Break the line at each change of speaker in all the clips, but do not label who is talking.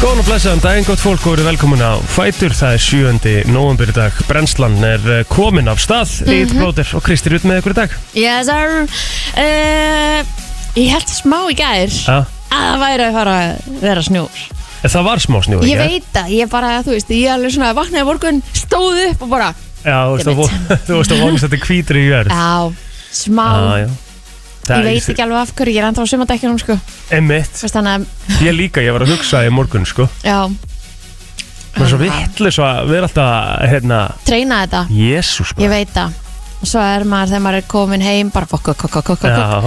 Góðan og blessaðan daginn, gott fólk og eru velkomin á Fætur. Það er 7. november í dag. Brennslan er eh, komin af stað.
Mhm.
Mm Egil Blóter og Kristi Rut með ykkur í dag.
Yes sir uh, Ég held smá í gær
Ja.
að það væri að fara að vera snjór
En Það var smá snjóð,
Ég veit það, ég bara, þú veist, ég alveg svona vaknaði morgun, stóð upp og bara
Já, þú veist,
Ég
að vo- þú veist að vonast þetta hvítur í jörð.
Já, smá,
Já, já.
ég veit ekki alveg af hverju, ég er ennþá á sumadekkinum, sko
Emitt.
Þú veist, þannig að,
Ég líka, ég var að hugsa í morgun, sko.
já,
Mér er svo vittlis að vera alltaf, hérna, sko.
treyna þetta,
Jésús,
ég veit það Og svo er maður, þegar maður er komin heim, bara kokk, kokk, kokk, kokk, kokk,
Já.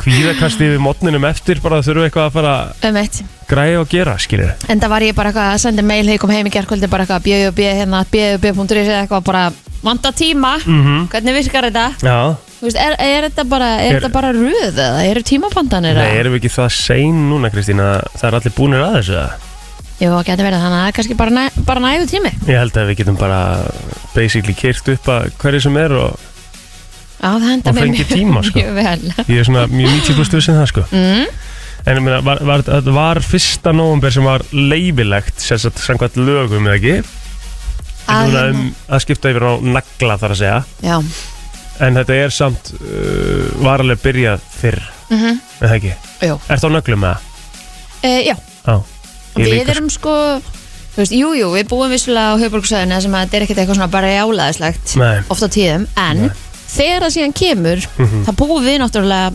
Kvíðakasti við mótninum eftir, bara þurfum við eitthvað að fara að
um eitt
græja og gera, skiljið.
En það var ég bara eitthvað að senda mail þegar ég kom heim í gerkvöldi bara eitthvað bjöjubj hérna bjöjubj.is eða eitthvað bara vanda tíma
Mhm.
hvernig virkar þetta
Já.
Þú veist, er, er þetta bara, er
Er-
þetta bara röð eða eru tímabandanir
Nei, erum við ekki það sein núna, Kristín, að það er allir búinir að þessu það?
Jú, geti verið þannig að það er kannski bara, næ, bara næðu tími
Ég held að við getum bara basically kyrt upp að hverju sem er og
Já, það henda
Og
mér
fengi tíma, sko.
mjög vel
ég er svona mjög 90% sem það, sko.
mm,
En ég meina, var, var, þetta var fyrsta nóvumber sem var leifilegt, sérstaklega samkvæmt lögum, eða ekki? En
að,
núna
hérna,
um, að skipta yfir á nagla, þar að segja.
Já,
En þetta er samt uh, varlega byrjað fyrr,
mm
eða ekki?
jú
Ertu á nöglum með það?
e, Já,
Já. Ég
við
líka,
erum sko þú veist, Jú, jú, við búum vissulega á höfbruksæðinu sem að þetta er ekkert eitthvað svona bara jálaðislegt
Nei.
oft á tíðum, en
Nei. Mhm.
þegar það síðan kemur þá búum við náttúrulega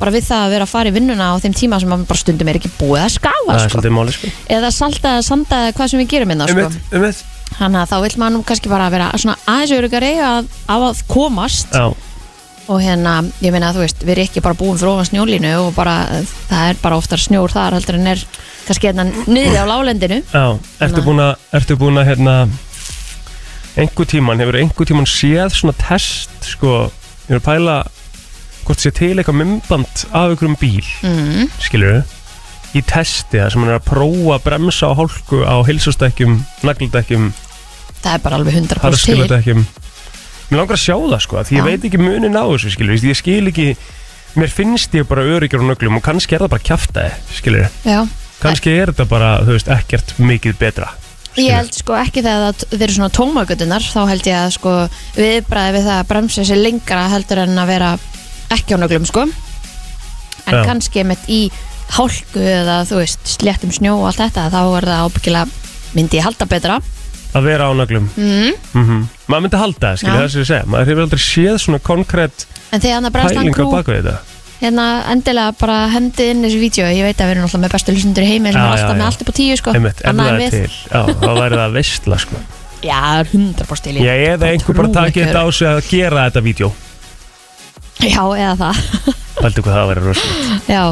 bara við það að vera að fara í vinnuna á þeim tíma sem að bara stundum er ekki búið að skafa
Það er
sko.
svolítið máli, sko.
eða salta eða sanda eða hvað sem við gerum innan sko.
Ummitt, ummitt.
þannig að þá vill maður nú kannski bara vera svona aðeins örugari að, að, að komast
Já.
og hérna, ég meina þú veist, við erum ekki bara búin frá ofan snjólínu og bara það er bara oftar snjór þar heldur en er kannski hérna niður á lálendinu
Já, ertu
Nei.
búin að, ertu búin að, hérna, einhver tíman, hefur einhver tíman séð svona test, sko, ég er að pæla hvort sé til eitthvað mymband af ykkur um bíl,
mm.
skilur í testi það sem hann er að prófa að bremsa á hálku á hilsustekjum, nagludekkjum,
það er bara alveg 100% til
harskiludekkjum. Mér langar að sjá það, sko, því ég
Já.
veit ekki munin á þessu, skilur, ég skil ekki, mér finnst ég bara öryggjur á nöglum og kannski er það bara kjaftaði, skilur,
Já.
kannski er þetta bara, þú veist, ekkert mikið betra.
Ég
skilurðu.
held sko ekki þegar það þeir eru svona tómagötunar þá held ég að sko viðbræði við það að bremsa sér lengra heldur en að vera ekki á nöglum sko en
Já.
kannski mitt í hálku eða þú veist sléttum snjó og allt þetta þá er það ábyggilega myndi ég halda betra
að vera á nöglum
mm.
mm maður myndi halda það, skilja
Já.
það sem ég segja maður hefur aldrei séð svona konkrétt
en þegar hann að brennslan
pælinga
krú
bak við þetta
hérna endilega bara hendið inn þessu vídeo ég veit að við erum alltaf með bestu lysendur í heimi sem
Já,
er alltaf
já,
með
já.
allt upp á tíu sko
einmitt, ef
annað
það
en
er
við
til, já, þá væri það veistla sko.
já, hundra bórstil
ég eða einhver bara
trúi
takið
ekki
þetta á sig að gera þetta vídeo
já, eða það
heldur hvað það væri rosalegt
já,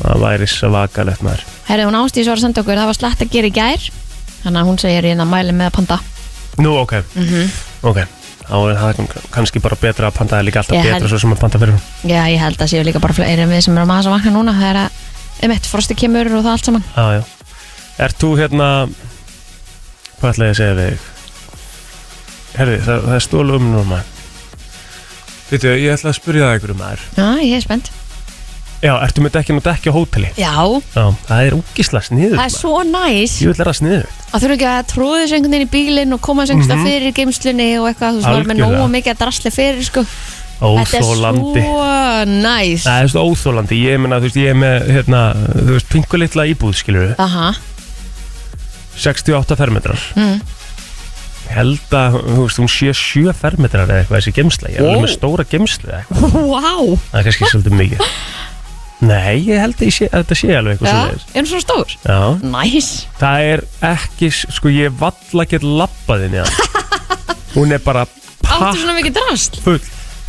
það væri svakalegt maður
Herri, hún ástís var að senda okkur, það var slætt að gera í gær Þannig að hún segir ég að mæli með að panta
nú ok,
Mhm.
ok þá er það kann- kannski bara betra að panta það er líka alltaf
Ég
betra
held-
svo sem að panta fyrir hún
Já, ég held að séu líka bara fleiri en við sem erum aðeins að vakna núna Það er að, um eitt, frosti kemur og það allt saman
já, já ert þú hérna hvað ætla ég að segja við þig herri, það, það er stólu um núna maður Veitu, ég ætla að spyrja það einhverju maður
Já, ég er spennt
Já, ertu með dekkin og dekki á hóteli?
Já,
Já, það er úkisla sniður
það er svo næs
Ég vil læra sniður
Að þurfa ekki að tróða þessu einhvern veginn í bílinn og koma þessu einhversta
Mhm.
fyrir geimslunni og eitthvað, þú veist, maður er með
Algjörlega.
nógu mikið að drasli fyrir, sko
Óþólandi
Þetta er svo næs
Það er svo óþólandi, ég meina, þú veist, ég er með, hérna, þú veist, pingu litla íbúð, skilur við
Aha,
68 fermetrar
mm.
Ég held að, þú veist, hún sé 7 fermetrar eða eitthvað þessi gemsla Ég
Ó.
er alveg með stóra gemsla eða eitthvað
wow
Það er kannski svolítið mikið Nei, ég held að, ég sé, að þetta sé alveg eitthvað
Já,
svoleiðis.
er hún svo stór?
Já,
Næs
Það er ekki, sko, ég valla get labbað inn í það Hún er bara
Áttu
pakk
svona mikið drast?
full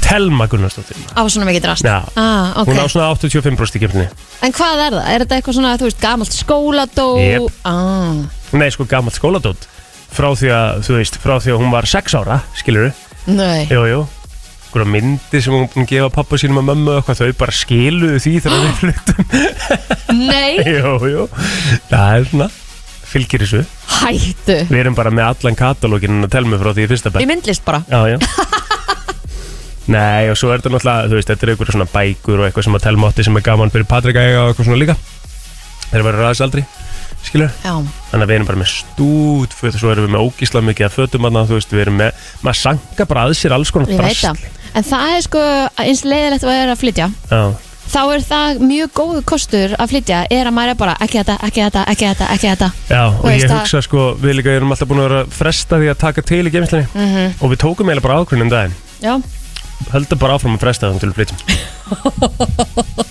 Telma Gunnarsdóttir maður.
Á svona mikið drast?
Já,
Ah, ok
hún á svona 85% í kemni
En hvað er það? Er þetta eitthvað svona, þú veist, gamalt skóladó?
Jep.
Ah,
Nei, sko gammalt skóladótt Frá því að, þú veist, frá því að hún var 6 ára Skilur þú?
nei.
Jú, jú Einhverja myndi sem hún búin að gefa pappa sínum að mömmu og eitthvað Þau bara skiluðu því þegar þau fluttum
Nei,
Jú, jú Það er svona Fylgir þessu
hættu.
Við erum bara með allan katalóginn að telma frá því í fyrsta
Í
bekk
myndlist bara.
Já, já Nei, og svo er þetta náttúrulega, þú veist, þetta er einhverja svona bækur og eitthvað sem að telma átti sem er gaman fyrir Patrik að eiga og eitthvað svona líka Þeir eru verið aðeins aldrei skilur
já,
þannig að við erum bara með stút föt, svo erum við með ógísla mikið af fötum þarna, þú veist, við erum með, maður sanga bara að sér alls konar
ég veit það en það er sko eins leiðilegt að vera að flytja
Já,
þá er það mjög góðu kostur að flytja er að maður er bara ekki þetta, ekki þetta, ekki þetta, ekki þetta
já og
veist
ég
það-
hugsa sko, við líka erum alltaf búin að vera að fresta því að taka til í geimslinni
Mhm.
og við tókum eiginlega bara ákvörðin um daginn
já,
höldum bara áfram að fresta þannig til við flytjum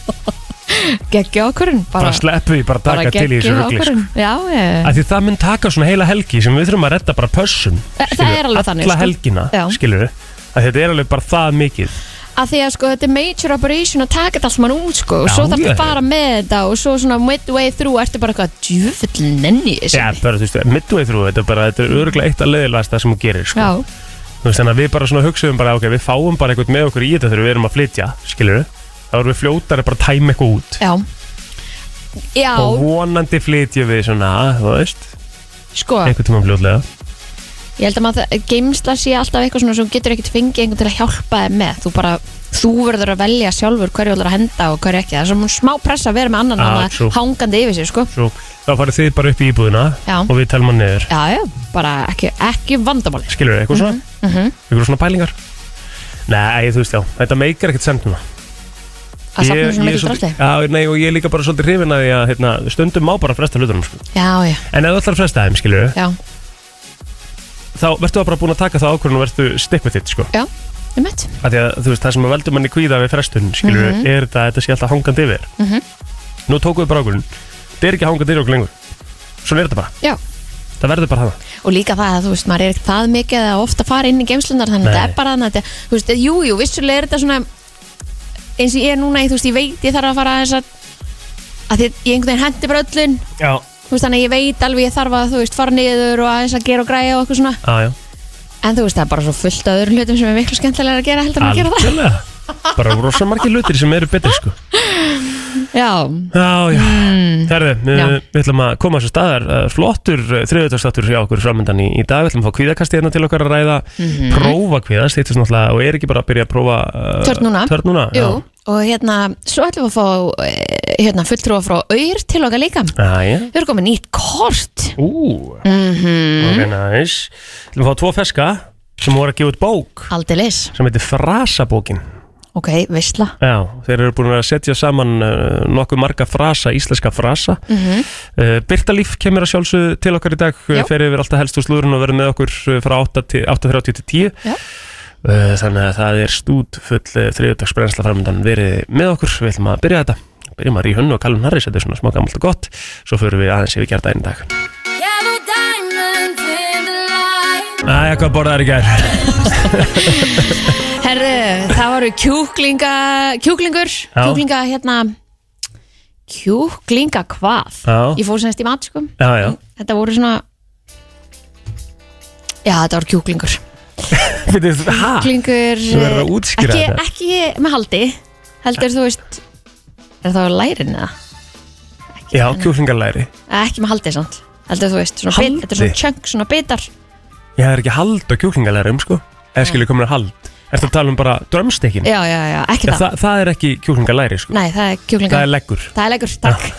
geggja okkurinn
bara sleppu því, bara taka til í þessu
geggjuð
rugli sko.
ákvörðun. já, ég,
Af því það mun taka svona heila helgi sem við þurfum að redda bara pössun
það er alveg þannig,
alla
sko.
helgina,
Já.
skilur við þetta er alveg bara það mikið
að því að sko þetta er major operation að taka þetta allt mann út sko og
Já,
svo þarf
já.
að fara með þetta og svo svona midway through ertu bara eitthvað djúfull nenni í þessu
Já, bara, þú veist, midway through, þetta er bara, þetta er öruglega eitt að leiðilegast það sem hún gerir, sko.
já,
Þú veist, þannig að við bara svona hugsaðum bara, ok, við fáum bara eitthvað með okkur í þetta þegar við erum að flytja, skilur við? Þá erum við fljótari bara að tæma eitthvað út.
já já,
Og vonandi flytjum við svona, þú veist,
sko
eitthvað tíma fljótlega.
ég held að maður geimsla sé alltaf eitthvað svona sem þú getur ekkert fengið einhvern til að hjálpa þig með þú bara, þú verður að velja sjálfur hverju ætlar að henda og hverju ekki það er svona smá pressa að vera með annan
Ah,
ah,
true.
hangandi yfir sér sko
Svo þá farið þið bara upp í íbúðina
Já.
og við telum hann niður,
já, já, bara ekki, ekki vandamáli
skilur við, eitthvað svona, mm
mhm.
svona pælingar. Nei, þú veist, já, þetta meikar ekkert sendina.
að safna svona mikil drastli
Já, nei, og ég er líka bara svolítið hrifin að því að, hérna, stundum má bara fresta hlutunum, sko.
já, já,
En ef þú ætlar að fresta þeim, skilur
já,
þá verður það bara búin að taka það ákvörðun og verður stikk með þitt sko.
já, um mitt
Af því að þú veist það sem að veldur manni kvíða við frestun skilur,
Mhm.
er þetta, þetta sé alltaf hangandi yfir
Mhm.
nú tókum við bara ákvörðun þetta er ekki hangandi yfir okkur lengur svona er þetta bara,
já
það verður bara það
og líka það að þú veist, maður er ekkert það mikið að ofta fara inn í geimslunar þannig að
Nei.
þetta er bara þannig að þetta, þú veist, jú, jú, vissulega er þetta svona eins og ég er núna, ég, þú veist, ég veit ég þarf að fara þess að að því ég einhvern veginn hendi bara öllun
já,
þú veist, þannig að ég veit alveg ég þarf að, þú veist, fara niður og aðeins að gera og græja og eitthvað svona
á, já,
en þú veist, það er bara svo fullt af öðrum hlutum sem er miklu skemmtilega að gera heldur en að gera það
algjörlega bara rosa margir hlutir sem eru betri sko.
já,
já, já, herðu
Mm. Já.
við, við ætlum að koma þessu staðar uh, flottur uh, þriðutastáttur hjá okkur framöndan í, í dag við ætlum að fá kvíðakasti hérna til okkar að ræða
Mhm.
prófa kvíða, stýttist náttúrulega og er ekki bara að byrja að prófa uh,
Törn núna.
törn núna,
jú
já.
og hérna, svo ætlum við að fá eh, hérna, fulltrúa frá auður til okkar líka
Á, já.
við erum komið nýtt kort
Ú,
mm -hmm.
ok, næs Við fáum tvo feska sem voru að gefa út bók
Aldeilis,
sem heitir Frasabókin
ok, veistla
Já, þeir eru búin að setja saman uh, nokkuð marga frasa, íslenska frasa mm -hmm. uh, Birta Líf kemur að sjálfsögðu til okkar í dag,
Já.
Já. fer yfir alltaf helstu slúðurinn og verður með okkur uh, frá 8 til- 8.30 til 10
Já.
Uh, Þannig að það er eh, stútfull þriðudagsbrennsla framöndan verið með okkur Við ætlum að byrja þetta Byrjum að ríða hönnu og kallum Harris, þetta er svona smá gamalt og gott Svo förum við aðeins yfir gerðdæðin í dag
Yellow diamonds in the light.
Æja, hvað borðaður í gær?
Herðu, það voru kjúklinga, kjúklingur,
Já.
kjúklinga hérna, kjúklinga hvað?
Já.
Ég fór semst í mat, sko.
Já, já
Þetta voru svona, já þetta voru kjúklingur.
Fyrir, ha?
Kjúklingur,
Þú verður að
eh,
útskýra
ekki,
þetta.
Ekki með haldi, heldur þú veist, er það á lærin eða?
Já, kjúklingalæri
Eh, Ekki með haldi samt, heldur þú veist, svona bit,
Haldi?
þetta er svona chunk, svona bitar.
Ég er ekki hald á kjúklingalærum, sko Eða skilur komin að hald Ertu að tala um bara drömstekkin?
Já, já, já, ekki það.
það, það er ekki kjúklingalæri, sko
Nei, það er kjúklinga.
Það er leggur
Það er leikur, takk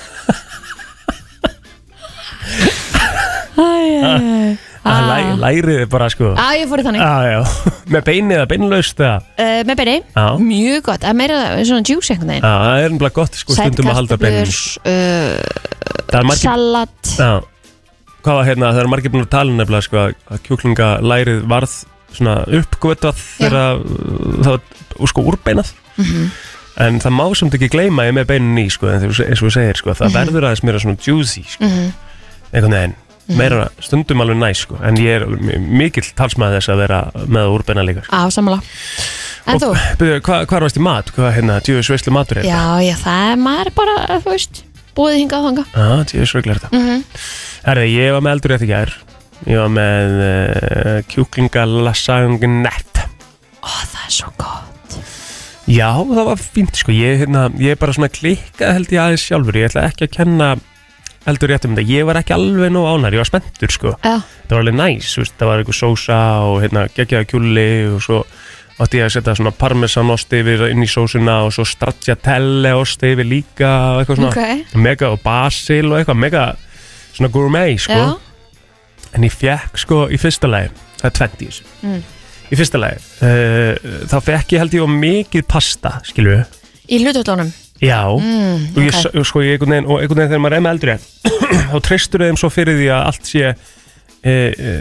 Æ, æ, æ.
ah. læ, Lærið er bara, sko
Á, ég fór í þannig uh,
ah, já. Með beinið eða beinlaust eða
Eh, Með beri,
Já.
mjög gott Það er meira svona juice einhvern veginn
Já, það er umlega gott, sko, stundum að halda beinum
uh,
Það er margir
Salat
Já Hvað var hérna, það er margir búin að tala um nefnilega, sko að- Að kjúklingalærið varð svona uppgötvað
Já.
Þegar að, uh, það var, sko, úrbeinað
Mhm.
En það má samt ekki gleyma ég með beinin í, sko, en þegar þú- eins og þú segir, sko,
Mhm.
það verður aðeins meira svona juicy, sko, einhvern veginn, meira stundum alveg næ, sko, en ég er alveg mi- mikill talsmaði þess að vera með að úrbeina líka,
Á,
sko.
sammála En þú?
Byrju, hvað hva varst í mat? Hvað, hérna, djöfisveislu matur er?
Já, já, það er maður er bara, þú veist Búið hingað og þangað
Já, djöfisveiglu er þetta. Mm
Mhm.
Herði, ég var með eldur rétt í gær, ég var með uh, kjúklingalasagnett.
Ó, það er svo gott
Já, það var fínt, sko, ég, hérna, ég er bara svona klikkað held ég aðeins sjálfur, ég ætla ekki að kenna eldur rétt um þetta, ég var ekki alveg nóg ánæri, ég var spenntur, sko.
Já,
það var alveg næs, þú veist, það var einhver sósa og hérna geggjaða kjúli og svo átti ég að setja svona parmesanost yfir inn í sósuna og svo stracciatelle ost yfir líka og eitthvað svona
Ok.
mega og basil og eitthvað mega svona gourmet sko
Já.
en ég fekk sko í fyrsta lagi það er 20 í þessu
Mm.
í fyrsta lagi uh, þá fekk ég held ég á mikið pasta skilju
Í hlututlónum
já
mm,
og ég, okay. sko, ég einhvern veginn, og einhvern veginn þegar maður er með eldri þá treystur þeim svo fyrir því að allt sé e, e,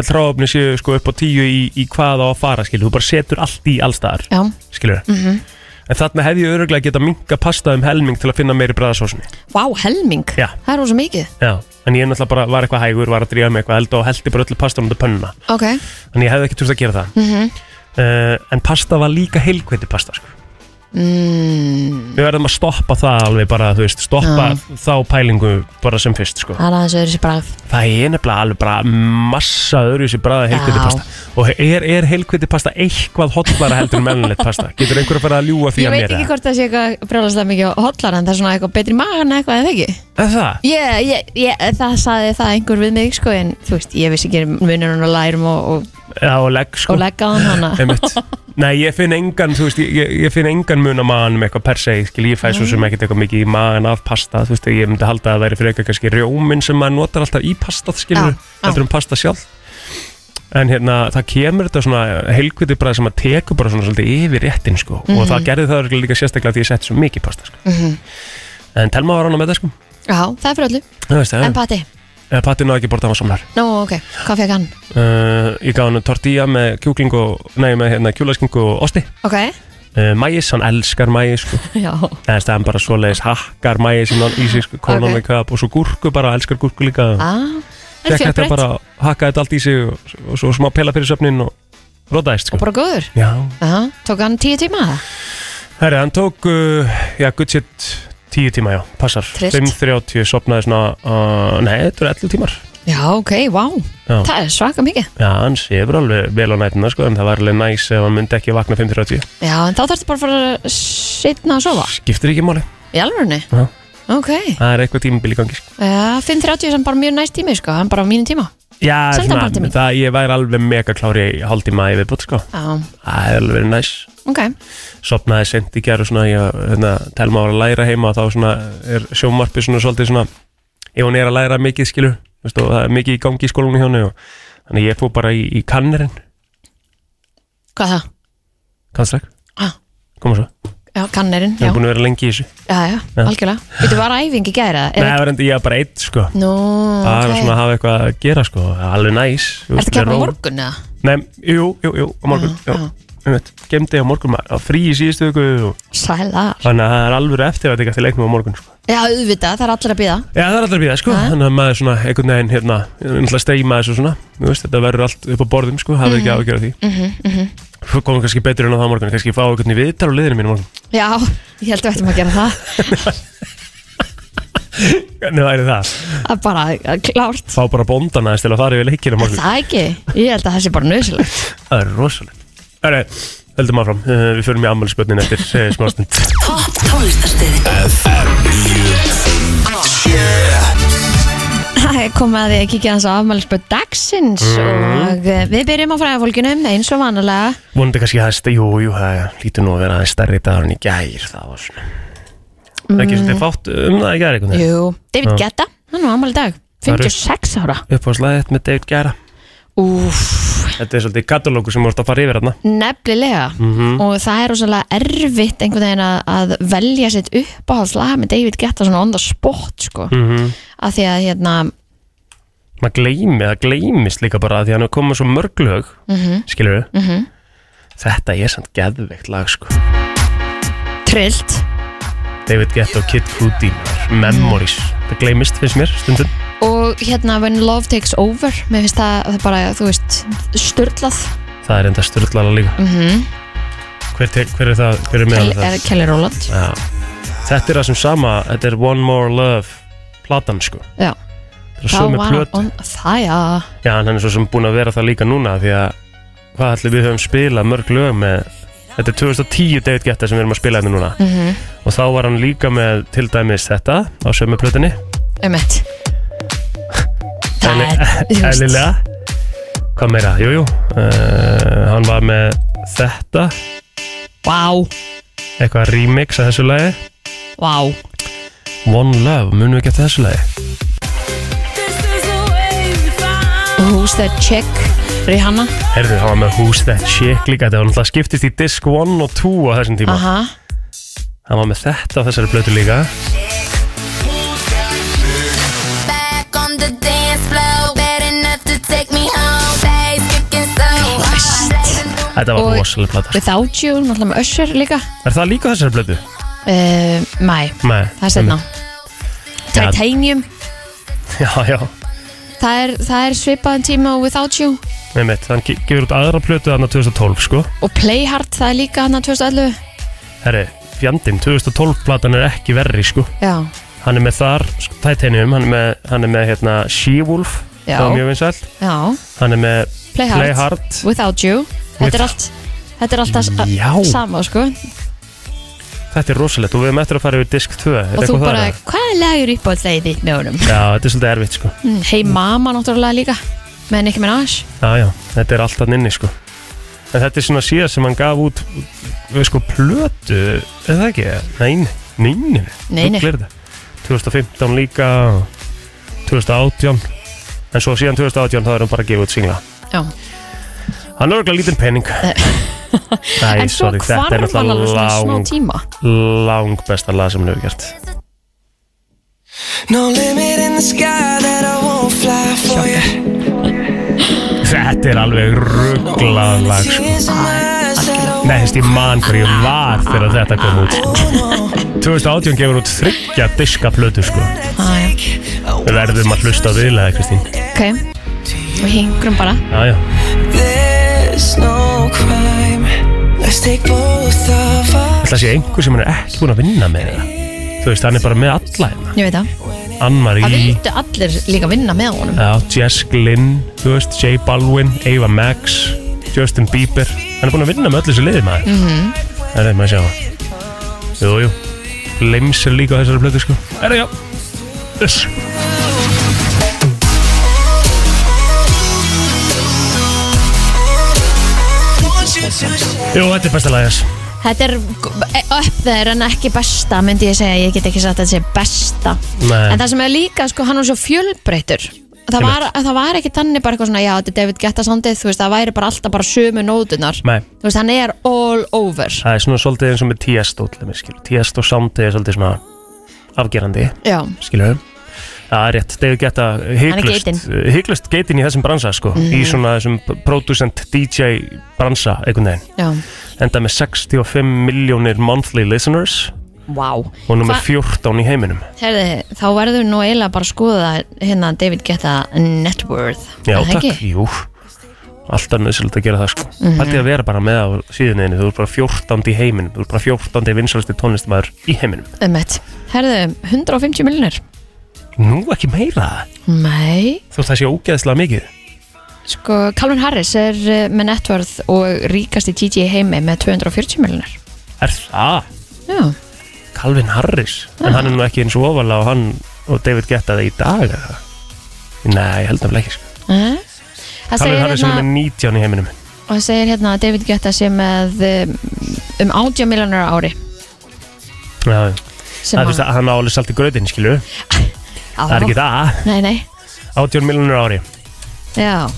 öll ráfni séu sko upp á tíu í, í hvað á að fara skilur, þú bara setur allt í allstaðar
Já,
skilur,
mm
en þarna hefði ég öruglega geta minka pasta um helming til að finna meiri bræðasósunni,
vá, helming
Já.
Það er rosa mikið
já, en ég náttúrulega bara var eitthvað hægur, var að drífa með eitthvað held og heldi bara öllu pastanum til pönnuna,
Ok,
en ég hefði ekki turist að gera það
mhm
uh, en pasta var líka heilkveiti pasta sko.
mm,
við verðum að stoppa það alveg bara, þú veist, stoppa þá pælingu bara sem fyrst, sko
Það er aðeins öðru sér bragð
Það er nefnilega alveg bara massa öðru sér bræða heilkviti
Já.
pasta Og er, er heilkviti pasta eitthvað hotlara heldur en mennilegt pasta? Getur einhver að fara að ljúga því
Ég
að
veit
mér
ekki
eða?
hvort það sé eitthvað brjálast það mikið á hotlar en það er svona eitthvað betri magan eitthvað eða ekki
Er það?
ég, ég, ég, Það saði það einhver við mig sko en þú veist, ég vissi ekki munurinn og lærum og, og,
Já, og legg sko
og leggja á hann hana
Einmitt. Nei, ég finn engan, þú veist, ég- ég, ég finn engan mun á maðanum eitthvað per se, skil, ég fæ svo sem ekkert eitthvað mikið í maðan af pasta, þú veist, ég myndi halda að það væri fyrir eitthvað kannski rjóminn sem maður notar alltaf í pastað, skilur,
Já, já.
heldur um pasta sjálf. En hérna, það kemur þetta svona helgviti bara sem að teku bara svona svolítið yfir réttin, sko, og það gerði það örugglega líka sérstaklega því ég sett svo mikið í pasta, sko.
Mhm.
En Telma var ána með það, sko,
Já, það er fyrir öllu
þú veist,
En
en,
pati,
en Patti náði ekki bortað á samlar.
nú ok, hvað fekk hann?
Uh, ég gaf hann tortilla með kjúkling og, nei, með hérna kjúlaskingu og osti.
Ok,
Uh, mægis, hann elskar mægis, sko.
já
Það er staðan bara svoleiðis hakkar mægis innan í sig, sko, konan
Ok.
með kap og svo gúrku bara, elskar gúrku líka
ah, Það er
Fekk þetta
fjölbreytt
bara, hakkaði þetta allt í sig og, og svo smá pela fyrir söfnin og
Og
rotaðist, sko
bara góður
Já,
Já, tók hann tíu tíma það?
herri, hann tók, uh, já, gutt sétt tíu tíma, já, passar
Trist.
5.30, sopnaði svona, uh, nei, þetta eru 11 tímar
Já, ok, vá
Já.
Það er svaka mikið
Já, hann séfur alveg vel á nætina, sko, en það var alveg næs ef hann myndi ekki vakna 5.30
Já, en þá þarfstu bara að fara sitna að sofa
Skiptir ekki máli,
Í alvörunni?
Já.
Ok,
það er eitthvað tímabil í gangi, sko
já, 5.30 sem bara mjög næst tími, sko, hann bara á mínum tíma
Já,
Senda bara til mín.
það, ég væri alveg mega klári í hálftíma yfir bútt, sko
Já,
Það er alveg næs
ok,
sopnaði sent í gerð og svona ég hérna, telma var að læra heima og þá svona er sjómarpi svona svolítið svona ef hún er að læra mikið skilur veist, og það er mikið í gangi í skólunum hjá henni og þannig ég fór bara í, í kannerinn
hvað það?
kannstræk,
Ah,
koma svo
já, kannerinn,
ég
já,
er búin að vera lengi í þessu
já, já,
Já.
algjörlega Þetta var æfing í gæra,
Nei,
er
það var enda ég var bara eitt sko
Nú,
það var svona
ok
að hafa eitthvað að gera sko það er alveg næs þú veist,
Ertu kláð
ró-
á morgun, eða?
Nei, jú, jú, jú, á morgun
Já,
já, einmitt. gemdi á morgun, maður, á frí í síðustu viku og,
Sælar
þannig að það er alveg eftir að til leiknum á morgun sko
Já, auðvitað, það er allir að býða
Já, það er alltaf að býða, sko,
Ha?
þannig að maður svona einhvern veginn, hérna, náttúrulega streyma þessu svona, þú veist, þetta verður allt upp á borðum, sko, hafið ekki áhyggjur af því.
mm -hmm,
Svo komum kannski betur en á það á morgun, kannski fá einhvern í viðtal á liðinu mínu morgun.
Já, ég held að við ættum að gera það
Hvernig væri það?
Það er bara eh, klárt
Fá bara bóndan aðeins til að fara yfir leikina á
Er
morgun.
Það ekki, ég held að það sé bara nöðsilegt
Það er rosalegt. Hörru, höldum áfram, uh, við förum í ammælisbönnin eftir uh, smástund.
Topp tónlistarstöðin
Það er komið að því að kíkja hans á afmælisböð dagsins
Mm.
og eh, við byrjum á fræðafólkinu eins og vanalega
Vonandi kannski það, st- jú, jú, það lítur nú að vera aðeins stærri dagar en í gær, það var svona. Mm. Ekki svolítið fátt um það í gær, einhvern veginn.
Jú, David Guetta, hann var afmæli í dag
Það eru-
56 ára
Uppáhaldslagið með David Guetta.
Úf,
Þetta er svolítið katalógu sem þú ert að fara yfir þarna.
nefnilega
Mhm.
og það er rosalega erfitt einhvern veginn að, að velja sitt uppáhaldslag með David Guetta svona on the spot sko, mm. af því að hérna
Mhm. maður gleymi, það gleymist líka bara að því að hann er komið svo mörg lög mm -hmm. skilur við
Mhm.
þetta er samt geðveikt lag sko
trillt
David Guetta og Kid Cudi maður. Memories, það gleymist finnst mér stundum
og hérna When Love Takes Over mér finnst það, það er bara, þú veist störtlað
það er enda styrlala líka
mm -hmm.
hver, tek, hver er það, hver er meðan það
Kelly Rowland
Já. þetta er það sem sama, þetta er One More Love platan sko
Já.
það er svo með plöt
on fire
já, en hann er svo sem búin að vera það líka núna því að hvað ætlum við höfum spilað mörg lög með þetta er 2010 David Guetta sem við erum að spila þetta núna
mm -hmm.
og þá var hann líka með til dæmis þetta á sömu plötunni
um eitt það er þú veist,
eðlilega hvað meira, jújú jú. uh, hann var með þetta
vá,
eitthvað remix að þessu lagi
vá
One Love, munum við ekki eftir þessu lagi
Who's That Chick Rihanna
Herðu, það var með Who's That Chick líka Þetta var náttúrulega skiptist í disk 1 og 2 á þessum tíma
Aha,
Það var með þetta á þessari blötu líka
Back on the dance floor, bad enough to take me home. Days kicking so hard.
Þetta var
Og-
rosalega plata sko.
Without You, náttúrulega með Usher líka
Er það líka á þessari blötu?
uh, Mæ,
Nei
það er setna
Já.
Titanium,
Já, já,
það er, það er svipaðan tíma og Without You
með mitt Hann ge- gefur út aðra plötu þarna 2012 sko
og Play Hard, það er líka hann 2011
Herri, fjandinn, 2012 platan er ekki verri sko
Já,
Hann er með þar, sko, Titanium Hann er með, hann er með hérna She-Wolf
Já.
Það var mjög vinsælt
já,
Hann er með
Play Hard,
Play Hard
Without You Þetta er
With-
allt Þetta er alltaf
Já.
sama sko
Þetta er rosalegt og við höfum eftir að fara yfir disk 2 Er
Og þú
eitthvað þar,
bara,
eða?
hvað er lagur upp á alltaf þitt með honum?
Já, þetta er svolítið erfitt sko
Mm, Hey Mama náttúrulega líka með Nicki Minaj
Já, já, þetta er alltaf inni sko En þetta er svona síðar sem hann gaf út við sko plötu eða það ekki, nein, nein
Nei, nei.
2015 líka 2018 en svo síðan 2018 þá er hann bara að gefa út singla
Já.
Hann er örgulega lítinn penning Nei,
En svo
sorry,
hvarf
þetta
hann
er
alveg
náttúrulega
svona smá
lang,
tíma
lang besta lag sem hann hefur gert
No limit in the sky that I won't fly for you.
Þetta er alveg rugglað lag sko.
Tears in my eyes that I
Nei, þess ég man hver ég var þegar þetta kom út sko. 2018 gefur út þryggja diska plötu sko
Æ,
Við verðum að hlusta á viðlega, Kristín
Ok, við hingrum bara
Já, já
There's no crime. Let's take both of our
Það sé einhver sem hann er ekki búin að vinna með það Þú veist, hann er bara með alla hérna
Ég veit það Það
Ann-Marie,
vildu allir líka vinna með honum
já, Jess Glynn Þú veist, J Balvin, Ava Max Justin Bieber Hann er búin að vinna með öllu þessu liði maður mm -hmm.
Mhm.
Það er maður að sjá Jú, jú Lims er líka á þessari plötu sko Er það já Þess
want you to
Jú, þetta er besta lagið þess
Þetta er g- upp þeir en ekki besta myndi ég segja, ég get ekki sagt að þetta sé besta
Nei.
En það sem er líka, sko, hann var svo fjölbreytur Það var, það var ekki þannig bara eitthvað svona, já, þetta er David Guetta soundið, þú veist, það væri bara alltaf bara sömu nótunar
Nei.
Þú veist, hann er all over
Það er svona svolítið eins og með Tiesto til þeim, skilur. Tiesto soundið er svolítið svona afgerandi,
Já,
skilur við. Það er rétt, þegar geta hygglust, hygglust geitin í þessum bransa, sko,
Mhm.
í svona þessum producent DJ bransa, einhvern veginn.
já,
Enda með 65 miljónir monthly listeners
wow
og nummer
Hva-
14 í heiminum.
Herði, þá verður nú eiginlega bara að skoða hérna David Guetta net worth
Já,
Er það
takk,
ekki? Mhm.
jú. Alltaf nöðsilegt að gera það, sko. Mm að vera bara með á síðunniðinu, þú ert bara 14 í heiminum, þú ert bara 14 vinsalasti tónlistamæður í heiminum.
Einmitt. Herðu, 150 miljonir
Nú ekki meira,
Nei
þú veist það sé ógeðslega mikið.
Sko, Calvin Harris er eh, með networth og ríkasti DJ í heimi með 240 miljonir
Er það?
Já, Ah.
Calvin Harris En hann er nú ekki eins og ofalega og hann og David Guetta það í dag eða? Nei, ég held nefnilega ekki sko.
Eh? Það
Calvin
segir
Harris er
hérna,
með 19 í heiminum
og það segir hérna að David Guetta sé með um, um 80 miljonir ári
Já, já.
sem
Það er fyrst að hann álega salt í gröðin skilur Það er ekki það,
Nei, nei,
18 miljonur ári
já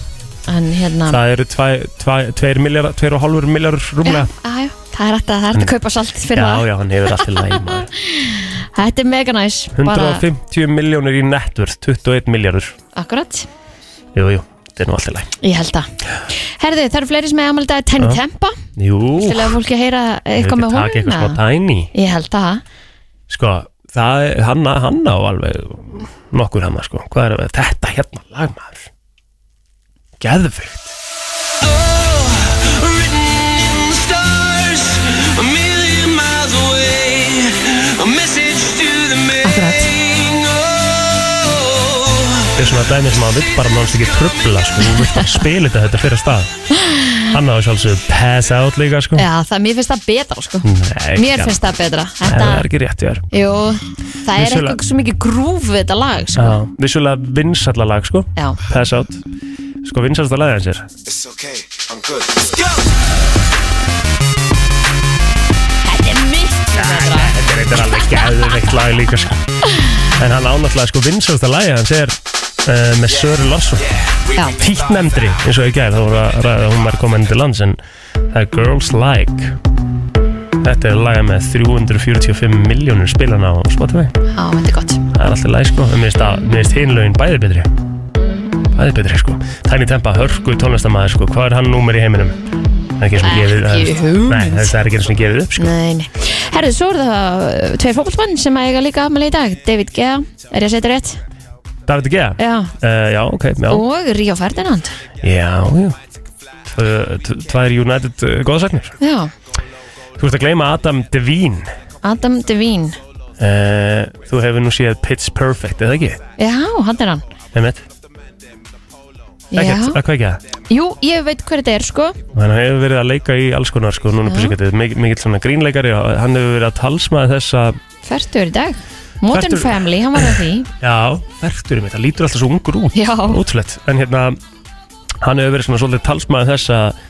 En hérna
Það eru 2 miljardar 2,5 miljardar rúmlega
Já, já, það er hægt að, það er hægt að kaupa salt fyrir
Já,
það
já, hann hefur alltaf læg maður.
Þetta er mega næs bara-
150 miljónir í nettvörð 21 miljardur
Akkurat,
Jú, jú, þetta er nú alltaf læg
ég held það Herðu, það eru fleiri sem er amaldi að Tiny
Já.
Tempa
Jú,
Til að fólki heyra eitthvað með
taka
honum
eitthvað smá
eða?
tæni
Ég held það
sko, það, er- hann, hann á alveg nokkur hann, sko, hvað er að þetta hérna lagmaður geðveikt
written in the stars, a million miles away. A message to the
Akkurat.
making.
þetta er svona dæmi sem að vill bara nánst ekki tröfla sko, hún vill bara spila þetta þetta fyrir að stað hann á sjálfsög pass out líka sko
Já, það, mér finnst það betra sko
Nei,
Mér finnst það betra
þetta það er
Þetta,
ekki rétt ég er
jú, það er
Vissulega.
eitthvað svo mikið grúf við þetta lag sko
Já, vissulega vinsalla lag sko
Já,
pass out sko vinsallasta lagið hans er
It's okay, I'm good.
þetta er miklu betra
þetta er alveg geðveikt lag líka sko en hann ánáttúrulega sko vinsallasta lagið hans er uh, með Söru Larsson
Já.
Fíknemndri, eins og ég gæði þá voru að ræða að hún var komin til lands en það er Girls Like Þetta er laga með 345 miljónir spilana á Spotify
Já, þetta er gott
Það er alltaf læg sko En Mér finnst að- mér finnst hinn lögin bæði betri Bæði betri sko Tiny Tempa, hörku tónlistamæður sko Hvað er hann númer í heiminum? Það er ekki svona gefið það er-
Ekki hugmynd.
Nei, það er- það er ekki svona gefið upp sko
Nei, nei Herðu, svo eru það uh, tveir fókbaltmann sem að eiga líka afmæli í dag David Gea, er ég að setja rétt?
David Gea?
Já
Uh, já, ok, já,
Og Ríó Ferdinand
já, já. Tvö- tv- Tvær United uh, góðsagnir
Já,
Þú ert að gleyma Adam Devine
Adam Devine
uh, Þú hefur nú séð Pitch Perfect, eða ekki?
Já, hann er hann
Emmett,
Já,
ekkert, að hvað ekki það?
jú, ég veit hver þetta er sko
Hann hefur verið að leika í alls konar sko, núna
Já.
písikatið, mikill svona grínleikari og hann hefur verið að talsmaði þess að
Fertur í dag Modern
Fertugur.
Family, hann var að því
Já, verkturinn mitt, það lítur alltaf svo ungur út
Já,
Útlætt, en hérna hann hefur verið svona svolítið talsmaðið þess að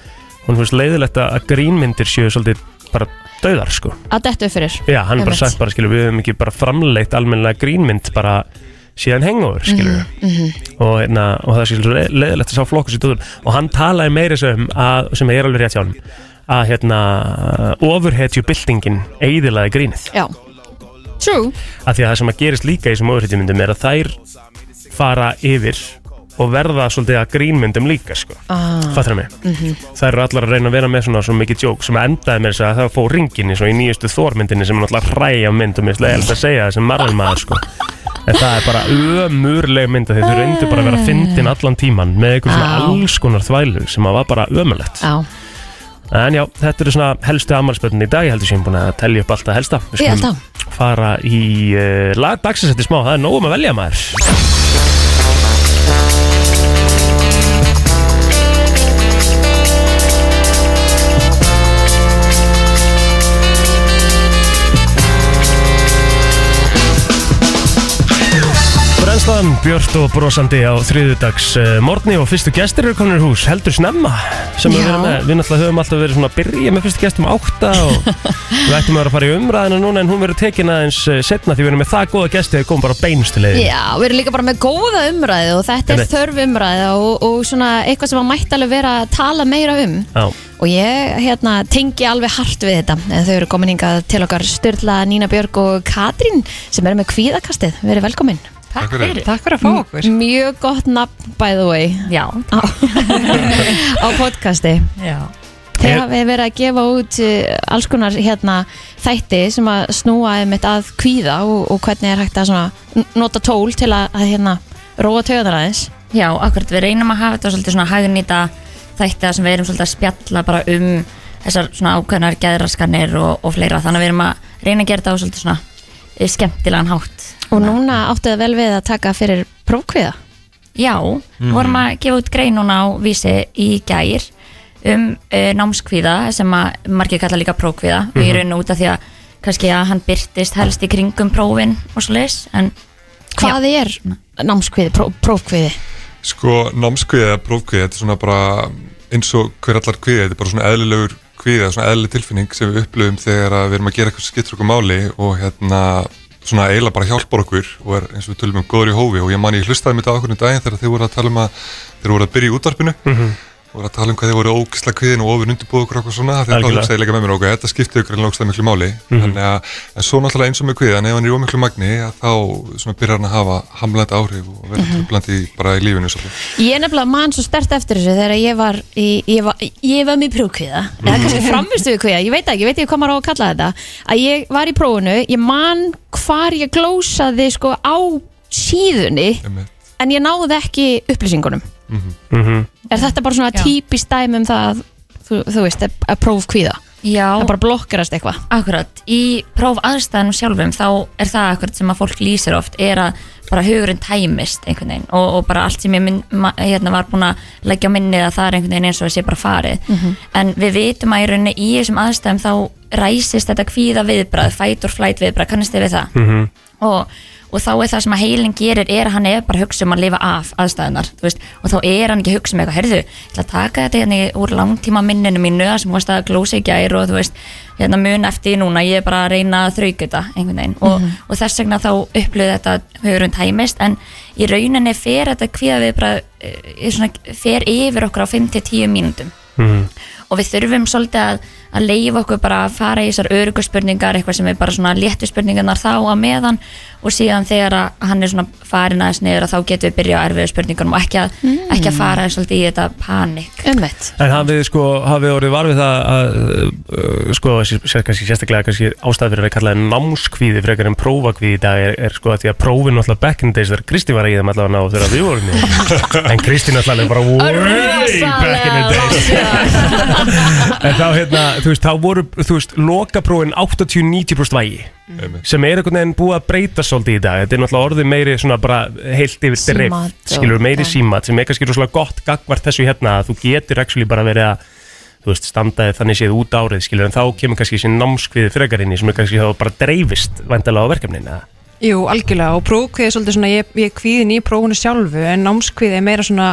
hún finnst leiðilegt að að grínmyndir séu svolítið bara döðar sko
að dettu fyrir
Já, hann er bara
Einmitt.
sagt bara, skilur, við höfum ekki bara framleitt almennilega grínmynd bara síðan hengur, skilur
Mhm.
og, hérna, og það sé leið- leiðilegt að sá flokkur sér döður og hann talaði meira sem að, sem er alveg rétt hjá hann að hérna ofurhetju byltingin eigðilaði grínið
Já True
af því að það sem að gerist líka í þessum ofurhetjumyndum er að þær fara yfir og verða svolítið að grínmyndum líka sko.
ah.
fattur það mig
Mm-hmm.
þær eru allar að reyna að vera með svona svo mikið jók sem endaði með þess að það fór ringin svo í nýjustu þórmyndinni sem er alltaf hræja mynd og mér slega held að segja það sem marðin maður sko. en það er bara ömurleg mynd að þau reyndu bara að vera fyndin allan tíman með einhver svona
Á.
alls konar þvælu sem að var bara ömurlegt
Já,
en já, þetta eru svona helstu amalspöldin í dag ég heldur sem ég er búin að telja upp alltaf helsta Við
ég held
skulum-
á
fara í uh, lag dagsins eftir smá, það er nógum að velja maður Brennslan, Björt og brosandi á þriðudags uh, morgni og fyrstu gestir eru komin í hús, heldur snemma sem
Já.
við verðum með, við náttúrulega höfum alltaf verið svona að byrja með fyrstu gestum átta og Við ættum að vera að fara í umræðina núna en hún verður tekin aðeins setna því við erum með það góða gesti að koma bara á beinustu leiðin.
Já, við erum líka bara með góða umræðu og þetta er
Einmitt.
þörf umræða og, og svona eitthvað sem að mætti alveg vera að tala meira um
Já,
og ég hérna tengi alveg hart við þetta en þau eru komin hingað til okkar Sturla, Nína Björg og Katrín sem eru með kvíðakastið, verið velkomin
Takk fyrir.
Takk fyrir að fá okkur.
Mjög gott nafn by the way
Já.
á, á podcasti
Já.
Ég-
Þeir hafið verið að gefa út eh, alls konar hérna, þætti sem að snúa einmitt að kvíða og, og hvernig er hægt að svona, n- nota tól til að, að hérna, róa töðar aðeins
Já, akkurat, við reynum að hafa þetta svolítið svona hagnýta þætti þar sem við erum svolítið að spjalla bara um þessar svona ákveðnar geðraskanir og, og fleira, þannig að við erum að reyna að gera þetta á svolítið svona eh, skemmtilegan hátt
og núna áttuðu vel við að taka fyrir prófkviða
Já, vorum að gefa út grein núna á vísi í gær um uh, námskvíða sem að margir kalla líka prófkvíða og ég raun út af því að kannski að hann byrtist helst í kringum prófin og svo leis en
Hvað er námskviði, pró, prófkviði?
Sko, námskviði eða prófkviði, þetta er svona bara eins og hver allar kviði, þetta er bara svona eðlilegur kviði, svona eðlileg tilfinning sem við upplöfum þegar að við erum að gera eitthvað sem skiptir okkur máli og hérna svona eiginlega bara hjálpar okkur og er eins og við tölum um góður í hófi og ég man ég hlustaði mitt á okkur um daginn þegar þeir voru að tala um að þeir voru að byrja í útvarpinu og voru að tala um hvað þeir voru ógisla kviðin og ofin undirbúið okkur okkur svona þegar
Algjörlega.
það hugsaði líka með mér okkur, þetta skipti okkur en lókstæð miklu máli þannig að en svo náttúrulega eins og með kviðan ef hann er í ómiklu magni að þá svona byrjar hann að hafa hamlandi áhrif og verður tröflandi bara í lífinu svolítið.
Ég er nefnilega mann svo stert eftir þessu þegar ég var, í, ég var, ég var með prófkviða eða kannski framistu við kviða, ég veit það ekki, ég veit ekki hvað maður á að kalla þetta að ég var í prófunu, ég man hvar ég glósaði sko á síðunni
Einmitt.
en ég náði ekki upplýsingunum
Mhm,
Er þetta bara svona
Já.
típist dæmi um það að, þú, þú veist, að- að prófkviða
já,
það bara blokkarast eitthvað
Akkurat, í próf aðstæðanum sjálfum þá er það akkurat sem að fólk lýsir oft er að bara hugurinn tæmist einhvern veginn og, og bara allt sem ég minn, ma, hérna var búin að leggja á minnið að það er einhvern veginn eins og það sé bara farið en við vitum að í rauninni í þessum
mhm,
aðstæðum þá ræsist þetta kvíða viðbrað, fight or flight viðbrað kannist þið við það? -hmm. og, og þá er það sem að heilin gerir er að hann er bara að hugsa um að lifa af aðstæðunar þú veist, og þá er hann ekki að hugsa um eitthvað herðu, ég ætla að taka þetta hérna í- úr langtíma minninu mínu það sem varst að glósa í gær og þú veist, hérna mun eftir því núna ég er bara að reyna að þrauka þetta einhvern veginn og,
Mhm.
og þess vegna þá upplöðu þetta hugurinn tæmist en í rauninni fer þetta kvíða við bara svona, fer yfir okkur á 5-10 mínútum
mhm.
og við þurfum svolítið að, að leifa okkur bara að fara í þessar örugu spurningar eitthvað sem er bara svona léttu spurningarnar þá að meðan og síðan þegar að hann er svona farin aðeins niður að þá getum við byrjað á erfiðu spurningunum og ekki að, ekki að fara svolítið í þetta panik
Ömmett
En hafið þið sko, hafið þið orðið varfið það að, uh, sko, sér, sér, kannski sérstaklega kannski ástæð fyrir að við kallaði námskvíði frekar en prófakvíði í dag er, er sko að því að prófin náttúrulega back in the days þegar Kristín var í þeim allavega ná þegar við vorum í þeim. En Kristín náttúrulega bara way back in the days. En þá hérna, þú veist, þá voru, þú veist, lokaprófin 80-90% vægi
einmitt.
sem er einhvern veginn búið að breyta svolítið í dag þetta er náttúrulega orðið meiri svona bara heilt yfir
Símat
drift,
og-
skilur meiri
já.
símat sem er kannski rosalega gott gagvart þessu hérna að þú getur actually bara verið að þú veist, standaði þannig séð út árið skilur en þá kemur kannski þessi námskviði fregarinni sem er kannski þá bara dreifist vandalega á verkefninu eða?
Jú, algjörlega og prófkvið er svolítið svona, ég, ég er kvíðin í prófunu sjálfu en námskvið er meira svona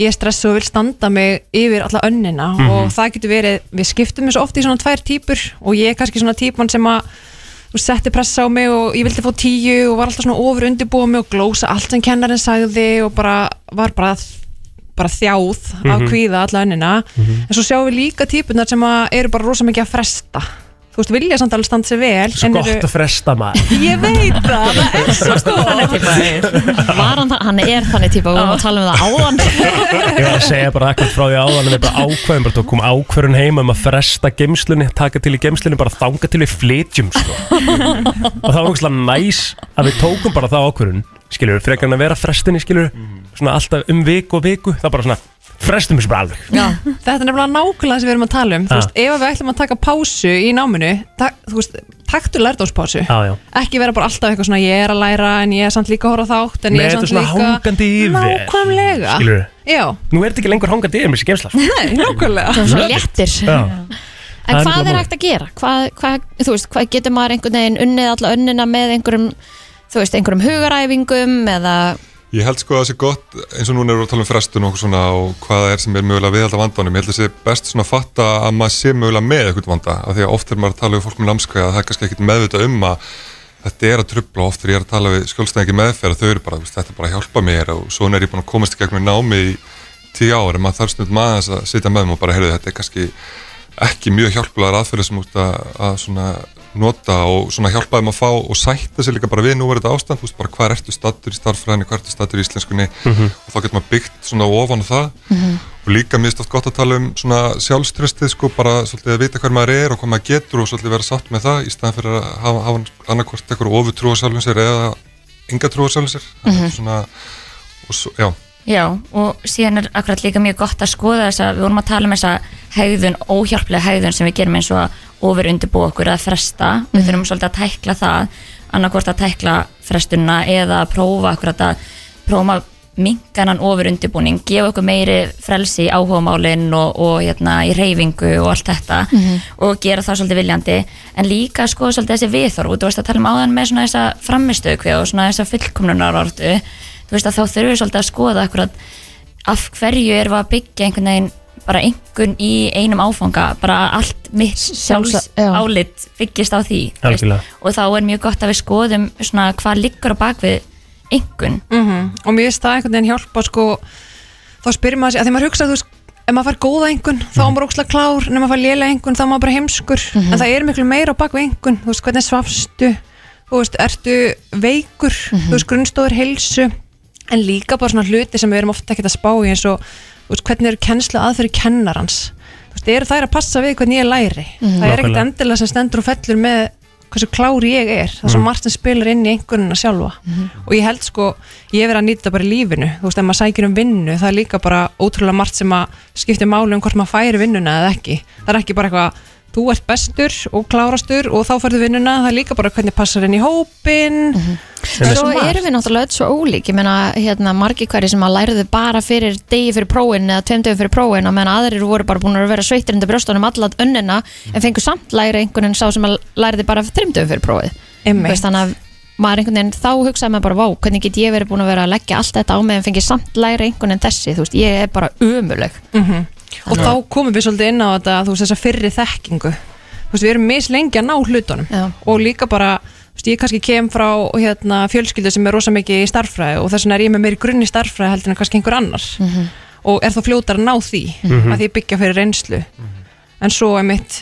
ég er stressu og vil standa mig yfir alla önnina
Mhm.
og það getur verið við skiptum þessu oft í svona tvær típur og ég er kannski svona típan sem að þú setti pressa á mig og ég vildi fá tíu og var alltaf svona ofur undirbúið mig og glósa allt sem kennarinn sagði og bara var bara bara þjáð af
Mhm.
kvíða alla önnina en svo sjáum við líka típunar sem að eru bara rosa mikið að fresta þú veist, vilja samt alveg standa sér vel
svo
en
gott
eru-
að fresta maður
Ég veit það, það er svo gott
Var hann það? Hann er þannig típa Við varum að tala um það áðan
ég var að segja bara akkur frá því áðan en við bara ákveðum, bara tókum ákveðun heima um að fresta gemslunni, taka til í gemslunni bara þanga til við flytjum sko. og það var ógustlega næs að við tókum bara það ákveðun skilur, frekar en að vera frestinni skilur svona alltaf um viku og viku það bara svona, frestum þessu bara alveg
Þetta er nefnilega nákvæmlega sem við erum að tala um Þú
Ha.
veist, ef við ætlum að taka pásu í náminu tak, Þú veist, taktu lærdóspásu
já, já.
Ekki vera bara alltaf eitthvað svona Ég er að læra en ég er samt líka að horfa á þátt En
Nei,
ég er
þetta er
samt
svona
líka
hangandi yfir
Nákvæmlega
Skilurðu?
Já,
nú er þetta ekki lengur hangandi yfir mér þessi gemsla sko.
nei, nákvæmlega
Það er svo léttir
Já.
En
Það er
hvað
nefnilega
er
málið.
hægt að gera? Hvað, hvað, þú veist, hvað getur maður einhvern veginn unnið alla önnina með einhverjum þú veist, einhverjum hugaræfingum eða
Ég held sko að það sé gott, eins og núna erum við að tala um frestun og okkur svona og hvað það er sem er mögulega viðhald af vandanum. Ég held að það sé best svona að fatta að maður sé mögulega með eitthvað vanda. Af því að oft er maður að tala við fólk með námskveða það er kannski ekkit meðvitað um að þetta er að trubla. Oft er ég að tala við skjólstæðingi meðferð þau eru bara, þú veist, þetta er bara að hjálpa mér og svona er ég búin að komast í gegnum námi í tíu ár en maður þarf stundum aðeins að sitja með þeim og bara, heyrðu, þetta er kannski ekki mjög hjálpulegar aðferðir sem út að, að svona nota og svona hjálpa þeim að fá og sætta sér líka bara við núverið ástand, þú veist bara hvað ertu stattur í starfræðinni, hvað ertu stattur í íslenskunni og þá getur maður byggt svona ofan á það og líka mér stótt gott að tala um svona sjálfströstið sko bara svolítið að vita hver maður er og hvað maður getur og svolítið vera satt með það í staðan fyrir að hafa, hafa annarkvort eitthvað ofutrú á sjálfum sér eða enga trú á sjálfum sér mm -hmm. svona, og svo, já,
Já, og síðan er akkurat líka mjög gott að skoða þess að við vorum að tala um þessa hegðun, óhjálplega hegðun sem við gerum eins og að ofur undirbúa okkur að fresta, við þurfum svolítið að tækla það annarkvort að tækla frestunna eða að prófa akkurat að prófa minganan ofur undirbúning gefa okkur meiri frelsi í áhugamálin og, og hérna í reyfingu og allt þetta og gera það svolítið viljandi en líka að skoða svolítið þessi viðhorf og þú veist að tala um áðan með svona þessa framistöku og svona þessa fullkomnunar þú veist að þá þurfum við svolítið að skoða akkurat af hverju erum við að byggja einhvern veginn bara einhvern í einum áfanga bara allt mitt sjálfs
já.
álit byggist á því þú veist.
Algjörlega.
og þá er mjög gott að við skoðum svona hvað liggur á bakvið einhvern
Mhm. Og mér finnst það einhvern veginn hjálpa sko Þá spyrir maður sér, að því maður hugsa þú veist Ef maður fær góða einhvern, þá er maður ókslega klár En ef maður fær lélega einhvern, þá er maður bara heimskur En það er miklu meira á bak við einhvern Þú veist, hvernig svafstu Þú veist, ertu veikur Þú veist, grunnstóður heilsu En líka bara svona hluti sem við erum ofta ekkert að spá í eins og, þú veist, hvernig eru kennslu aðferði kennarans Þú veist, eru þær að passa við hvernig ég læri Það er ekkert
Nákvæmlega.
endilega sem stendur og fellur með hversu klár ég er, það er svo margt sem spilar inn í einhvernina sjálfa og ég held sko, ég verið að nýta bara í lífinu þú veist, ef maður sækir um vinnu, það er líka bara ótrúlega margt sem að skipti máli um hvort maður færi vinnuna eða ekki, það er ekki bara eitthvað þú ert bestur og klárastur og þá færðu vinnuna, það er líka bara hvernig passar inn í hópin
Sem er
Svo
margt.
erum við náttúrulega öll svo ólík Ég meina, hérna, margi hverju sem að læriðu bara fyrir degi fyrir prófin eða tveim degi fyrir prófin og meðan aðrir voru bara búin að vera sveittir undir brjóstunum allat önnina en fengu samt læri einhvern en sá sem að læriði bara þreim dögum fyrir prófið
Einmitt.
Þú veist, Þannig að maður einhvern veginn, þá hugsaði maður bara, vá, hvernig get ég verið búin að vera að leggja allt þetta á mig en fengið samt læri einhvern en þessi, þú veist, ég er bara ömuleg.
og þá komum við svolítið inn á þetta þú veist þessa fyrri þekkingu þú veist við erum mislengi að ná hlutunum
Já.
og líka bara, þú veist ég kannski kem frá hérna, fjölskyldu sem er rosa mikið í starffræði og þess vegna er ég með meiri grunn í starffræði heldur en kannski einhver annars og er þá fljótar að ná því að því byggja fyrir reynslu en svo er mitt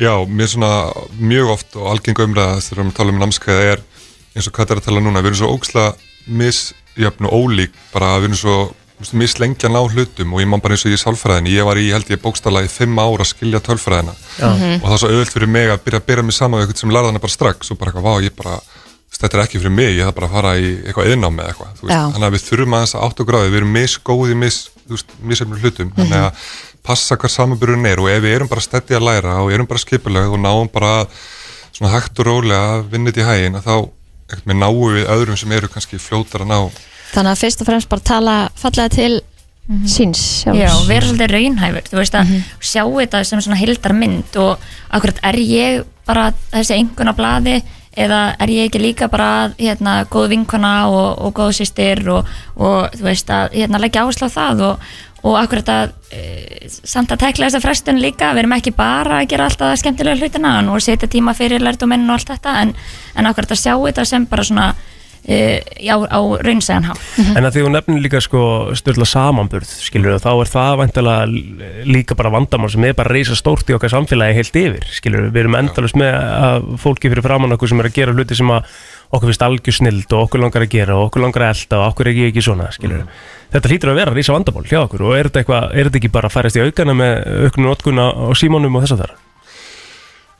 Já, mér svona mjög oft og algengu umræðast þegar við erum að tala um námskeiða er eins og hvað er að tala núna, við erum svo óksla misjöfn og ólík bara við erum svo þú veist, mislengja ná hlutum og ég man bara eins og ég sálfræðin ég var í, held ég, bókstala í fimm ára að skilja tölfræðina og það er svo auðvöld fyrir mig að byrja að byrja mig saman við eitthvað sem larðan er bara strax og bara eitthvað, vá, ég bara þú veist, þetta er ekki fyrir mig, ég þarf bara að fara í eitthvað yðnámi eða eitthvað, þú veist,
Já.
þannig að við þurfum aðeins að átt og gráði, við erum misgóði mis, þú veist, misefnum hlutum, þannig að passa hvað samanbyrjun er og ef við erum bara stætti að læra og erum bara skipulega og náum bara svona hægt og rólega að vinna þetta í hægin að þá ekkert með náum við öðrum sem eru kannski fljótar að ná
Þannig að fyrst og fremst bara tala fallega til síns sjálfs.
Mhm.
Mhm.
Já, vera svolítið raunhæfur, þú veist að sjá þetta sem svona hildarmynd og akkurat er ég bara þessi einhverna blaði eða er ég ekki líka bara hérna, góð vinkona og, og góð sýstir og, og þú veist að hérna, leggja áherslu á það og, og akkurat að e, samt að tekla þessa frestun líka, við erum ekki bara að gera alltaf skemmtilega hlutina og setja tíma fyrir lærduminn og allt þetta en, en akkurat að sjá þetta sem bara svona e, á, á raunsæðan hátt
En að því hún nefnir líka sko styrla samanburð, skilur þá er það vantilega líka bara vandamál sem er bara reysa stórt í okkar samfélagi heilt yfir, skilur við, erum endalust með að fólki fyrir framann okkur sem er að gera hluti sem að okkur finnst algjör snild og okkur langar að gera og okkur langar að elda og okkur er ég ekki svona, skilur Þetta hlýtur að vera reysa vandamál hjá okkur og er þetta, eitthva, er þetta ekki bara að færast í aukana með auknu notkun á á símónum og þess að þar?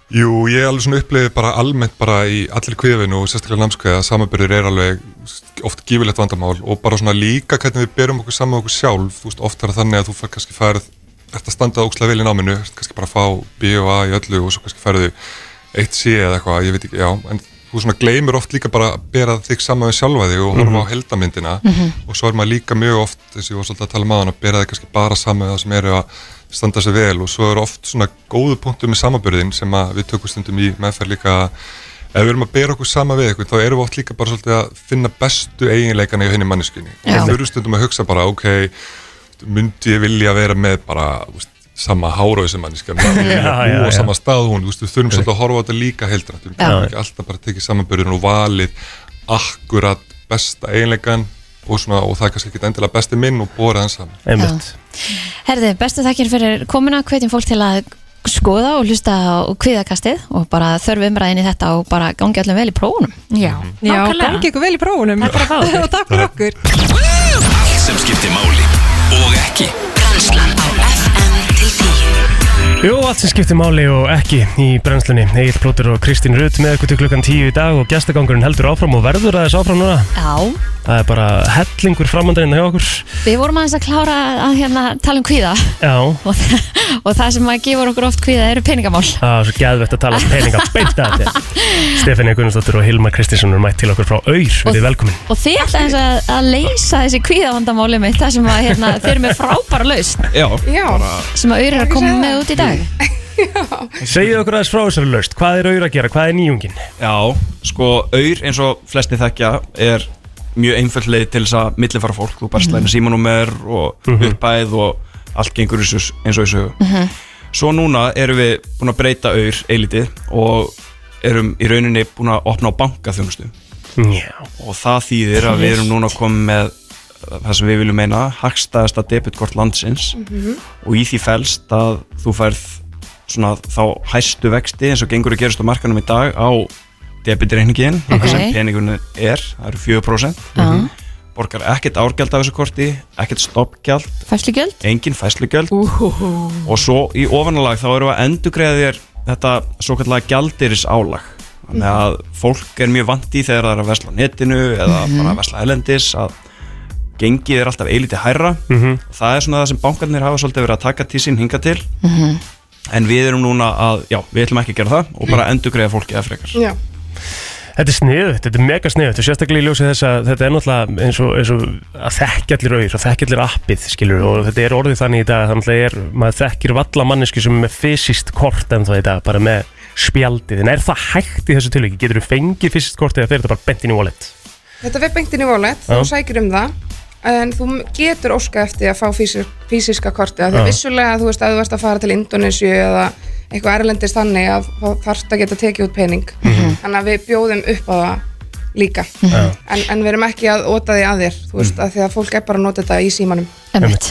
Jú, ég alveg svona upplifið bara almennt bara í allir kviðinu og sérstaklega námskeiða að samanbyrður er alveg oft gífilegt vandamál og bara svona líka hvernig við berum okkur saman við okkur sjálf, þú veist, oft er það þannig að þú fær kannski færð, ert að standa ókslega vel í náminu, ert kannski bara að fá B og A í öllu og svo kannski færðu eitt C eða eitthvað, ég veit ekki, já, en þú svona gleymir oft líka bara að bera þig saman við sjálfa þig og horfa á heldamyndina og svo er maður líka mjög oft, þess að ég var svolítið að tala maður, að bera þig kannski bara saman við það sem eru að standa sér vel og svo eru oft svona góðu punktum með samaburðin sem að við tökum stundum í meðferð líka að ef við erum að bera okkur sama við eitthvað þá erum við oft líka bara svolítið að finna bestu eiginleikana í henni manneskinni og við erum stundum að hugsa bara ok myndi ég vilja vera með bara þú veist, sama hárauð sem manneskjan maður vilja
Já, já,
búa
já.
sama stað hún þú veist, við þurfum svolítið að horfa á þetta líka um heildrætt við getum ekki alltaf bara tekið samanbyrðin og valið akkurat besta eiginleikan og, svona, og það er kannski ekki endilega besti minn og borið hann saman
Einmitt.
Herði, bestu þakkir fyrir komuna, hvetjum fólk til að skoða og hlusta á kviðakastið og bara þörfum umræðin í þetta og bara gangi öllum vel í prófunum.
Já,
já,
nákvæmlega.
gangi ykkur vel í prófunum
Takk fyrir að fá okkur.
og takk fyrir okkur
Allt sem skiptir máli og ekki
Brennslan á FM til 10
Jú, allt sem skiptir máli og ekki í brennslunni. Egil Plóter og Kristín Rutt með okkur til klukkan 10 í dag og gestagangurinn heldur áfram og verður aðeins áfram núna.
Já,
Það er bara hellingur framandarinn hjá okkur
við vorum aðeins að klára að hérna, tala um kvíða
Já,
og, þa- og það sem að gefur okkur oft kvíða eru peningamál.
það er svo geðvett að tala um peninga beint að þetta Stefania Gunnarsdóttir og Hilmar Kristinsson er mætt til okkur frá Öyr, verið velkomin
Og þið ætla eins að, að leysa þessi kvíðavandamáli mitt það sem að hérna, þið eru með frábæra lausn
Já,
já,
sem að auðvitað er að koma
segja
með út í dag.
Segið okkur aðeins frá þessari laust, hvað er Öyr að gera, hvað er nýjungin?
Já, sko, auður eins og flesti þekkja er mjög einföld leið til þess að millifara fólk, þú bara
Mhm.
slæðir símanúmer og uppæð og allt gengur eins og eins og þessu Svo núna erum við búin að breyta auður eilítið og erum í rauninni búin að opna á bankaþjónustu
Já,
og það þýðir að við erum núna komið með uh, það sem við viljum meina hagstæðasta debutkort landsins og í því felst að þú færð svona þá hæstu vexti eins og gengur að gerast á markanum í dag á debitreyningin
Ok.
sem peningunni er, það eru 4%
Mm
borgar ekkert árgjald af þessu korti ekkert stoppgjald,
Fæslugjöld?
engin fæslugjöld og svo í ofanalag þá erum við að endugreiða þér þetta svo kallega gjaldiris álag þannig að fólk er mjög vandi þegar það er að vesla á netinu eða bara að vesla elendis að gengið er alltaf eilítið hærra það er svona það sem bankarnir hafa svolítið verið að taka til sín hinga til en við erum núna að, já, við ætlum ekki að gera það og bara endugreiða fólki eða frekar
já.
þetta er sniðut, þetta er mega sniðut og sérstaklega í ljósi þess að þetta er náttúrulega eins og, eins og að þekkja allir auður og þekkja allir appið, skilur, og þetta er orðið þannig í dag, þannig að náttúrulega er, maður þekkir valla manneski sem er með fysiskt kort en í dag, bara með spjaldið en er það hægt í þessu tilviki? Getur þú fengið fyrst kortið eða fer þetta bara bent inn í wallet?
Þetta fer beint inn í wallet, þú
Já.
sækir um það en þú getur óska eftir að fá fysir, fysiska kortið, af því að
Já.
vissulega þú veist að þú ert að fara til Indonesia eða eitthvað erlendist þannig að þá þarfst að geta tekið út pening þannig að við bjóðum upp á það líka
Mhm. Já. Mhm.
en, en við erum ekki að óta því að þér þú veist, mm. að því að fólk er bara að nota þetta í símanum
Einmitt.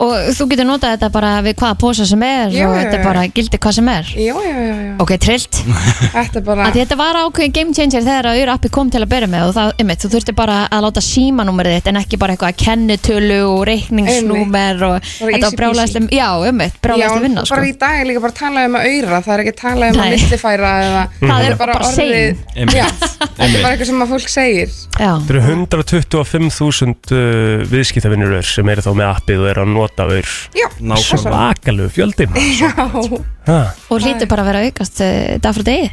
Og þú getur notað þetta bara við hvaða posa sem er
Já,
og
já,
þetta
já.
bara gildi hvað sem er
Já, já, já, já,
Ok, trillt
þetta er bara
Af því Þetta var ákveðin game changer þegar að Urappi kom til að byrja með og það, einmitt, þú þurfti bara að láta símanúmerið þitt en ekki bara eitthvað að kennitölu og reikningsnúmer og
Bara
þetta
easy
var brjálæðislega, já, einmitt,
Já,
brjálæðislega vinna sko.
bara í dag er líka bara að tala um að auðra það er ekki að tala um að
Nei.
millifæra eða,
Það er bara
orðið-
Einmitt.
Já, þetta er
Einmitt.
bara eitthvað sem að fólk segir
Já,
Þetta eru 125.000 uh, viðskiptavinnur ör sem eru þá með appið og eru að nota ör
Já,
Nákvæmlega.
þessar-
Svakalegu fjöldi maður.
Já,
Ha,
og hlýtur bara að vera að aukast uh, dag frá degi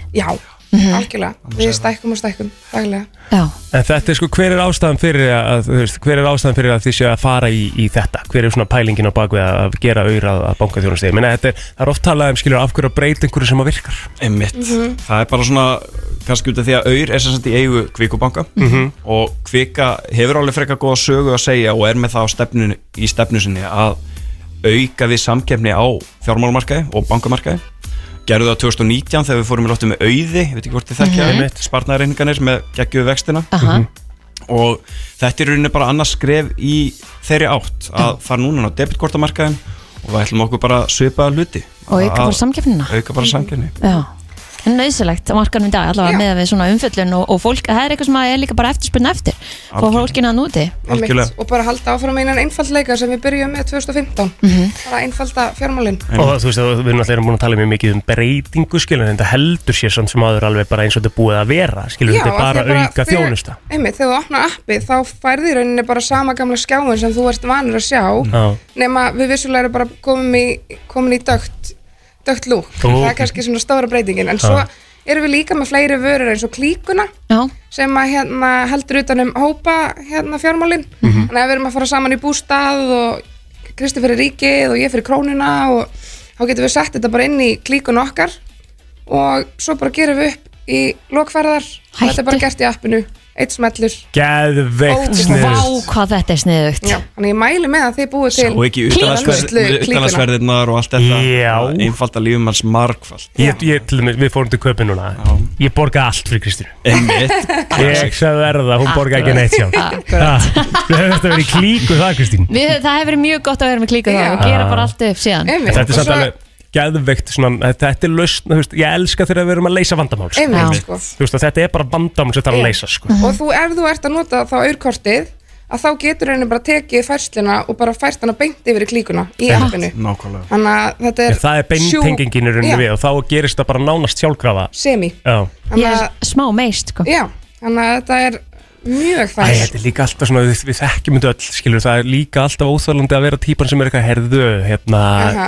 Mhm.
já, algjörlega Við stækkum og stækkum, daglega
Já,
En þetta er sko, hver er ástæðan fyrir að, þú veist, hver er ástæðan fyrir að þið séu að fara í, í þetta? Hver er svona pælingin á bakvið að gera auðrað að bankaþjónustegi? Menna, þetta er, það er oft talað um skilur af hverju að breyta einhverju sem að virkar.
Einmitt.
Mhm.
Það er bara svona, kannski út af því að auður er sem sagt í eigu kvikubanka og kvika hefur alveg frekar góða sögu að segja og er með það á stefninu, í stefnu sinni að auka við samkeppni á fjármálumarkaði og bankamarkaði. Gerðu það 2019 þegar við fórum í lottu með auði, ég veit ekki hvort þið þekkja, mm
Einmitt.
spartnaðarreininganir með geggjöðu vextina
aha,
og þetta er í rauninni bara annars skref í þeirri átt að fara núna inn á debitkortamarkaðin og við ætlum okkur bara að svipa hluti.
og auka bara samkeppnina
Auka bara samkeppni.
Já, en nöðsilegt á markanum í dag allavega með við svona umfjöllun og, og fólk, það er eitthvað sem að er líka bara eftirspurn eftir og
Algjörlega.
fólkina að núti
Einmitt.
Algjörlega.
Og bara halda áfram einan einfaldleika sem við byrjum með 2015
Mhm.
Bara einfalda fjármálin
Og það, þú veist, það- við erum alltaf búin að tala mjög mikið um breytingu, skilur, en þetta heldur sér samt sem áður alveg bara eins og þetta er búið að vera, skilur, þetta er
af því
bara
að
auka
þegar-
þjónusta.
Einmitt, þegar þú opna appið þá færði rauninni bara sama gamla skjáin sem þú ert vanur að sjá
Já.
Nema við vissulega erum bara komin í, komin í dögt, dögt lúk
Ó,
Það er
ok.
kannski svona stóra breytingin En svo erum við líka með fleiri vörur eins og klíkuna
Já,
sem að hérna heldur utan um hópa hérna fjármálin þannig að við erum að fara saman í bústað og Kristi fyrir ríkið og ég fyrir krónuna og þá getum við sett þetta bara inn í klíkun okkar og svo bara gerum við upp í lokferðar og þetta er bara
Hættu.
gert í appinu eitt smellur
Geðveikt
Ó,
sniðugt.
vá hvað þetta er sniðugt
Já, þannig að ég mæli með að þið búið til
og Sko, ekki
vörslu klíkuna
utalansverðirnar og allt þetta
Já.
einfalda lífum hans margfald
Ég, ég, til dæmis, við fórum til köpi núna Ég borgaði allt fyrir Kristínu
einmitt
Ég sagði verða, hún borgaði ekki neitt sjálf Ha, Við höfum þetta verið í klíku það Kristín
Við, það hefur verið mjög gott að vera með klíku þá
Já.
og gera bara allt upp síðan
Einmitt.
En Þetta er
Og
samt
svo-
alveg geðveikt svona, Þetta er lausn, þú veist, ég elska þegar við erum að leysa vandamál sko.
Einmitt,
Já.
sko.
Þú veist að þetta er bara vandamál sem þarf að leysa sko.
og þú, ef þú ert að nota þá aurkortið að þá getur henni bara tekið færsluna og bara fært hana beint yfir í klíkuna í appinu
nákvæmlega
þannig að þetta er
Ah. En Það er beintengingin í
Já.
rauninni við og þá gerist það bara nánast sjálfkrafa
semi
Já.
þannig
Ég
að,
er smá meist sko.
já, þannig að þetta er mjög
Æ,
fært
þetta er líka alltaf svona, við, við þekkjum þetta öll, skilur, það er líka alltaf óþálandi að vera típan sem er eitthvað herðu, hérna,
Aha.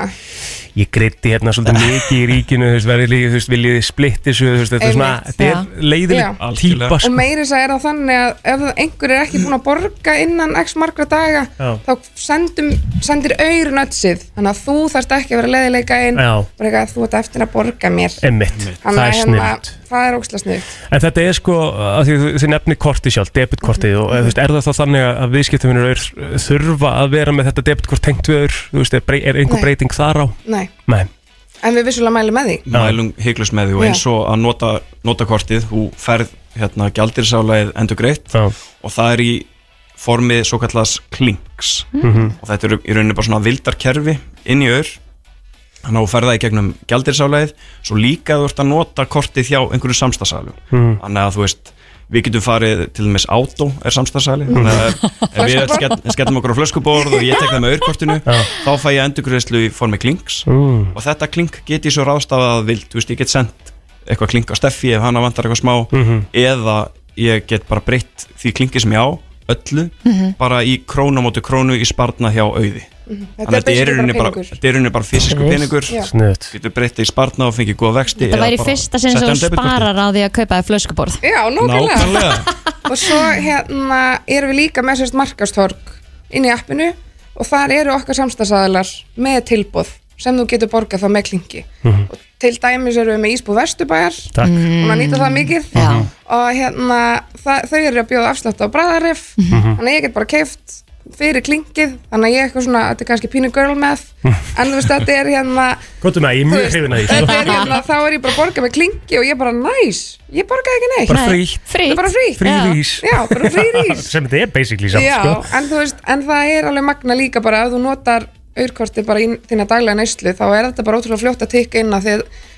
ég gritti hérna svolítið mikið í ríkinu, þú veist, verið líka, þú veist, viljið þið splitt þessu, þú veist, þetta er svona,
Einmitt,
þetta
já.
er leiðileg
Já.
típa,
og
sko.
meiri þess að er það þannig að ef einhver er ekki búin að borga innan x margra daga
Já.
þá sendum, sendir auður nötsið þannig að þú þarft ekki að vera leiðileika einn
Já.
bara eitthvað að þú ert eftir að borga mér
Emmitt, það
Þannig að hérna-
er snilt.
það er ógstlega snilt
En þetta er sko, að því þið nefni korti sjálf,
Mhm.
debitkortið og þú veist, er það þá þannig að viðskiptafinur er þurfa að vera með þetta debitkort tengt við ör, þú veist, er, brey- er einhver
Nei.
breyting þar á?
Nei.
Nei,
en við vissulega mælum með því
mælum hygglust með því og eins og að nota, nota kortið þú ferð hérna gjaldirsálaðið endur greitt
já,
og það er í formið svo kallast klinks og þetta eru í rauninni bara svona vildarkerfi inn í ör þannig að þú ferð það í gegnum gjaldirsálaðið svo líka þú ert að nota kortið hjá einhverju samstagsælum þannig að þú veist við getum farið til dæmis átó er samstagsæli þannig að ef við öll skell, skellum okkur á flöskuborð og ég tek það með örkortinu þá fæ ég endurgreðslu í formi klinks og þetta klink get ég svo ráðstafað að vild, þú veist, ég get sendt eitthvað klink á Steffi ef hana vantar eitthvað smá eða ég get bara breytt því klinki sem ég á, öllu bara í krónu á móti krónu í sparna hjá auði
þetta er
þetta er í rauninni
basically bara peningur
bara, bara, þetta er í rauninni bara fysisku peningur
Já.
snilt.
getur breytt það í sparna og fengið góða vexti
Þetta
eða
væri
bara
fyrsta sinn sem
sett á
þú
debitkortið.
sparar á því að kaupa þér flöskuborð
já, nákvæmlega
Nákvæmlega
og svo hérna erum við líka með sérst markastorg inn í appinu og þar eru okkar samstagsæðilar með tilbúð sem þú getur borgað þá með klingi og til dæmis eru við með Ísbú Vesturbæjar
Takk.
Mm.
og að nýta það mikið
Já.
og hérna það, þau eru að bjóða afslátt á bræðarif þannig að ég get bara keift fyrir klingið þannig að ég eitthvað svona, þetta er kannski pínu girl math en þú veist þetta er hérna
Góttum Hm. um að
þú
ég er mjög
veist,
hrifin að því sko.
þetta er hérna, þá er ég bara að borga með klingi og ég bara næs, ég borgaði ekki neitt
Bara frítt,
þetta er bara frí,
frí
Já.
rís
já, bara frí rís
Sem þetta er basically samt,
Já,
sko
en þú veist, en það er alveg magna líka bara ef þú notar auðkortið bara í þína daglega neyslu þá er þetta bara ótrúlega fljótt að tikka inn að því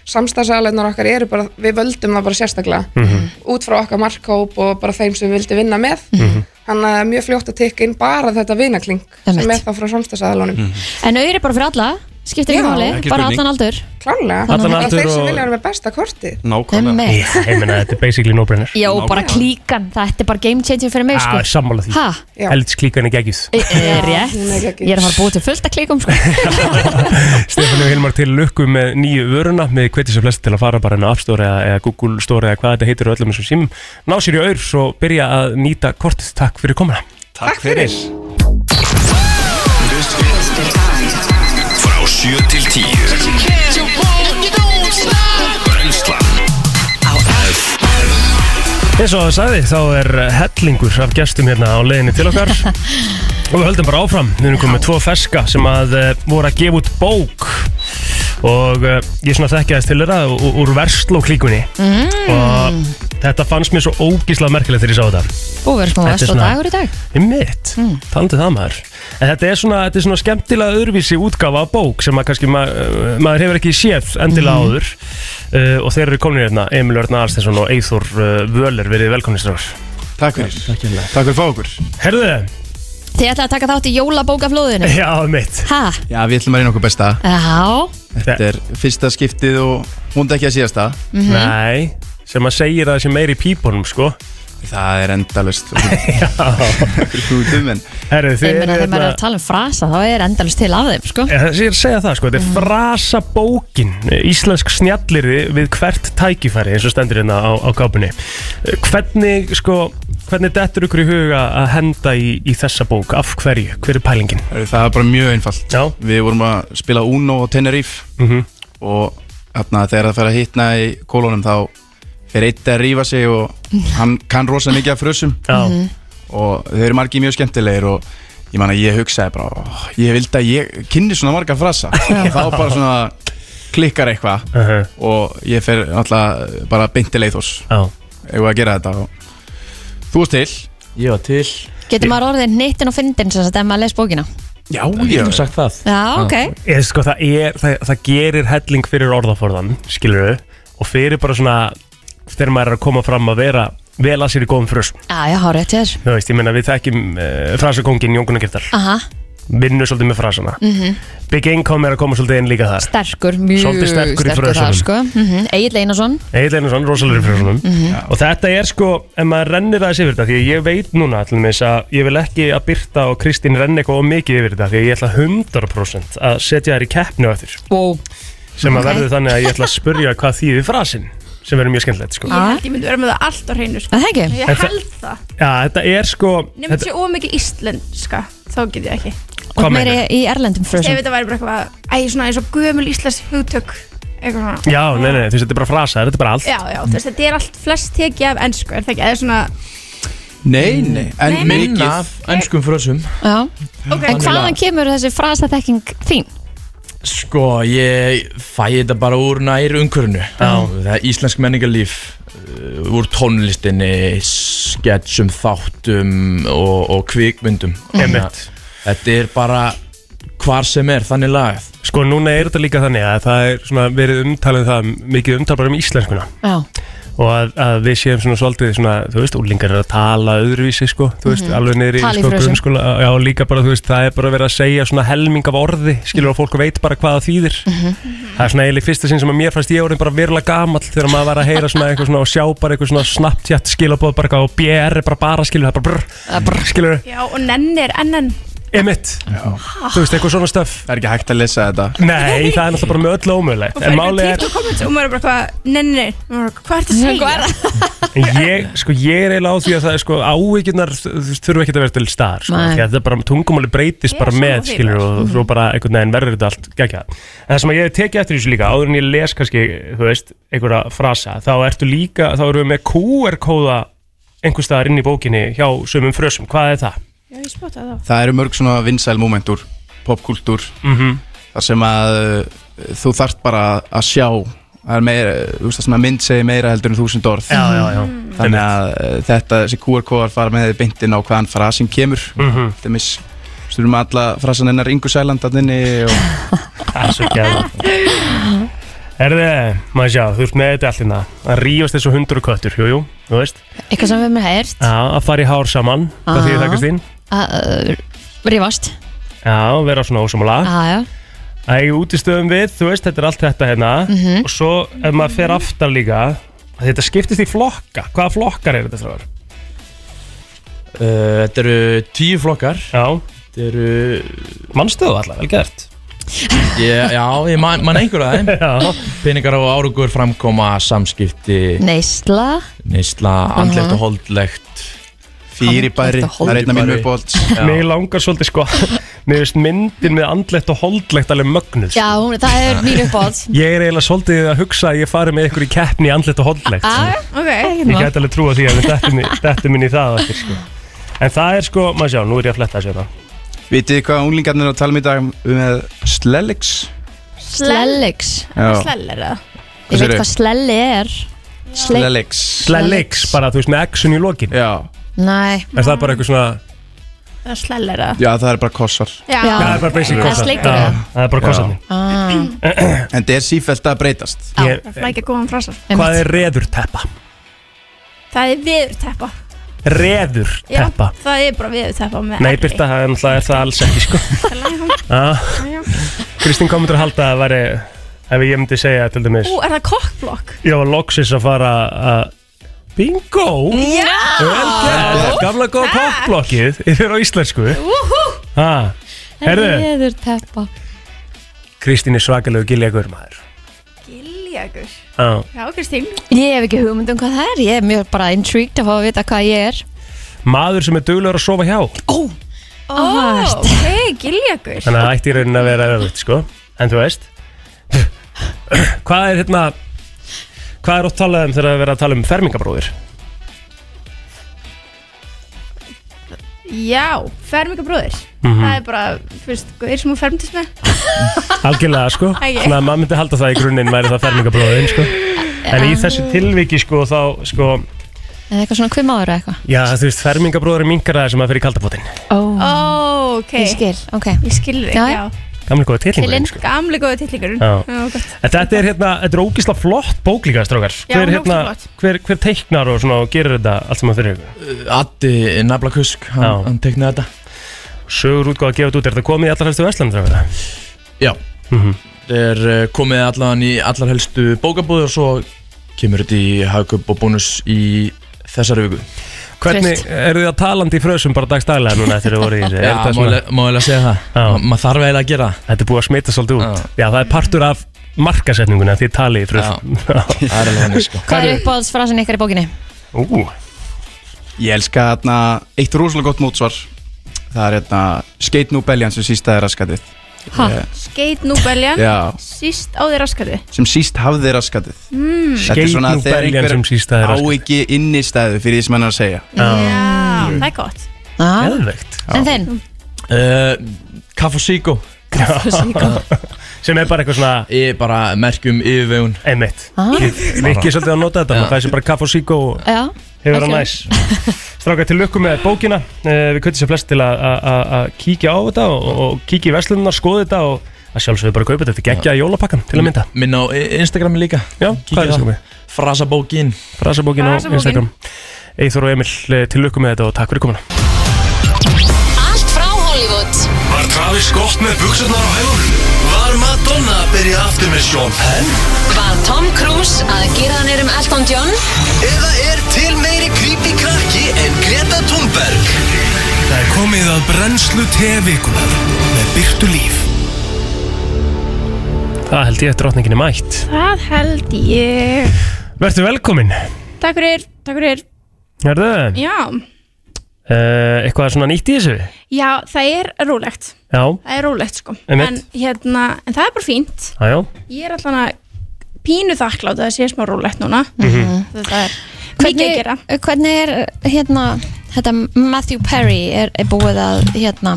samstagsæðleinar okkar eru bara við völdum það bara sérstaklega út frá okkar markhóp og bara þeim sem við vildi vinna með þannig að það er mjög fljótt að tikka inn bara þetta vinakling sem er
Einmitt.
þá frá samstagsæðlunum mm -hmm.
En auður er bara fyrir alla, skiptir ekki
Já.
máli,
Ekki
bara
spurning.
allan aldur
klálega,
Allan
það er
aldur
þeir sem
og-
vilja vera með besta kortið
nákvæmlega
Einmitt.
Já, Ég meina, þetta er basically no-brainer
Já, og bara klíkan, þetta er bara game changer fyrir mig
Já,
sko.
Ah, sammála því
Ha,
Já.
Eldskíkan er geggjuð
e- e- rétt
hún er geggjuð.
Ég er að fara að búið til fullt að klíkum sko.
Stefán og Hilmar til lukku með nýju vöruna með hvetið sem flest til að fara bara inn á App Store eða, eða Google Store eða hvað þetta heitir og öllum þessum símum ná sér í aur svo byrja að nýta kortið takk fyrir komuna
Takk fyrir
Frá 7 til 10 Brenslan
á F
eins og það sagði þá er hellingur af gestum hérna á leiðinni til okkar og við höldum bara áfram við erum komið með tvo ferska sem að uh, voru að gefa út bók og uh, ég svona þekkja þess til þeirra ú- úr verslóklíkunni mm. og þetta fannst mér svo ógíslað merkilegt þegar ég sá þetta
Búið verið smá
Þetta er
vest og
svona-
dagur í dag
Einmitt, mm. talandi það maður En þetta er svona, þetta er svona skemmtilega öðruvísi útgáfa af bók sem að kannski ma uh, maður hefur ekki séð endilega áður uh, og þeir eru komin hérna, Emil Örn Arstensson og Eithor uh, Völer verið velkoministrar
Takk fyrir Takk fyrir fá okkur
Herðu,
Þið ætlaði að taka þátt í jólabókaflóðinu
já, mitt
Ha,
Já, við ætlum að reyna okkur besta
já,
Þetta er fyrsta skiptið og hún ekki að síðasta
Nei, sem að segir að það sé meiri í pípunum, sko
Það er endalust Hútum en
Herðu,
ég meina þegar maður er
hérna-
að tala um frasa þá er endalist til af þeim sko.
Já, Það sé að segja það sko, þetta
Mm.
er frasabókin Íslensk snjallirði við hvert tækifæri eins og stendur hérna á, á kápunni Eh, Hvernig sko, hvernig dettur ykkur í huga að henda í, í þessa bók, af hverju, hver er pælingin?
Eh, Það er bara mjög einfalt
Já,
Við vorum að spila Uno og Tenerife
mhm,
og þarna, þegar það fer að hitna í kólunum þá fer eitt að rífa sig og hann kann rosa mikið af frösum Mhm.
já,
og þeir eru margir mjög skemmtilegir og ég man að ég hugsaði bara "Ó, ég vildi að ég kynni svona marga frasa þá bara svona klikkar eitthvað
uh -huh,
og ég fer alltaf bara beintileið þoss
já
eigum við að gera þetta og... þú varst til ég var til
Getur maður orðið nittin og fyndin sem þetta er maður að lesa bókina
já, ég hef sagt það
Já, ok,
Eða sko, það er, það, það gerir helling fyrir orðaforðan, skilur við og fyrir bara svona, þegar maður er að koma fram að vera vel að sér í góðum frösum
já, já, hár rétt hér
Þú veist, ég meina við þekkjum uh, frasakongin Jónkuna Girtar
Aha, Mhm.
vinnur svolítið með frasana mm -hmm. Big Income er að koma svolítið inn líka þar
sterkur, mjög
Svolítið sterkur í
sterkur
frösunum.
þar sko. mm -hmm. Egil Einarsson Mhm.
Egil Einarsson, rosalegri frjóðsónum
Mm.
og þetta er sko, ef maður rennir aðeins yfir þetta því að ég veit núna til þess að ég vil ekki að Birta og Kristín renni eitthvað of mikið yfir þetta því að ég ætla 100% að setja þær í keppni á eftir
wow.
sem að
Ok.
verður þannig að ég ætla að spurja hvað þýðir frasin sem verður mjög skemmtilegt sko.
Ah.
Ég myndi vera með það allt á hreinu sko.
Það er ekki
Ég
En það-
held það
Já, þetta er sko
Nefnum þetta
þetta,
sé ómikið íslenska Þá get ég ekki
Og
Hvað
meiri í erlendum
Ef
frösum
þetta væri bara eitthvað Æ, svona eins og gömul íslensk hugtök Eitthvað svona
Já, nei, nei, þú veist, þetta er bara frasa, þetta er bara allt
Já, já, þú veist, þetta er allt flest tekið af ennsku Er það ekki, eða svona
nei, nei, en mikið af ennskum frösum
Já.
Ok,
En hvaðan kemur þessi frasaþekking þín?
sko, ég fæ þetta bara úr nær umhverfinu það er íslensk menningarlíf uh, úr tónlistinni sketsum, þáttum og, og kvikmyndum
Einmitt.
þetta er bara hvar sem er þannig lagað
Sko, núna er þetta líka þannig að það er svona verið umtalið það, mikið umtal bara um íslenskuna
Já,
og að, að við séum svona svolítið svona, þú veist, úlingar er að tala öðruvísi, sko, þú veist, alveg niður í
Mhm. Tala í
sko,
frösum.
grunnskóla, já, líka bara, þú veist, það er bara verið að segja svona helming af orði, skilur og fólk veit bara hvað það þýðir
Mhm.
það er svona eiginlega í fyrsta sinn sem að mér fannst ég orðin bara verulega gamall þegar maður var að heyra svona eitthvað svona og sjá bara eitthvað svona snapptjátt skilabóð bara eitthvað og BR er bara bara skilur, það er bara brr, skilur
Já, og nenni er NN
Emitt, þú veist, eitthvað svona stöf
Það er ekki hægt að lesa þetta
Nei, það er náttúrulega bara með öllu ómögulegt En málið er,
og maður er bara hvað, nei, nei, nei, maður er bara, hvað er það að segja? Hvað er það?
en ég, sko, ég er eiginlega á því að það er sko ávíkjurnar þurfa ekki að vera til staðar sko,
Nei.
því að þetta bara, tungumáli breytist bara með, skilur, og þú mm. bara einhvern veginn verður þetta allt gegja. En það sem að ég hef tekið eftir í þessu líka, áður en ég les kannski, þú veist, einhverja frasa, þá ertu líka, þá erum við með QR-kóða einhvers staðar inn í bókinni hjá sömum frösum, hvað er það?
Já, ég spotta það.
Það eru mörg svona vinsæl momentur Popkultúr
Mhm.
Þar sem að uh, þú þarft bara að sjá Það er meira, þú veist það sem að mynd segir meira heldur en þúsund orð
Já, já, já.
Þannig að uh, þetta, þessi QR-kóðar fara með þið beintin á hvaðan frasin kemur
Mhm.
Þetta er miss Þú erum alla frasan hennar Ingu Sælandarninni og...
Það er svo gæða Herði, maður sjá, þú ert með þetta allt hérna Að rífast þessu hundur og köttur, jú, jú, þú veist
Eitthvað sem við mér hægt
Já, að fara í hár saman, hvað þýðir
Ah.
það Kristín?
að uh, Ah, rífast
Já, vera svona ósamala
Ah.
aðja
Æg útistöðum við, þú veist, þetta er allt þetta hérna
Mhm.
Og svo, ef maður fer aftar líka að Þetta skiptist í flokka Hvaða flokkar eru þetta þrjóðar?
Uh, þetta eru tíu flokkar
Já
Þetta eru
Mannstöðu allar, vel gert
ég, Já, ég man, man einhverja
þeim
Peningar og árugur framkoma Samskipti,
neysla
neysla, andlegt
Mhm.
og holdlegt
Fyrirbæri, Andlegt og það er einn af mínum uppáhalds.
Já.
Mér langar svolítið sko Mér veist myndin með andlegt og holdlegt alveg mögnuð sko.
já, hún- það er mín uppáhalds
Ég er eiginlega svolítið að hugsa að ég fari með ykkur í keppni í andlegt og holdlegt
aðja, ok
Ég gæti alveg trúa því að við dettum í- dettum inn í það eftir, sko. En það er sko, maður sjá, nú er ég að fletta þessu hérna
Vitið þið hvað unglingarnir eru að tala um í dag með Slellix?
slellix
Já.
Slell er það.
ég veit
segirðu?
hvað slelli er Sle-
Slellix
Slellix, bara þú veist með action í lokin
Já
nei
Er það bara eitthvað svona
Það er slell er það.
Já, það er bara kossar
Já.
Já, það er bara basic
Það er
kossar
sleikur,
Já,
eða?
Það er bara kossarni
Ah.
En þetta er sífælt að breytast
Ég-
Það er flækja góðan frásar.
Hvað er reður teppa?
Það er viðurteppa.
Reður
Já,
teppa
Það er bara viðurteppa með
Nei, Birta, það er náttúrulega er það alls ekki sko Já. Kristín komendur að halda að veri Ef ég myndi segja til dæmis
Ú, er það kokkblokk?
Ég var loksis að fara að Bingo!
Já!
Vel gert! Gamla góða kokkblokkið Yfir á íslensku
Woohoo!
Ha, herðu,
Reður teppa
Kristín er svakalegu giljagur maður Ah.
Giljagur.
Já,
Já, Kristín.
Ég hef ekki hugmynd um hvað það er, ég er mjög bara intrigued að fá að vita hvað ég er
maður sem er duglegur að sofa hjá
Ó,
Ó, ok, giljagur.
Þannig að það ætti í rauninni að vera öðvöld, sko En þú veist Hvað er hérna Hvað er oft talað um þegar það er verið að tala um fermingabróðir?
Já, ferminga bróðir.
Mhm.
Það er bara, fyrst, guður sem hún fermtist með.
Algjörlega, sko
Æi.
Þannig að maður myndi halda það í grunninn væri það fermingabróðin, sko En í þessu tilviki, sko, þá, sko
Er það eitthvað svona kvimaður eða eitthvað?
Já, þú veist, fermingabróður er minkar aðeins sem að fyrir kaldabótin
Ó,
Ó, ok.
Ég skil, ok
Ég skil þig,
Já,
já.
já.
Gamli góða tilhengurinn,
Tilinn,
sko
gamli góðu tillingurinn.
Já.
gott.
En Þetta er hérna, þetta er ógísla flott bók líka, strókar
Já, hún
Hver,
er
hérna,
ógeðslega flott.
hver, hver teiknar og svona og gerir þetta allt saman fyrir ykkur?
Uh, Addi Nablakusk, hann, hann teiknaði þetta
Sögur útgáð að gefa þetta út, er þetta komið í allar helstu verslanir strókar?
Já
Mhm.
Þetta er uh, komið allan í allar helstu bókabúði og svo kemur þetta í hagkaup og bónus í þessari viku
Hvernig, eru þið að talandi í frösum bara dagstælega núna eftir að voru í þessu?
Já, má eiginlega segja það
Já.
Ma- Maður þarf eiginlega að gera það.
Þetta er búið að smita svolítið út Já, það er partur af markasetninguna því talið í frösum
Það er alveg henni, sko
Hvað er uppáhaldsfrasin ykkar í bókinni?
Ú,
Ég elska þarna eitt rosalega gott mótsvar Það er hérna Skate nú beljan sem síst það er raskatið
Ha,
Eh,
skeit nú belja.
Já.
Síst á þér raskatið.
Sem síst hafði raskatið
Mm.
Þetta er svona
Skate nú
þegar
beljan
einhver
sem síst það er
Á ekki innistæðu fyrir því sem hann er að segja
Já,
Ah.
það er gott.
Geðvegt
En þinn?
Mhm.
Eh,
uh, Kaff og Síko
Kaff og Síkó. Sem er bara eitthvað svona
Ég bara merkjum yfirvegun
Einmitt
Ah.
Rikki er svolítið að nota þetta, það er sem bara kaff og síkó og
Já
Hefur það
Algjörlega.
næs Strákar til lukku með bókina Eh, Við kvöldum sér flest til að- að að- að kíkja á þetta og, og kíkja í verslunar, skoða þetta og að sjálfsögðu bara kaupa þetta, þetta geggja í jólapakkan til að mynda
Minn á I- Instagrami líka
Já, hvað er það sem við?
Frasabókin
Frasabókin á
Frasabókin.
Instagram Eithor og Emil, eh, til lukku með þetta og takk fyrir komuna
Allt frá Hollywood
Var Travis gott með buksarnar á hægunum? Var Madonna að byrja aftur með Sean Penn?
Var Tom Cruise að gera hann um Elton John?
Eða er til meiri creepy krakki en Greta Thunberg?
Það er
Komið að brennslu tevikunar með byrtu líf
Það held ég að drottningin er mætt
Það held ég
Vertu velkomin
Takk fyrir, takk fyrir
Herðu,
Já,
uh, eitthvað svona nýtt í þessu?
já, það er rólegt
Já,
Það er rólegt sko en,
Einmitt.
hérna, en það er bara fínt
aðjó
Ég er allan að pínu þakklátt að það sé smá rólegt núna
Mhm.
Það er mikið að
Hvernig, uh,
gera
hvernig er hérna, þetta Matthew Perry er, er búið að hérna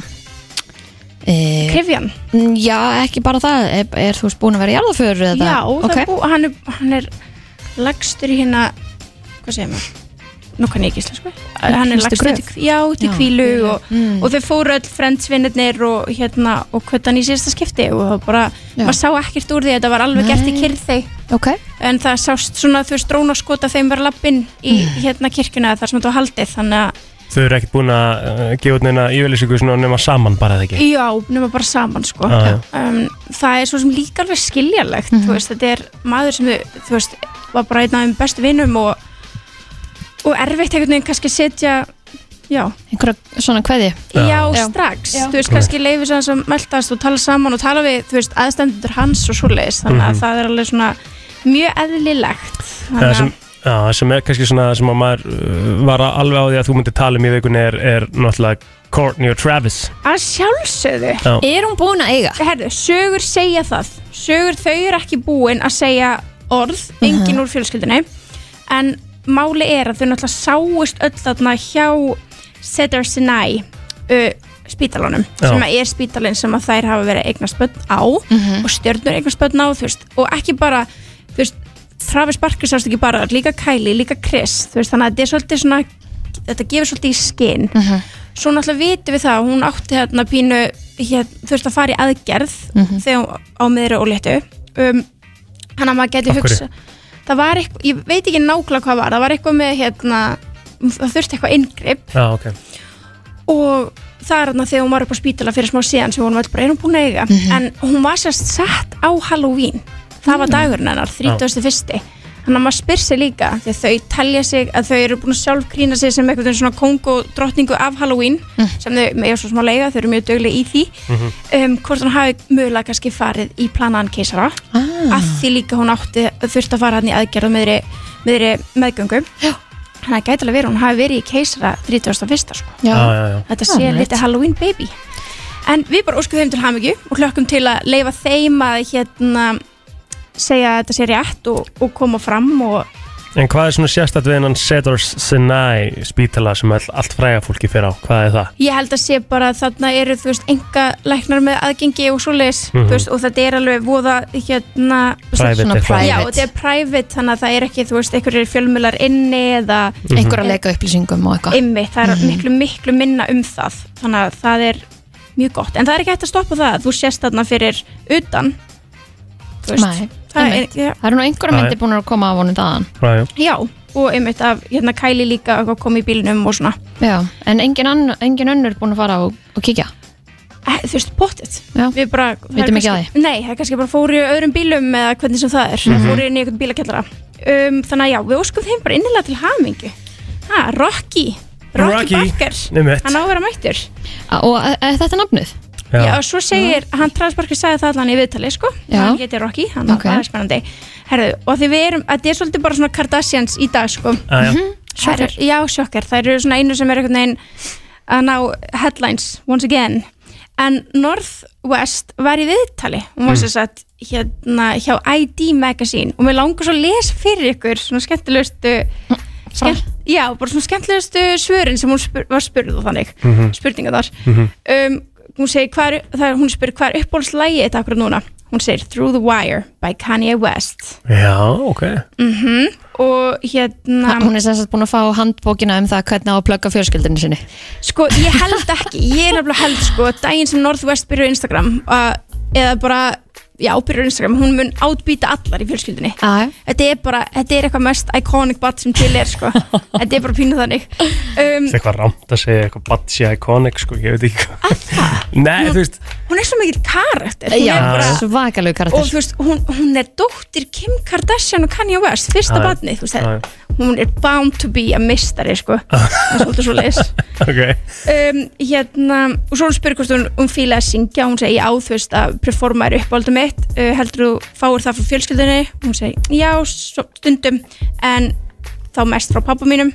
e,
Krifjan?
Já, ekki bara það, er, er þú veist búin að vera í jarðaför
Já,
eða?
það er bú, hann, er, hann er lagstur í hérna Hvað segir maður? Nú kann ég ekki íslensku Hann er
Fyrstu
lagstur
gröf?
til, já, til
Já, Mm.
kvílu
kvílu,
og, og þau fóru öll frendsvinnirnir og hérna og kvöldan í síðasta skipti og það bara, maður sá ekkert úr því þetta var alveg gert í kyrþei
okay.
en það sást svona þú veist drónaskota þeim var lappinn í
Mm.
hérna kirkjuna þar sem þetta var haldið þannig að
Þau eru ekkert búin að uh, gefa út neina yfirlýsingu svona nema saman bara eða ekki Ah,
Já, nema bara saman sko
Já, já.
um, Það er svo sem líka alveg skiljanlegt þú veist, Þetta er maður sem þau- þú veist, var bara einn af þeim bestu vinnum og, og erfitt einhvern veginn kannski að setja Já,
Einhverja svona kveði
já, strax Þú veist, kannski leifir sann sem meldast og tala saman og tala við, þú veist, aðstendur hans og svoleiðis, þannig að
Mhm.
það er alveg svona mjög eðlilegt
Það sem, já, það sem er kannski svona sem að maður uh, var alveg á því að þú myndir tala um í vikunni er, er náttúrulega Courtney og Travis
Að sjálfsögðu
Já.
Er hún búin að eiga? Herðu, sögur segja það Sögur þau eru ekki búin að segja orð Engin úr fjölskyldunni En máli er að þau náttúrulega sáust öll þarna hjá Cedar Sinai uh, spítalunum
Já.
sem að er spítalinn sem að þær hafa verið eignarspöld á og stjörnur eignarspöld á þú veist, og ekki bara þú veist, Travis Barker sást ekki bara þar, líka Kylie, líka Chris þú veist, þannig að þetta er svolítið svona þetta gefur svolítið í skinn svo náttúrulega vitum við það að hún átti hérna pínu hér, þurfti að fara í aðgerð
Mhm.
þegar hún á miðri og léttu um, hann að maður geti
Af hverju?
hugsa það var eitthvað, ég veit ekki nákvæmlega hvað var það var eitthvað með hérna það þurfti eitthvað inngrip
Já, ok
og það er þarna þegar hún var upp á spítala fyrir smá síðan sem hún var bara, er hún búin að eiga en hún var sérst sett á Halloween það var dagurinn hennar, 31. þannig að maður spyr sig líka því að þau telja sig að þau eru búin að sjálf krýna sig sem eitthvað svona kongo drottningu af Halloween sem þau með svo smá leiga, þau eru mjög dögleg í því um, hvort hún hafi mögulega kannski farið í planaðan keisara ah. að því líka hún átti þurfti að fara hann í aðgerð meðri, meðri meðgöngu þannig að gæti alveg verið að hún hafi verið í keisara 31. sko
Ah,
þetta sé litið Halloween baby en við bara óskum þeim til hamingju og hlökkum til að leifa þeim að hérna segja að þetta sé rétt og, og koma fram og
En hvað er svona sérstætt við hennan Cedars Sinai spítala sem all, allt fræga fólki fyrir á? Hvað er það?
ég held að sé bara að þarna eru þú veist enga læknar með aðgengi og svoleiðis
Mhm.
þú veist, og þetta er alveg voða hérna
Private Svona eitthvað.
já
private.
þetta er private þannig að það er ekki þú veist einhverjir fjölmjölar inni eða
Mhm. Einhverjar leika upplýsingum og eitthvað.
einmitt það er
Mhm.
miklu miklu minna um það þannig að það er mjög gott en það er ekki hægt að stoppa það að þú sést þarna fyrir utan þú veist,
Nei,
það er,
einmitt.
já,
Það eru nú einhverja
Já,
myndir
já.
búin að koma af honum þaðan
Já, já.
já, og einmitt af hérna Kylie líka að koma í bílinum og svona
Já, en engin, ann, engin önnur búin að fara og, og kíkja
Eh, þú veist, pottet
Já.
við bara, það er
Vitum ekki
kannski- nei, það er kannski bara fóru í öðrum bílum eða hvernig sem það er, mm
Mhm.
fóru inn í einhvern bílakjallara um, þannig að já, við óskum þeim bara innilega til hamingu ha, Rocky
Rocky,
Rocky, Barker,
einmitt.
hann á að vera mættur
Og er, er þetta nafnið?
já, svo segir, hann Travis Barker sagði það allan í viðtali, sko,
Já.
hann geti Rocky hann okay. er spennandi, herðu, og því við erum þetta er svolítið bara svona Kardashians í dag, sko
Ah,
Já, já.
Þær eru- Já, sjokkar, þær eru svona einu sem er einhvern veginn að ná headlines once again en Northwest var í viðtali hún var
Mm.
sem sagt hérna hjá ID Magazine og mér langar svo að lesa fyrir ykkur svona skemmtilegustu
Mm.
skemmt, já, bara svona skemmtilegustu svörin sem hún spur, var spurð og þannig
Mhm.
spurninga þar
Mhm.
um, hún segir hvað er, það, er- hún spyr hvað er uppbólslægi þetta akkur núna hún segir Through the Wire by Kanye West
Já, ok
mhm og hérna
Ha, Hún er sem sagt búin að fá handbókina um það hvernig á að plugga fjölskyldinu sinni
Sko, ég held ekki, ég er nefnilega held sko, daginn sem Northwest byrjuð Instagram uh, eða bara, já, byrjuð Instagram hún mun átbýta allar í fjölskyldinni
ah.
Þetta er bara, þetta er eitthvað mest iconic bat sem til er, sko Þetta er bara pínu þannig um,
Það er eitthvað rámt að segja eitthvað Batsi Iconic, sko, ég veit ekki hvað Nei, þú veist
Hún er svo mikill karakter hún
Já,
er bara,
svakalegu
Og þú veist, hún, hún er dóttir Kim Kardashian og Kanye West, fyrsta
Já, já.
batnið, þú veist
Já,
þetta
já.
hún er bound to be a mistari sko það er svolítið svo leis
ok
um, hérna, og svo hún spyrir hvort hún, hún fíla að syngja, hún segi já, þú veist að performa er uppáldum mitt, uh, heldur þú fáir það frá fjölskyldunni, hún segi já, svo- stundum, en þá mest frá pappa mínum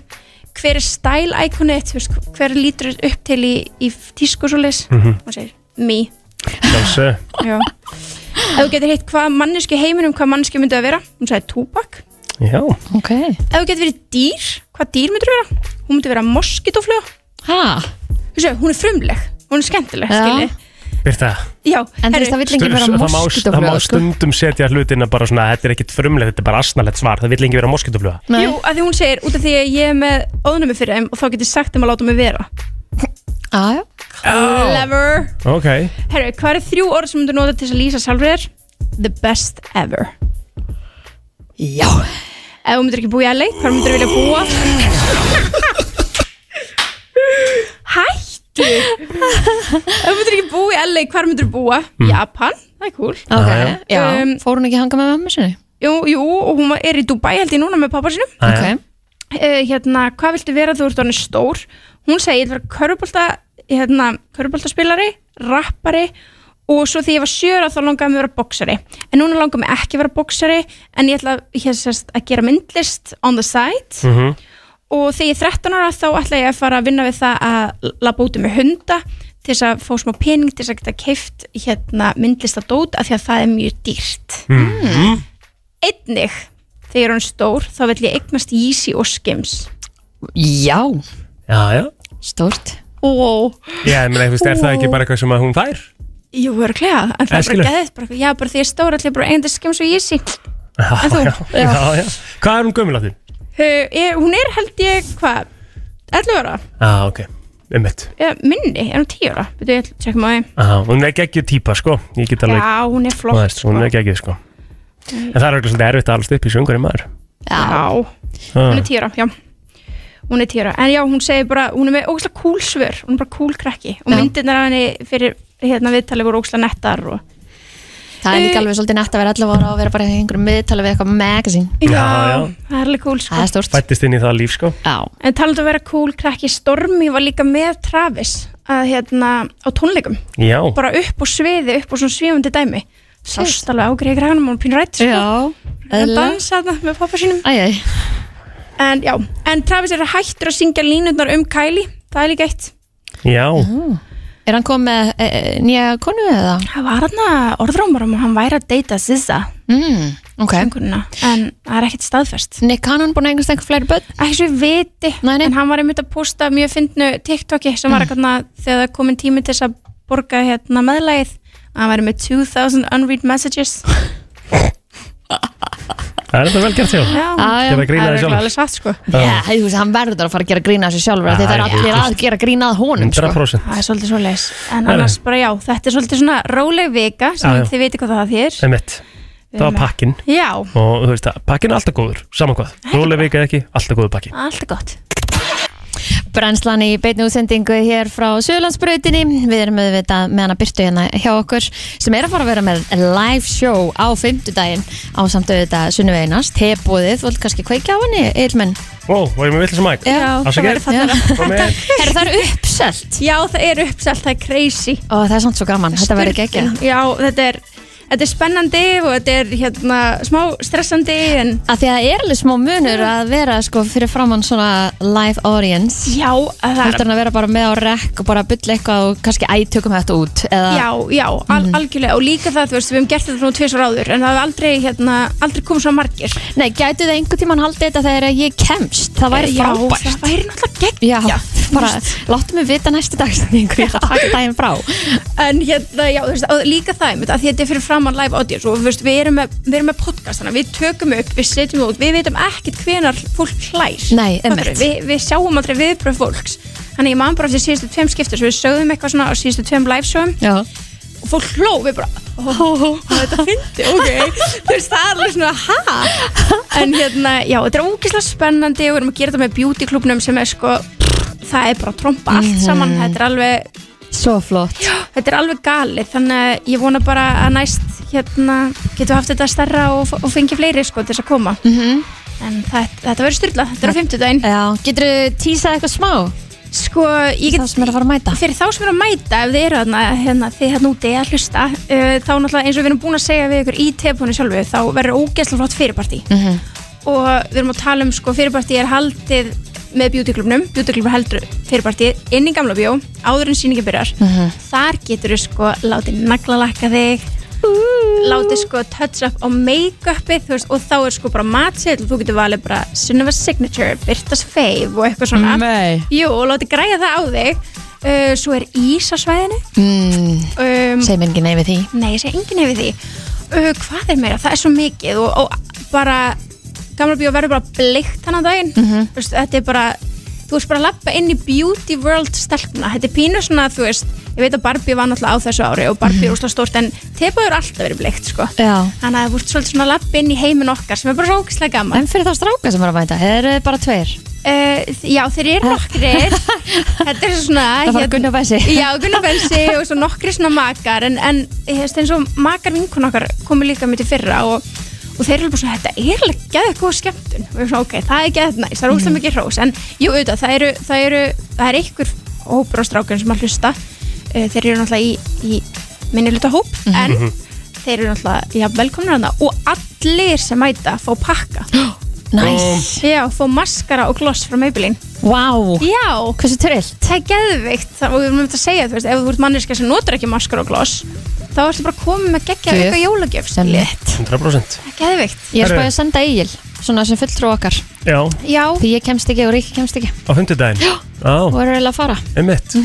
hver er stælækonið, hver lítur upp til í, í tísku svo leis
Mhm.
hún segir, me
Sjálfsög
já. ef þú getur hitt hvað manneski heiminum, hvað manneski myndi að vera hún sagði túbak
Já
okay.
ef þú getur verið dýr, hvað dýr myndir vera hún myndi vera moskitoflög hún er frumleg, hún er skemmtileg
Já.
skilji.
Birta
já,
En þú veist, það vill enginn vera
það má- það má
moskítofluga sko.
stundum setja hlutina bara svona þetta er ekkit frumlegt, þetta er bara asnalett svar það vill enginn vera moskítofluga
Jú, að því hún segir, út af því að ég er með óðnumi fyrir þeim og þá getur sagt þeim að láta mig vera
aðja
Clever
ok
Herru, hvað eru þrjú orð sem myndir nota til þess að lýsa sjálfur þér? The best ever Já Ef þú myndir ekki búa í LA, hvað myndir vilja búa? Hættu Ef þú myndir ekki búa í LA, hvað myndir búa? Japan, það er cool
okay. já, fór hún ekki að hanga með mamma sinni
Um, Jú, jú, og hún er í Dubai held ég núna með pappa sinum
Jæja.
uh, Hérna, hvað viltu vera þú ert orðin stór? Hún segir, ég vil vera körubolta hérna, köruboltaspilari, rappari og svo því ég var sjöra þá langaði mig að vera boksari en núna langaði mig ekki að vera boksari en ég ætla hér, sérst, að gera myndlist on the side
Mhm.
og þegar ég er 13 ára þá ætla ég að fara að vinna við það að labba út um með hunda til þess að fá smá pening til þess að geta keift hérna myndlistadót af því að það er mjög dýrt
Hmm.
Mhm.
einnig þegar hún er stór þá vill ég eignast Yeezy og Skims
Já
Já, já
Stórt
og
Já, ég meina, þú veist, er það ekki bara eitthvað sem að hún fær?
jú, örglega, en það
Eh,
er
skilur.
bara geðið bara, já, bara því ég er stór ætla ég bara að eignast Skims og Yeezy En þú?
Já, já, já, já. Hvað er hún gömul að því?
uh, ég, hún er held ég, hvað 11 ára,
Já, ok, um mitt
Eh, minni, er hún 10 ára Byrju, ég ætla að tjekka maður
Hún er geggjuð típa, sko Ég get alveg
já, hún er flott
Veist, Hún er geggjuð, sko En það er eitthvað svolítið erfitt að alveg upp í sjöngur í maður
Já,
Ah.
hún er týra, já Hún er týra, en já, hún segir bara hún er með ógæslega cool svör, hún er bara cool krakki og myndirnar af henni fyrir hérna viðtalið voru ógæslega nettar og
Það er líka
Eh,
alveg svolítið nett að vera 11 ára og vera bara í einhverjum miðtala við eitthvað magazine
Já, já.
það er alveg cool sko.
Það er stórt
Fættist inn í það líf, sko
Já
En talandi um að vera cool krakki, Stormi var líka með Travis að hérna á tónleikum
Já.
bara upp á sviði, upp á svona svífandi dæmi sást alveg ágreif græðanum og hún pínur rætt sko.
Já,
að
eðlilega.
dansa þarna með pappa sínum
æ, æ.
En já, en Travis er hættur að syngja línutnar um Kylie, það er líka eitt
Já
Er hann komið með e, e, nýja konu eða?
Það var hann að orðrómar um að hann væri að deyta Zizza
mm, okay.
en það er ekkert staðfest
Nick Cannon búin að eignast einhver fleiri börn?
Ekki svo ég viti, nei, nei. en hann var einmitt að posta mjög fyndnu TikToki sem var eitthvað mm. þegar það komin tími til þess að borga hérna meðlægið að hann væri með 2000 unread messages
Það er þetta vel gert hjá
Já,
Gerða grína
það
þig sjálf
er örugglega alveg satt sko
Já.
Já, þú veist, hann verður að fara að gera grína þessu sjálfur af því
Já,
það er
já.
allir að gera grínað honum sko.
100%.
Það er svolítið svo leis En
Nei, nei.
annars bara já, þetta er svolítið svona róleg vika sem
Já, já.
þið viti hvað það þýr
Um mitt Það var pakkin
Já,
Og þú veist að pakkin er alltaf góður Saman hvað Rólega vika eða ekki Alltaf góður pakki
allt er gott
Brennslan í beinu útsendingu hér frá Suðlandsbrautinni. Við erum auðvitað með hana byrtu hérna hjá okkur sem er að fara að vera með live show á fymtudaginn á samt auðvitað sunnuveinast. Tebúðið, þú vilt kannski kveikja á henni, Eilmenn?
Ó, var ég með vitlega sem mæk
Herru, það er uppselt
Já, það er uppselt, það er crazy
Og það er samt svo gaman, þetta verður geggja
Já, þetta er, þetta er spennandi og þetta er hérna smá stressandi en
Af því að það er alveg smá munur að vera sko fyrir framann svona live audience
Já, að það er-
Heldur hann að vera bara með á rekk og bara bylla eitthvað og kannski ætökum þetta út eða... Mhm.
Já, já, al
Mm.
algjörlega og líka það, þú veist, við hefum gert þetta nú tvisar áður en það hefur aldrei, hérna, aldrei komið svo margir
Nei, gætu þið einhvern tímann haldið þetta þegar ég kemst Það væri
Já,
frábært
það væri náttúrulega gegn
Já, bara láttu mig vita næstu dagstendingu Ég ætla að taka daginn frá
En hérna, já, þú veist, og líka það einmitt, að því að þetta er fyrir framann live audience og þú veist, við erum með, við erum með podcast þannig að við tökum upp, við setjum út, við veitum ekkert hvenar fólk hlær
Nei,
Fattar
einmitt.
við, við sjáum aldrei viðbröð fólks Þannig ég man bara eftir síðustu tveim skiptir svo við sögðum eitthvað svona á síðustu tveim live showum
Já.
og fólk hló, við bara ó, ó, ó, þetta fyndi, ok þú veist, það er alveg svona, ha en hérna, já, þetta er ógeðslega spennandi og við erum að gera þetta með beauty klubnum sem er sko, það er bara að tromba allt
Mhm.
saman, þetta er alveg
Svo flott
þetta er alveg galið, þannig að ég vona bara að næst, hérna, getum við haft þetta stærra og, og fengið fleiri, sko, til þess að koma mm -hmm. en þetta, þetta verður styrla, þetta er á fimmtudaginn Já, getur þú tísað eitthvað smá? Sko, ég get... Fyrir þá sem eru að fara að mæta Fyrir þá sem eru að mæta, ef þið eru þarna, hérna, þið hérna úti að hlusta uh, þá náttúrulega eins og við erum búin að segja við ykkur í tebunni sjálfu, þá verður ógeðslega flott fyrirparti og við erum að tala um sko fyrirpartið er haldið með bjútiklubnum, bjútiklubnum heldur fyrirpartið inn í gamla bjó, áður en síningin byrjar
Mhm.
þar getur þú sko látið naglalakka þig látið sko touch up á make-upið þú veist, og þá er sko bara matseðl þú getur valið bara Sunnova Signature Birtas Fave og eitthvað svona
Nei.
Jú, og látið græja það á þig uh, svo er ís á svæðinu
mm,
um,
Segir mér engin neyfi því
Nei, ég segi enginn hefur því uh, Hvað er meira? Það er svo mikið og, og bara, gamla bíó verður bara bleikt hann á daginn
Mhm.
Þú veist, Þetta er bara, þú veist bara að lappa inn í beauty world stelpuna Þetta er pínu svona, þú veist, ég veit að Barbie var náttúrulega á þessu ári og Barbie er úrslega stórt en tepa eru alltaf verið bleikt, sko
Mhm. Já.
Þannig að þú veist svolítið svona að lappa inn í heimin okkar sem er bara svo ógislega gaman
En fyrir þá stráka sem eru að mæta, eru þið bara tveir?
Uh, já, þeir eru nokkrir Þetta er svona
Ah.
hérna-
Það fara Gunnar Bensi.
Já, Gunnar Bensi og svo nokkri svona makar En, en ég hefst eins og makar vinkun okkar komu líka mitt í fyrra og, og þeir eru bara svona, þetta er alveg geðið góð skemmtun Og við erum svona, ok, það er geðið næst, það er
Mm.
óslega mikið hrós En jú, auðvitað, það eru, það eru, það eru einhver hópur á strákun sem að hlusta uh, Þeir eru náttúrulega í, í minni luta hóp
Mhm.
Mhm.
En þeir eru náttúrulega, já, velkomnir hana Og allir sem mæta fá pakka
Nice.
Já, fá maskara og gloss frá Maybelline
Vá
Já
Hversu trillt?
Það er geðvikt Það- og við erum um þetta að segja, þú veist, ef þú ert manneska sem notur ekki maskara og gloss þá ertu bara komið með geggja
Gjöf.
auka jólagjöf skilji.
100%
Það er geðvikt
Ég er spáðið að senda Egil, svona sem fulltrú okkar
Já,
Já
Því ég kemst ekki og Ríkki kemst ekki
á hundudaginn Já,
Og eru eiginlega að fara
einmitt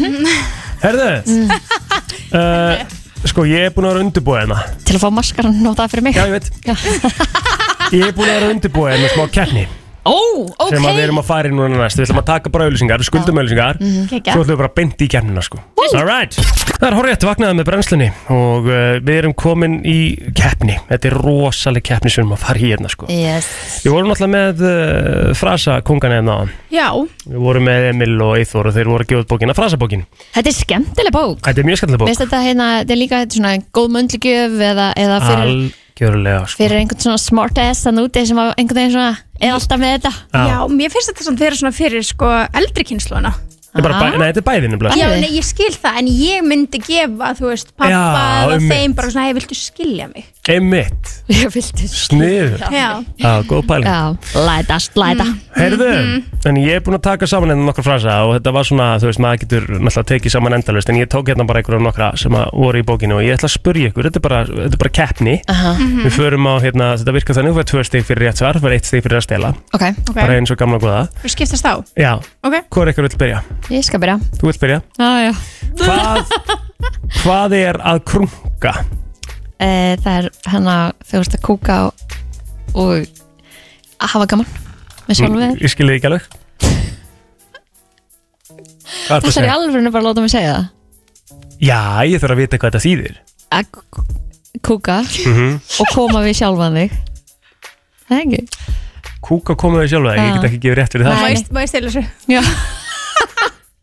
Herðu
Mm.
uh, Sko, ég er búin að vera undirbúið hérna
Til að fá maskaran notað fyrir mig
Já, ég veit Ég er búin að vera undirbúið hérna smá keppni
Ó, ok
sem að við erum að fara í núna næst Við ætlum að taka bara auðlýsingar, skuldum auðlýsingar
Mhm. Geggjað.
Svo ætlum við bara beint í kemnina sko Alright Það er horrið vaknaði með brennslunni og uh, við erum komin í keppni Þetta er rosaleg keppni sem við erum að fara í hérna sko
Yes
Við vorum alltaf með uh, frasa kungan hérna áðan.
Já
Við vorum með Emil og Eithor og þeir voru að gefa út bókina Frasabókin
Þetta er skemmtileg bók
Þetta er mjög skallega
Veist
bók
þetta hérna, þetta er líka þetta er svona góð möndlugjöf eða, eða fyrir,
Algjörlega sko.
fyrir einhvern svona smart ass þannig úti sem að einhvern veginn svona er alltaf með þetta
Já.
Já, mér finnst þetta samt vera svona fyrir sko eldri kynnslóna
Þetta er bara bæ- Nei, þetta er bæðinu
Já, nei, ég skil það, en ég myndi gefa, þú veist, pappa
Já,
eða
einmitt.
þeim bara svona, hei, viltu skilja mig?
Emmitt
Ég vildi
Sniður
Já.
Já, góð pæling
Lætast, læta
Mm.
Mm.
Heyrðu, en ég er búinn að taka saman hérna nokkra frasa og þetta var svona, þú veist, maður getur náttúrulega tekið saman endalist en ég tók hérna bara einhverja nokkra sem að voru í bókinu og ég ætla að spurja ykkur, þetta er bara, þetta er bara keppni
Aha.
Við förum á, hérna, þetta virkar þannig, þú fær tvö stig fyrir rétt svar, þú fær eitt stig fyrir að stela
Ok,
bara eins og gamla góða
Þú skiptast á?
Já,
Ok.
hvað er ykkur vill byrja?
Ég skal byrja
Þú vill byrja?
ah,
Hvað? Hvað er að krunga?
e, Það er hérna þú ert að kúka og, og að hafa gaman með sjálfum við
Mm, Ég skilði ekki alveg Hvað ertu
Þetta er
að
í
segja?
alvörinu bara að láta mig segja það
Já, ég þarf að vita hvað þetta þýðir
Að kú- kúka
Mhm.
og koma við sjálfan þig Það er ekki
Kúka komaðu sjálfa, ég
Já.
get ekki gefið rétt fyrir það
Má ég- Má ég stila þessu?
Já.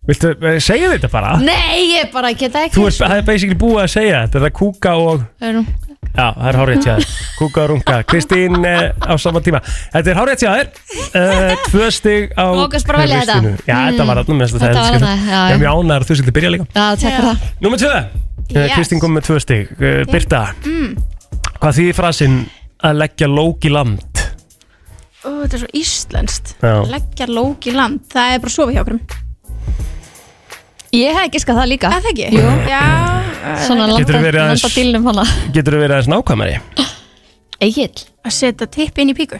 Viltu eh, segja þetta bara?
Nei, ég bara geta ekki
Þú er, það er basically búið að segja þetta, það er kúka og
Erum.
Já, það er hárið tjáður Kúka og runga, Kristín eh, á sama tíma Þetta er hárið tjáður uh, Tvö stig á
Ágúst bara velja þetta.
Kristínu. Já, þetta
Mm.
var alltaf mest að
Þetta
það
var
er
þarna, já,
Ég
já.
er mjög ánæður þú sildið byrja líka
Já, takk fyrir það
Númer tvö yes.
Yes.
Kristín kom með tvö stig uh, Birta,
Mm,
hvað þýðir frasinn að leggja lók í land?
Ó, þetta er svo íslenskt
Já.
Leggja lók í land, það er bara að sofa hjá okkur
Ég hef giskað það líka
Það ekki? Jú Já
Svona
Getur
landa,
verið aðeins-
landa dílnum hana
Getur þú verið aðeins nákvæmari?
Egil
Að setja tipp inn í píku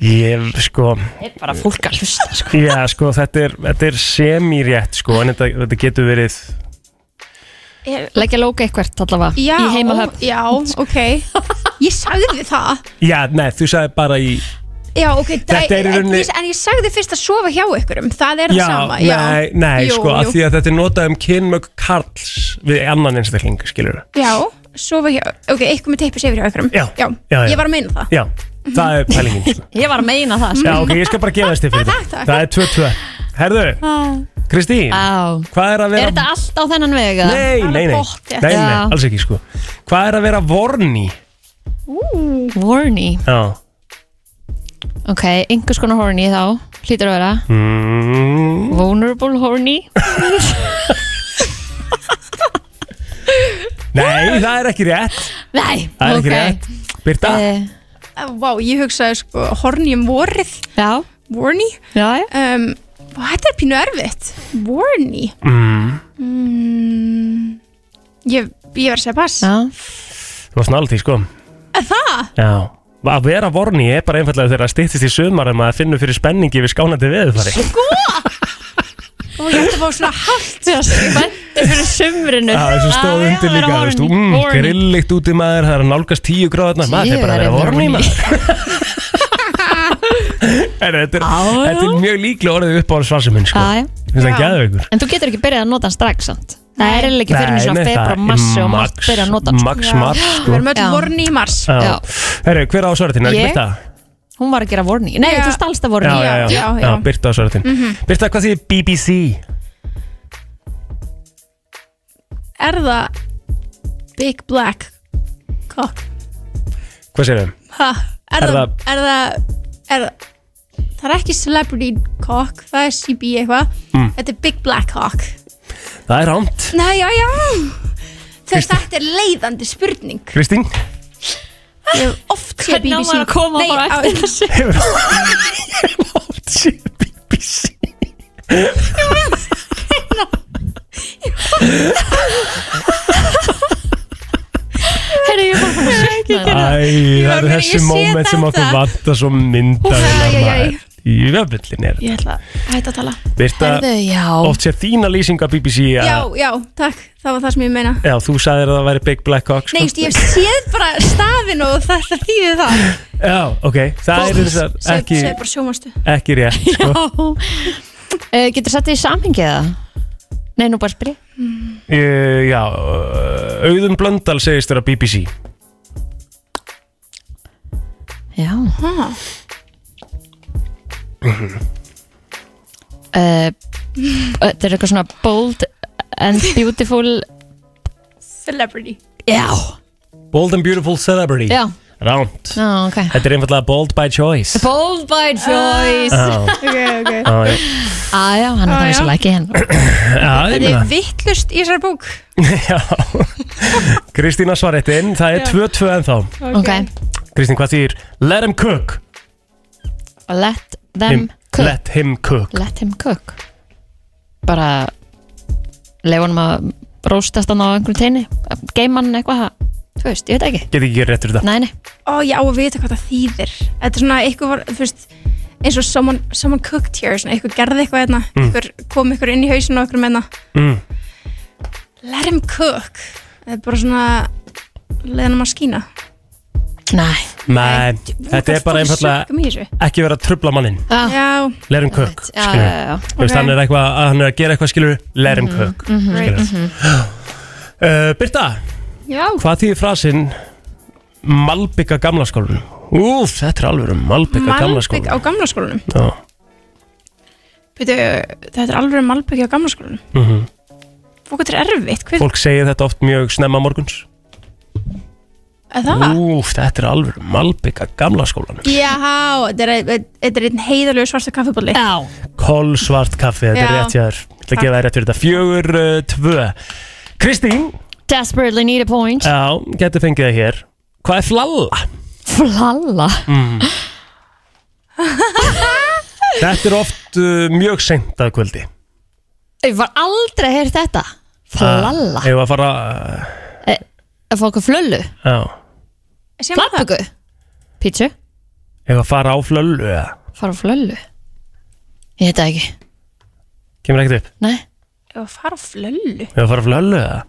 Ég, sko
Bara fólk að hlusta sko.
Já, sko, þetta er, þetta er semirétt, sko En þetta, þetta getur verið
Leggja lóka eitthvert allavega
Já,
Í heimahöfn
já, ok Ég sagði það
Já, nei, þú sagði bara í
Já, ok,
Þetta er í
en,
rauninni-
ég, en ég sagði fyrst að sofa hjá ykkur Það er það sama
nei, nei,
Jú,
sko, af
jú.
því að þetta er notað um kynmög karls við annan einstakling, skilur
Já, sofa hjá Ok, eitthvað með tippi sefir hjá ykkur já. Já.
já, já.
Ég var að meina það
Já, það er pælingin sko.
Ég var að meina það
Já, ok, ég skal bara gefa þess til fyrir
Takk, takk.
það Það er 2-2 Herðu, Kristín,
Á.
hvað er
Ah.
að
Er
vera
þetta allt á þennan vega?
Nei, nei, nei, nei, nei, alls ekki sko Hvað er að vera vorni?
Warny
Já
Ok, einhvers konar horny þá Hlýtur að vera
mm.
Vulnerable horny
Nei, það er ekki rétt
Nei,
Það er ekki rétt Birta,
Eh.
Eh, Vá, ég hugsaði sko horni um vorið
Já
Warni
Já, já
um, vá, Þetta er pínu erfitt Warni
mm.
mm, Ég, ég verð að segja pass
Já
þú varst nála því sko
Er það?
Já Að vera vorni er bara einfallega þegar það stýttist í sumar en maður finnur fyrir spenningi við skánandi veðufari
Sko Og ég ætti að fá svona hálft Þegar spennti fyrir sumrinu
Það er svo stóð undir líka, þú veist, mm, grillikt úti maður, það er að nálgast tíu gráðarna, maður
Ég
þeir bara að
er
vera
að
vorni maður. En þetta er, þetta er mjög líklega orðið upp á svarsuminn, sko.
Já, já.
Finnst það gæðveikur?
En þú getur ekki byrjað að nota hann strax sant? Það er eiginlega ekki fyrir
Nei,
mér svona
nei, það
februar
er
massi og
max-
margt byrja að nota hann sko.
max mars,
Já.
sko. Við erum öll
Já.
vorni í mars
Já. Herru, hver á svartin? Er
Ég?
það Birta?
Hún var að gera vorni Nei,
Já.
þú stálst að vorni
já, já, já, já, Birta á svartin.
Mm-hmm.
Mhm.
Birta, hvað þýðir BBC?
Er það Big Black Cock
Hvað séum við?
ha, er,
Er
það, er það er það Það er ekki Celebrity Cock Það er CB eitthvað
Mm.
Þetta er Big Black Cock
Það er rámt.
Nei, já, já Þegar þetta er leiðandi spurning
Kristín?
Ég hef oft séð BBC
Hvernig á maður að koma
Nei,
bara
á-
eftir þessu?
Hefur BBC
Herru, ég var bara að sjekka það
Æ, það eru þessi moment sem okkur vanta svo mynda
Æ, æ, æ.
Í vefnillin er
Ég ætla að hætta að tala
Birta,
Herðu, já.
oft sér þína lýsing af BBC að-
Já, já, takk, það var það sem ég meina
Já, þú sagðir að það væri Big Black Cock
Nei,
sko.
just, ég hef séð bara stafin og það, það þýðir það
Já, ok, það er þess að
Segðu-
ekki,
segðu bara sjómanstu
ekki rétt sko.
Eh, Getur sett þið í samhengið það? Nei, nú bara spyrja
uh, Já, auðum blöndal segist þér að BBC
Já
ha.
Eh, Þetta er eitthvað svona bold and beautiful
Celebrity
Já,
Bold and Beautiful Celebrity
Já.
Rámt
já, ok
Þetta er einfallega Bold by Choice
Bold by choice
Já.
Ok, ok
Já, já.
Æjá, hann er það
Á, Ah, já.
vissulega ekki hérna. henn
Já, ég
Þetta
meina.
er vittlust í þessari bók
Kristína svaretinn, það er
Já.
2-2 ennþá
Ok,
Kristín, hvað þýr? Let him cook
let them
Him-
cook
Let him cook
Let him cook Bara Leif honum að róstast hann á einhverjum teini Geim hann eitthvað Þú veist, ég veit ekki
Get ekki rétt fyrir þetta
Nei, nei
Ó, ég á að vita hvað það þýðir Þetta er svona eitthvað var, þú veist eins og someone, someone cooked here svona eitthvað gerði eitthvað hérna
Mm.
einhver, kom eitthvað inn í hausinu og eitthvað meina
mm.
hérna. let him cook það er bara svona leðanum að skína
Nei
Nei, þetta er bara einfallega ekki vera að trubla mannin
Já.
Já.
Let him cook,
Já, já,
skilur
já.
Þú
Ok.
veist, hann er eitthvað, að hann er að gera eitthvað, skilur Let him
Mhm,
cook
mhm,
skilurðu.
mhm.
uh, Birta,
Já.
hvað þýðir frasinn Malbygga gamla skólanum? Úf, þetta er alveg Malbygga gamla
Malbygg á
skólanum
gamla skólanum
Já,
Beidu, Þetta er alveg malbygg á gamla skólanum
mhm
Fólk þetta er erfitt Hver,
Fólk segir þetta oft mjög snemma morguns
er það?
Úf, þetta er alveg Malbygga gamla skólanum
Já, þetta er- e, þetta er einn heiðalegu svarta kaffibóli
Já
Koll svart kaffi, þetta er
Já.
rétt hjá þér Ég ætla að
Takk.
gefa þér rétt fyrir þetta Fjögur, uh, tvö Kristín,
Desperately need a point
já, getur fengið það hér Hvað er flalla?
Flalla
Mm. Þetta er oft uh, mjög seint að kvöldi
Ég var aldrei að heyra þetta Flalla
Hefur að fara uh,
Eh, Að fá okkur flöllu
Já
Flatböku Pítsu
Hefur að fara á flöllu eða
Fara á flöllu Ég veit það ekki
Kemur ekkert upp
Nei
Ef að fara á flöllu
Hefur að fara á flöllu eða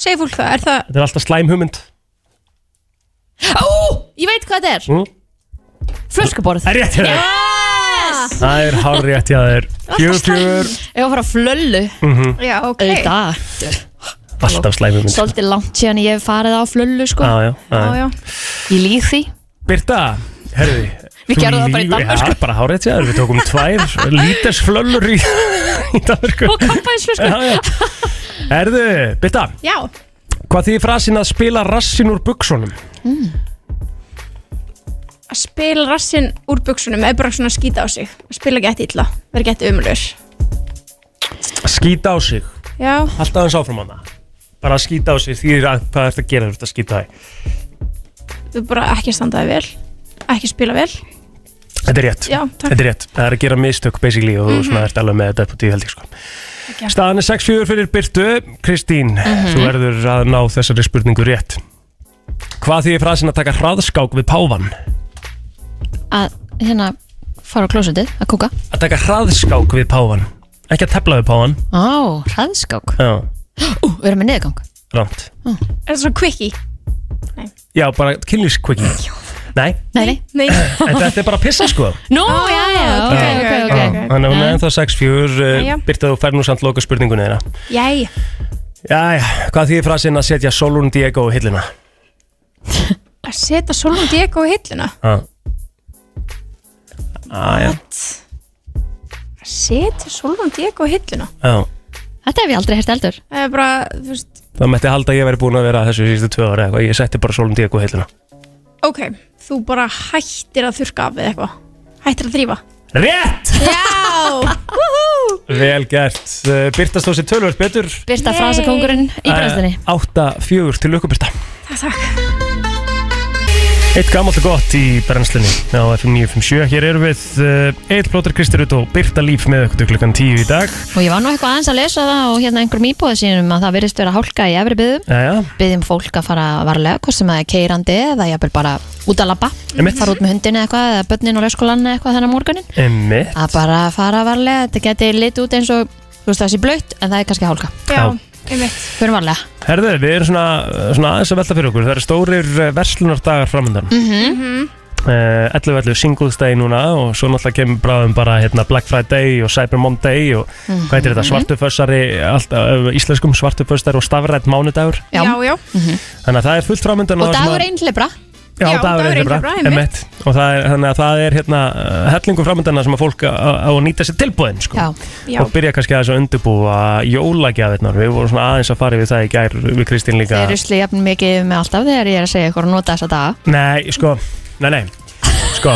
Segir fólk það, er það
Þetta er alltaf slæm hugmynd
Ó, ég veit hvað þetta er
mm?
Flöskuborð
Það er rétt hjá þér
Yes
Það er hár rétt hjá þér Fjögur fjögur
Ég var að fara á flöllu
Mhm.
Já, ok
Alltaf slæm hugmynd
Svolítið langt síðan ég hef farið á flöllu sko
Já, já, já. Já, já.
Ég líð því
Birta, herðu
Við gerðum það bara í Danmörku.
Já, bara hár rétt hjá þér Við tókum tvær líters flöllur í, í Danmarku
Og kampaðisflösku
Já, já Herðu, Birta
Já
Hvað þýðir frasin að spila rassin úr buksunum?
Hmm.
mm.
að spila rassinn úr buksunum eða bara svona skýta á sig spila gett illa, vera gett umlur
Skýta á sig
Já.
Alltaf hans áfram hana Bara að skýta á sig því að hvað ertu að gera þú ert að skýta á þig
þú bara ekki standaði vel ekki spila vel
Þetta er rétt
Já, takk.
Þetta er rétt Það er að gera mistök basically og þú
Mhm.
svona ert alveg með þetta upp á tíu held ég sko
Ekki.
Staðan er 6-4 fyrir Byrtu Kristín,
Mhm.
þú verður að ná þessari spurningu rétt Hvað því er frasin að taka hraðskák við pávan?
að hérna fara á klósetið að kúka
Að taka hraðskák við pávan Ekki að tefla við pávan
Á, hraðskák
Já,
Ú, við erum með niðurgang
rámt
er það svona quickie?
Já, bara kynlífskvikki Nei,
Nei, nei,
nei.
en þetta er bara að pissa sko
Nú, já, já, Ah, ok, ok, ok,
Já, Þannig að hún er ennþá 6-4 uh,
Jæja.
Birta þú fær nú samt loka spurningunni þeirra
Jæja,
Jæja, hvað þýðir frasinn að setja Solun Diego í hillina?
að setja Solon Diego á hilluna
Já Ah, Jæja,
að setja Solon Diego á hilluna
já
Þetta hef ég aldrei hert eldur
það er bara, þú veist,
Það mætti halda að ég væri búin að vera að þessu sístu tvö ára eitthvað Ég setti bara Solun Diego í hillina
ok þú bara hættir að þurrka af eða eitthvað hættir að þrýfa
Rétt!
Já, wúhú
Vel gert Uh, Birta stóð sér tölvöld betur
Birta frasakóngurinn í brennstunni
8-4 til lukku Birta
Takk
Eitt gammalt og gott í brennslunni á FM 957. Hér erum við uh, Eitt Plóter Kristur og Birta Líf með okkur til klukkan 10 í dag.
Og ég var nú eitthvað aðeins að lesa það og hérna einhverjum íbúið sínum að það virðist vera hálka í efri byðum
Jæja,
Byðum fólk að fara varlega, hvort sem það er keirandi eða jafnvel bara út að labba
Einmitt.
Fara út með hundin eða eitthvað eða börnin og leikskólan eða eitthvað þennan morgunin
emmi.
Að bara fara varlega, þetta geti litið út eins og þú veist það sé blöytt en það er kannski hálka
Já.
einmitt
Fyrir varlega
Herðu, við erum svona, eh, svona aðeins að velta fyrir okkur. Það eru stórir eh, verslunardagar framöndan. Mm.
Mhm.
Uh, 11.11. Singles Day núna og svo náttúrulega kemur bráðum bara hérna, Black Friday og Cyber Monday og
Mhm.
hvað heitir þetta, svartufössari, allt, uh, íslenskum svartufössari og stafrætt mánudagur.
Já, já
Þannig að það er fullt framöndan.
Mhm. Og dagur einn hlibra
Já,
Já,
dagur
dagur
einhverja,
einhverra,
einmitt Og það er, þannig að það er hérna uh, hellingu framöndana sem að fólk á á að nýta sér tilbúðin sko.
Já, já.
og byrja kannski aðeins að undirbúa jólagjafirnar, við vorum svona aðeins að fara við það í gær við Kristín líka
Þeir rusli jafn mikið með alltaf þegar ég er að segja ykkur að nota þessa daga
Nei, sko, nei, nei Sko,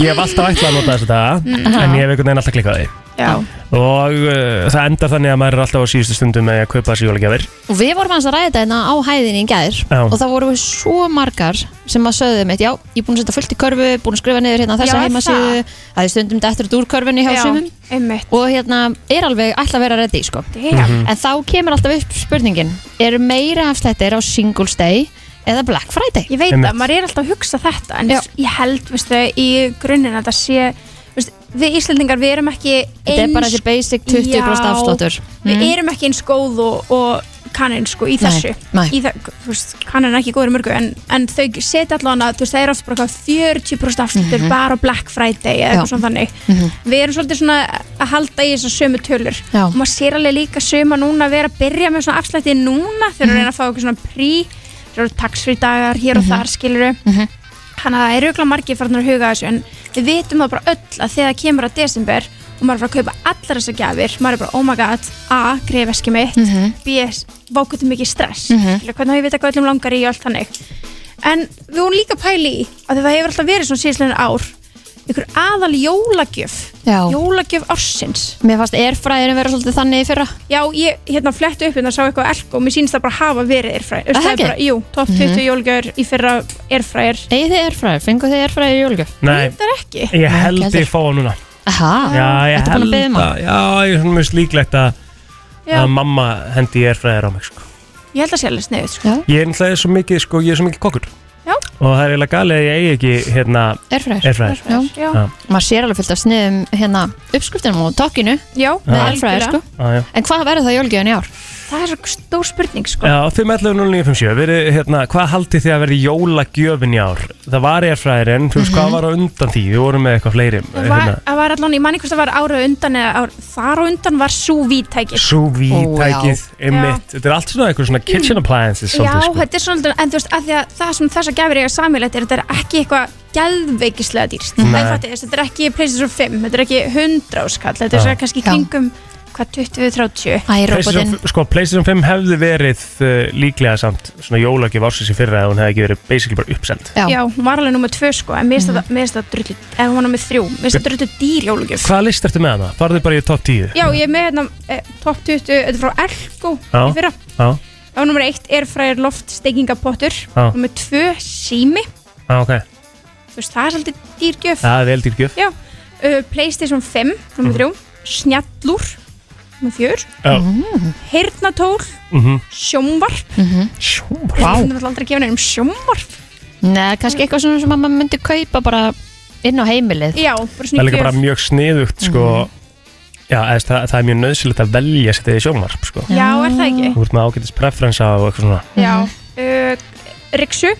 ég hef alltaf ætlað að nota þess
Mm.
þetta en ég hef einhvern veginn alltaf klikkað á því
Já.
og uh, það endar þannig að maður er alltaf á síðustu stundum með að kaupa þessi jólagjafir
Og við vorum hans að ræða þetta hérna á hæðinni í gær
Já.
og það voru við svo margar sem að sögðu mitt, já, ég er búin að setja fullt í körfu búin að skrifa niður hérna þessa
Já, er
heimasíðu það er stundum dettur út úr körfunni hjá
Já,
sumum og hérna er alveg ætla að vera reddi sko.
Mhm.
Damn.
en þá kemur alltaf upp spurningin eru meira afslættir á Singles Day eða Black Friday?
Ég veit að maður er alltaf að hugsa þetta en ég held, veistu, í grunninn að það sé, veistu, við Íslandingar við erum ekki eins
Þetta er bara þessi basic 20%
Já,
afsláttur.
Við
Mhm.
erum ekki eins góð og, og kannin sko í
Nei,
þessu
nei.
Í það, þú veist, kannin er ekki góður í mörgu en, en þau setja allan að, þú veist, það er oft bara eitthvað 40% afsláttur
Mhm.
bara á Black Friday eða eitthvað
Já.
svona þannig
Mhm.
Við erum svolítið svona að halda í þessar sömu tölur
Já.
og maður sér alveg líka söma núna að vera að byrja með svona afslætti núna þegar mm
Mhm.
reyna að fá eitthvað svona prí þeir eru taxfree dagar hér og
Mhm.
þar skiluru
Mhm.
þannig að það eru örugglega margir farnar að huga að þessu en við vitum það bara öll að þegar það kemur að desember og maður er bara að kaupa allar þessar gjafir maður er bara oh my god, a, greið veskið mitt
Mhm.
b, vákutum mikið stress mm
Mhm.
hvernig hafa ég vita hvað öllum langar í og allt þannig en við vorum líka að pæla í að það hefur alltaf verið svona síðslegin ár ykkur aðal jólagjöf
Já.
jólagjöf ársins
Mér fannst erfræðinu vera svolítið þannig í fyrra
Já, ég hérna flettu upp en það sá eitthvað elko og mér sýnist það bara hafa verið erfræðir
Er það ekki?
Jú, top 20 mm
Mhm.
í fyrra erfræðir
Egið þið erfræðir, fenguð þið erfræðir í jólgjöf?
Nei,
Það er ekki
ég held ég fá hann núna
Aha,
Já, ég
Ah. ertu búin að
held
biðja um
að, já, ég er svona mjög líklegt að
Já.
að mamma hendi í erfræðir á mig sko.
Ég held að sé alveg sniðið sko.
Ég er náttúrulega svo mikið, sko, ég er svo mikið kokkur
Já.
Og það er eiginlega galið að ég eigi ekki, hérna
Airfryer.
Airfryer.
Já.
Já.
Maður sér alveg fullt af sniðum hérna uppskriftinum og tokkinu
Já,
með
Já.
erfræðir sko.
Ah, Já, já.
En hvað verður það jólgjöfin í ár?
Það er svo stór spurning sko.
Já, 5.11.09.57 verið, hérna, hvað haldið þið að verði jólagjöfin í ár? Það var erfræðirinn, þú veist, hvað var á undan því? Við vorum með eitthvað fleiri
Það var,
hérna,
það var allan, ég manni hvort það var ára undan eða ár, þar á undan var súvítækið
Súvítækið, einmitt Þetta er allt svona eitthvað svona kitchen appliances
Mm. Já,
svolítið, sko.
þetta er svolítið, en þú veist, að því að það sem þessa gafir eiga samilegt er, þetta er ekki eitthvað geðveikislega dýrst.
Nei.
Það er fattið, þetta er ekki Places of 5, þetta er ekki 100 áskall, þetta er
Já.
svo kannski kringum hvað 20-30
PlayStation, sko, PlayStation 5 hefði verið uh, líklega samt svona jólagjöf ársins í fyrra ef hún hefði ekki verið basically bara uppsend
já. hún var alveg nummið tvö sko en mér finnst þetta- mér finnst það drullu eða hún var nummið þrjú, mér finnst það drullu dýr jólugjöf
Hvaða list ertu með hana? Farðu bara í top 10
já, ég er með hérna eh, top 20 þetta er frá Elko
Já.
í fyrra
Já,
á nummið 1 er fræðir loftsteikingapottur
Já.
nummið 2 sími
já, ok
þú veist, það er svolítið dýrgjöf
Það er vel dýr gjöf
já, uh, Playstation 5 nummið 3, snjallur nummið 4,
Já.
heyrnatól
Mhm.
sjómvarp
Mhm.
sjómvarp
Vá.
það er aldrei að um gefa nefnum sjómvarp
Nei, kannski eitthvað svona sem að maður myndi kaupa bara inn á heimilið
Já, bara
Það er líka bara mjög sniðugt sko Já, eða, það, það er mjög nöðsilegt að velja sér þetta í sjónvarp sko.
Já, er það ekki?
Þú ert með ágætis preferensa og eitthvað svona
Já, uh, Riksu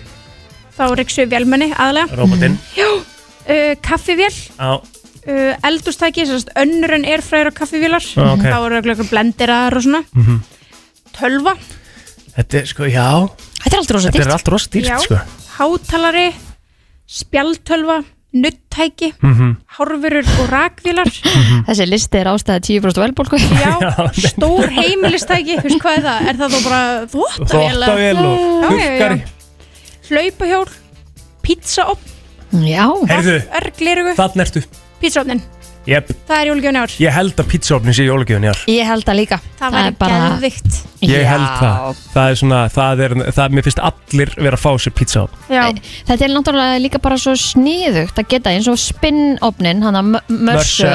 Þá Riksu vélmenni aðlega
Róbotinn.
Já, uh, kaffivél
Já,
uh, Eldustæki, sérst önnur en erfræður og kaffivélar
Já, Ah, ok.
Þá eru eitthvað blendirar og svona
mhm.
Tölva
Þetta er sko, já
Þetta er allt rosa
Þetta er
dýrt.
allt rosa dýrt,
Já,
sko.
Hátalari, spjaltölva Nuttæki,
Mhm.
hárverur og rakvélar
Þessi listi er ástæða 10% velbólku
Já, Stór heimilistæki, þú veist hvað er það? Er það þá bara þvottavél?
Þvottavél og
Já, já, já.
þurrkari.
Hlaupahjól, pizzaopn
Já
Heyrðu,
Örglirugu,
þann ertu
pizzaopnin
Jep,
Það er jólgjöfni ár
ég held að pizzaofni sé jólagjöfni ár
Ég held það líka
Það væri geðvikt
Ég held það Það er svona, það er, það, mér finnst allir vera að fá sér pizza á
Þetta er náttúrulega líka bara svo sniðugt að geta eins og spinnopnin, hann að mörsu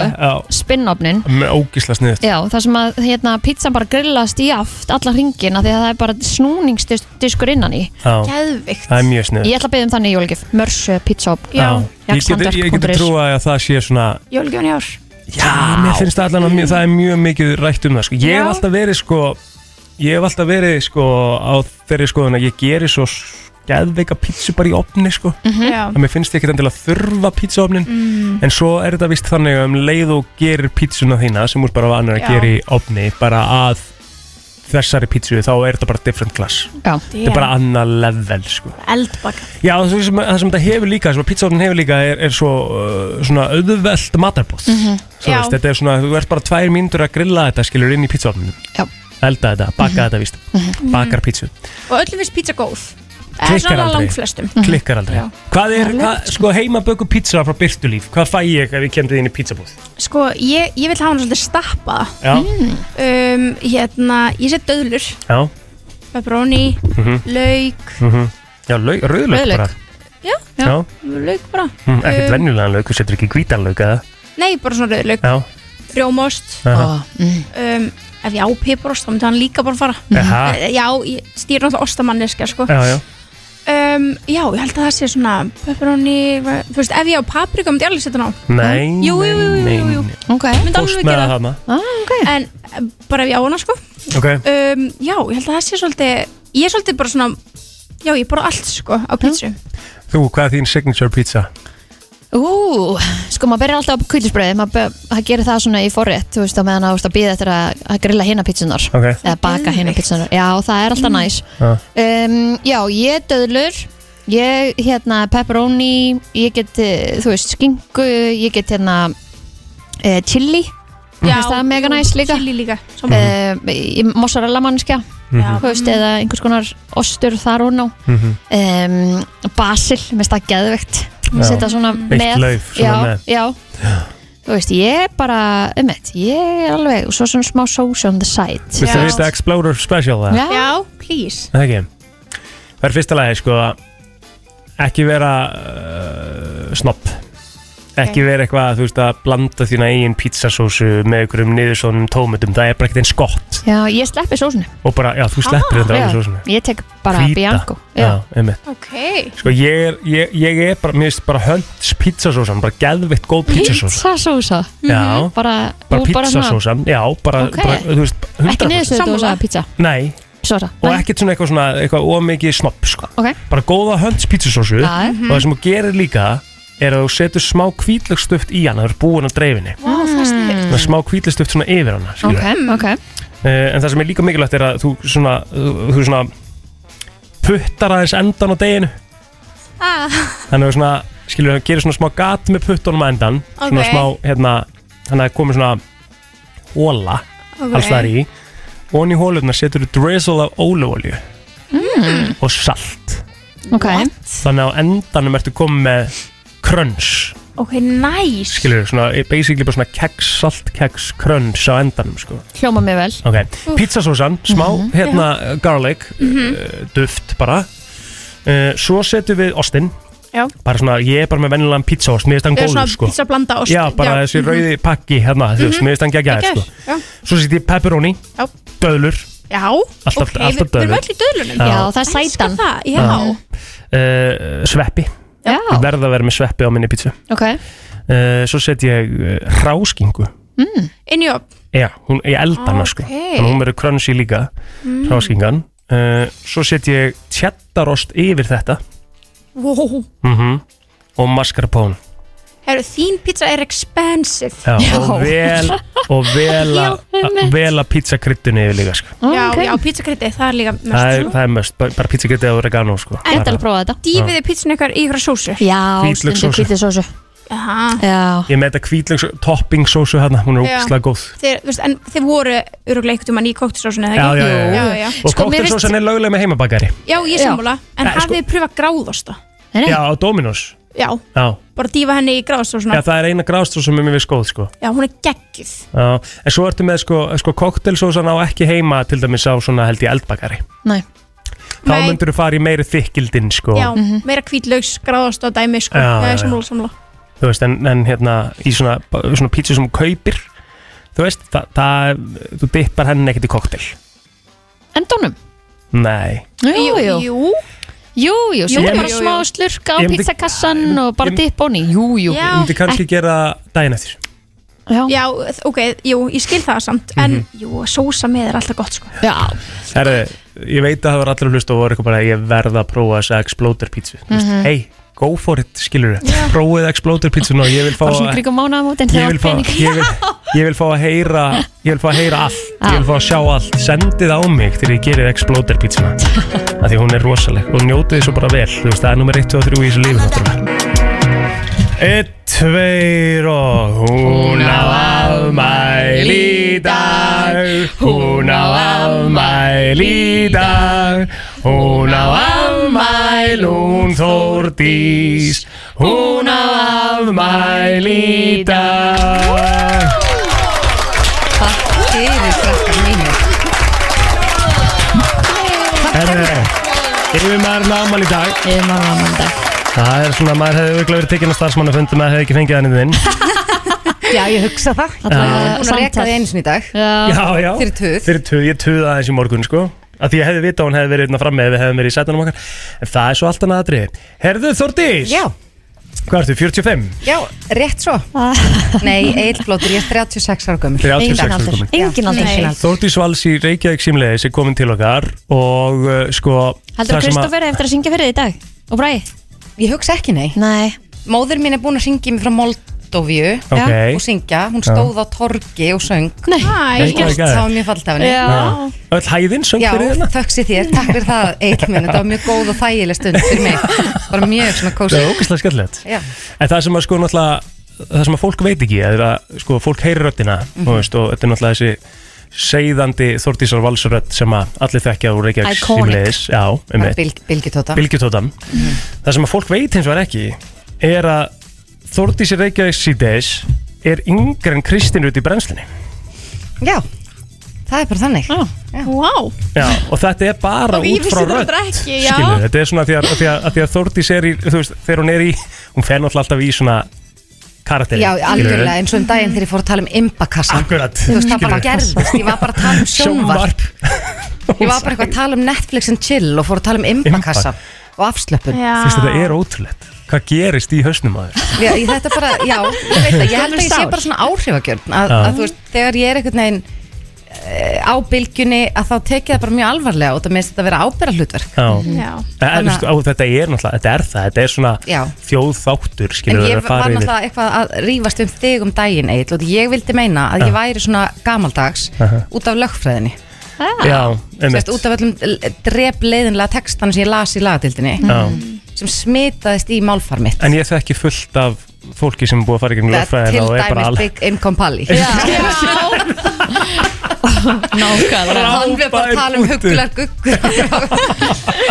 spinnopnin
Ógisla sniðut
Já, það sem að hérna, pizza bara grillast í aft alla hringina því að það er bara snúningsdiskur innan í Geðvikt
Það er mjög sniðut
Ég ætla að beða um þannig jólgjöf, mörsu, pizzaopn
Ég geti, ég geti trúa að það sé svona
Jólgjöfni ár Ah,
Já, mér finnst það allan að mjög, það er mjög mikið rætt um það sko. Ég hef
Já.
alltaf verið sko Ég hef alltaf verið sko á þeirri skoðun að ég geri svo geðveika pizzu bara í opni sko
Mhm. Já.
að mér finnst ég ekkert endilega þurfa pizzaofnin
Mm.
en svo er þetta vist þannig að um leið og gerir pizzuna þína sem úr bara vanur að
Já.
gera í opni bara að þessari pizzu þá er þetta bara different class
Já.
þetta er bara annað level sko
Eldbaka
Já, það sem, það sem þetta hefur líka, það sem pizzaofnin hefur líka er, er svo uh, svona auðvelt matarbóð
Mhm.
Svo
Já.
veist, Þetta er svona, þú ert bara tvær mínútur að grilla þetta skilur inn í pizzaofnin
Já.
Elda þetta, baka þetta víst
Mhm.
Bakar pizzu
Og öllum finnst pizza góð Eða
Klikkar
svona
aldrei. Mhm.
langflestum
Mhm.
Klikkar aldrei
Já.
Hvað er, hvað, sko heimaböku pizza frá Byrtulíf Hvað fæ ég ef ég kemdi þín í pizzabúð?
Sko, ég, ég vil hafa hann svolítið stappa
Já,
um, Hérna, ég set döðlur
já
Pepperoni,
mhm,
lauk
mhm. Já, laug, rauðlaug
Rauðlauk.
bara
Já,
Já.
lauk bara
Mm, Ekkert
Um,
venjulegan laug, þú setur ekki hvítan laug eða
Nei, bara svona rauðlaug
Já,
Rjómost
Aha.
um, Ef ég á piparost, þá myndi hann líka bara fara
Aha.
Eh, Já, ég stýr náttúrulega ostamanniska sko.
já, já
Um, já, ég held að það sé svona pepperoni, va- þú veist, ef ég á paprika myndi ég alveg setja hann á
Nei,
Jú, jú, jú,
nei,
jú, jú.
nei.
Okay.
Myndi
Fórst
alveg
með
gera
það hana
ah, okay.
En eh, bara ef ég á hana sko
Ok,
um, Já, ég held að það sé svolítið Ég er svolítið bara svona Já, ég borða allt sko á pizzu
þú, hvað er þín signature pizza?
Ú, sko maður byrjar alltaf á kvílisbröði maður be- það gerir það svona í forrétt þú veist á meðan að, þú veist, að býða eftir að, að grilla hina pítsunar
Ok.
eða baka hina pítsunar já, það er alltaf næs
Ah.
Já.
um, já, ég döðlur ég, hérna, pepperoni ég get, eh, þú veist, skingu ég get, hérna e, chili,
Já,
veist það er mega
jú,
næs líka
chili líka
e, mozzarella mannskja
Já.
þú veist, eða einhvers konar ostur þar og ná
Mhm.
um, Basil, mér finnst það geðveikt
Já.
setja svona
Beitt
með
lauf, svona
já,
með.
Já. þú veist, ég er bara um þetta, ég er alveg og svo svona smá sós on the side
Viltu að vita Explorer Special? eða?
Já.
please
Það ekki Það er fyrsta lagi sko ekki vera uh, snopp ekki
Ok.
vera eitthvað þú veist að blanda þína eigin pizzasósu með einhverjum niðursónum tómutum það er bara ekkert eins gott
já, ég sleppi sósinu
og bara, já, þú sleppir þetta
Ah, Já,
alveg sósunu
ég tek bara Bianco
Já, einmitt
Ok
Sko ég er, ég, ég er bara, mér finnst bara hönds pizzasósan, bara geðveitt góð pizzasósa
Pizzasósa
Já.
Mhm. bara,
Bara
þú svona-
pizzasósan, já, bara,
Ok.
bara þú veist,
ekki
100%
niðurstöðu dósa pizza
Nei,
Sora.
og ekkert svona eitthvað svona, eitthvað ómikið snopp sko.
Ok.
bara góða hönds pítsasósu
Já.
og það sem þú gerir líka er að þú setur smá kvítlökstöft í hana það er búin á dreifinni
Mm.
Vá, það er sniðugt.
það er smá kvítlökstöft svona yfir hana
Hmm. ok,
okay.
ok
en það sem er líka mikilvægt er að þú svona, þú, þú svona puttar aðeins endan á deginu
ah,
þannig að þú svona, skilur, þú gerir svona smá gat með puttunum á endan svona
Ok.
smá, hérna þannig að það er komið svona óla
Ok.
alls þar í og hann í hólurnar setur drizzle af óleolju
mm.
og salt
Ok,
þannig að á endanum ertu komið með crunch
ok, næs
skilur, svona, eh, basically bara svona keks, saltkeks, crunch á endanum sko.
Hljóma mig vel
ok,
Úff.
pizzasósan, smá
Mhm.
hérna garlic,
Mhm.
uh, duft bara uh, svo setjum við ostin
Já.
bara svona, ég er bara með vennilegan pizzaost mér finnst hann
Eða svona
góður sko
pizza blanda ost
já, bara þessi rauði pakki hérna, þú veist,
Mhm.
mér finnst hann geggjaður sko
Já,
svo setjum ég pepperoni,
Já.
döðlur
já.
Alltaf-
ok,
alltaf
við, við erum
döðlur.
öll í döðlunum
Já. Já,
það er sætan
það, já,
uh, sveppi
Já.
Ég verð að vera með sveppi á minni pizza
ok
uh, svo setjum ég uh, ráskingu
mm. inn í upp
Já, hún, ég elda hana sko
Ok.
Þannig að hún verður crunchy líka
Mm.
Ráskingan uh, Svo set ég cheddarost yfir þetta
wow.
mm Og mascarpone
Heru, þín pizza er expensive
Já, Og vel Og vel
Já,
að-
einmitt.
vel að pizzakryttunni yfir líka sko
Já, já, pizzakrytti, það er líka mest
Það er, það er möst, bara, bara pizzakrytti á regano sko
En
Bara-
Dýfið þið pizzun ykkar í ykkur sósu
Já,
Hvítlauksósu. stundum
hvítlöksósu Já
Ég með þetta kvítlöks topping sósu hérna, hún er
Já.
ógislega góð
Þeir, þú veist, en þið voru öruglega einhvern tímann í kóktelsósunni eða
Já,
ekki?
já, já,
já,
já.
já.
Og sko, kóktelsósan er lögleg með heimabakari
Já, ég
Já.
sammála, en
Eh, sko-
hafið þið pröfað gráðosta?
Já, á Dominos
Já,
Já,
bara dýfa henni í
Já
gráðostósuna
það er eina grástróð sem er mér við skóð sko
Já, hún er geggjuð
Já, en svo ertu með sko, sko koktelsósan á ekki heima til dæmis á svona held ég eldbakari
Nei.
Þá
Nei.
myndur þú fara í meiri þykkildin sko
Já,
Mhm.
meira kvítlaugs, gráðosta, dæmi, sko
Já, já,
Já,
já.
já, sammála, sammála
Þú veist, en, en hérna í svona, svona pítsu sem þú kaupir Þú veist, það, það þú dippar henni ekkert í koktel
Endunum
Nei
Jú, jú Jú, jú, jú,
Jú,
setja
jú,
bara
jú,
smá slurka á
Ég myndi-
pizzakassan og bara
Ég-
dipp onni Jú, jú
Ég myndi kannski gera daginn eftir
Já.
já, ok, jú, ég skil það samt En,
Mhm.
jú, sósa með er alltaf gott, sko
Já,
Herði, ég veit að það var allir hlust og voru eitthvað bara ég verða að prófa þessa Exploder pítsu mm
Mhm.
Hei, go for it, skilur þú Prófið Exploder pítsuna og ég vil fá
bara svona
að-
kringum mánaðamótin
ég vil, fá, ég, vil, ég vil fá að heyra ég vil fá að heyra allt, ég vil fá að sjá allt sendið á mig þegar ég gerir Exploder pizzuna af því hún er rosaleg og njótið þið svo bara vel, þú veist það er nummer 1, 2 og 3 í þessu lífi náttúrulega 1, 2 og hún á afmæli í dag hún á afmæli í dag hún á afmæl hún Þórdís hún á afmæli í dag
Fyrir krakkar mínu
Herre, yfir maður námal í dag
Yfir maður námal í dag
Það er svona, maður hefði auðvitað verið tekinn á starfsmannafundi maður hefði ekki fengið hann í þinn
Já, ég hugsa það
Alla vega
Hún er
samtal.
rekaði einu sinni í dag
Já, já
Fyrir töð
Fyrir töð, ég töði aðeins í morgun, sko Af því ég hefði vitað að hún hefði verið hérna frammi ef við hefðum verið í sætunum okkar En það er svo allt annað aðrið Herðu Þórdís
Já.
Hvað ertu, 45?
Já, rétt svo
Ah.
Nei, eilblótur, ég er 36 ára gömur
36 ára gömul.
Engin aldur Engin aldur.
Þórdís Vals í Reykjavík símleiðis er komin til okkar Og uh, sko
Heldur
það sem að-
Kristoffer eftir að syngja fyrir þig í dag? Og bræði?
Ég hugsa ekki nei
Nei
Móður mín er búin að syngja mig frá Moldóviu
Ok.
og syngja, hún
Já.
stóð á torgi og söng
Nei,
Nei, hvað er gæðið?
það var mjög fallt af henni
Já. Öll hæðin söng
Já,
fyrir hérna
þökk sér þér, takk fyrir það Egil minn, þetta var mjög góð og þægileg stund fyrir mig bara mjög svona kósi
Það er ógeðslega skemmtilegt
Já.
En það sem að sko náttúrulega Það sem að fólk veit ekki er að sko, fólk heyri röddina
Mhm.
þú veist, og þetta er náttúrulega þessi seiðandi Þordísar Valsarödd sem að allir þekkja úr Reykjavík
Iconic.
símleiðis Já, um
bara bylg, bylgjutóta
Bilgjutótam
Mhm.
Það sem að fólk veit hins vegar ekki er að Þordísar Reykjavík síðdeis er yngri en Kristín út í brennslinni
Já, það er bara þannig
Já,
wow
Já, og þetta er bara
Og ég
út
vissi
frá
þetta
rödd
bara ekki, já.
skilurðu. þetta er svona því að, að, því að, að, því að Þórdís er í, þú veist, þegar hún er í hún fer náttúrulega alltaf í svona karakteri
Já, algjörlega, eins og um daginn þegar ég fór að tala um imbakassan
Akkurat
Þú veist, það bara gerðist, ég var bara að tala um sjónvarp Ég var bara eitthvað að tala um Netflix and chill og fór að tala um imbakassan og afslöpun
Þú veist, þetta er ótrúlegt Hvað gerist í hausnum að þér?
Já, ég- þetta bara, já, ég veit það, ég held að ég sé
Sár.
bara svona áhrifagjörn að,
Já.
að þú veist, þegar ég er einhvern veginn eh, á bylgjunni að þá tekið það bara mjög alvarlega og það meðist þetta að vera ábyrra hlutverk
Já, Eh,
Já.
Það er, þú veist, á, þetta er náttúrulega, þetta er það, þetta er svona
Já.
þjóðþáttur,
En
skilur
ég
við að
var
fara yfir.
náttúrulega eitthvað að rífast um þig um daginn eitt og ég vildi meina að ég
Já.
væri svona gamaldags
Ah. Aha.
út af lögfræðinni
Ah.
Já, einmitt.
Sest, út af öllum drep leiðinlega textana sem ég las í lagadildinni
Mm.
Já.
sem smitaðist í málfar mitt
En ég þekki fullt af fólki sem er búið að fara í gegnum
Til
lögfræðina og er bara
dæmis
alveg
Big Income Pally
Já.
Já.
Nákvæmlega.
Hann við bara að tala um
Frábær punktur.
hugular guggur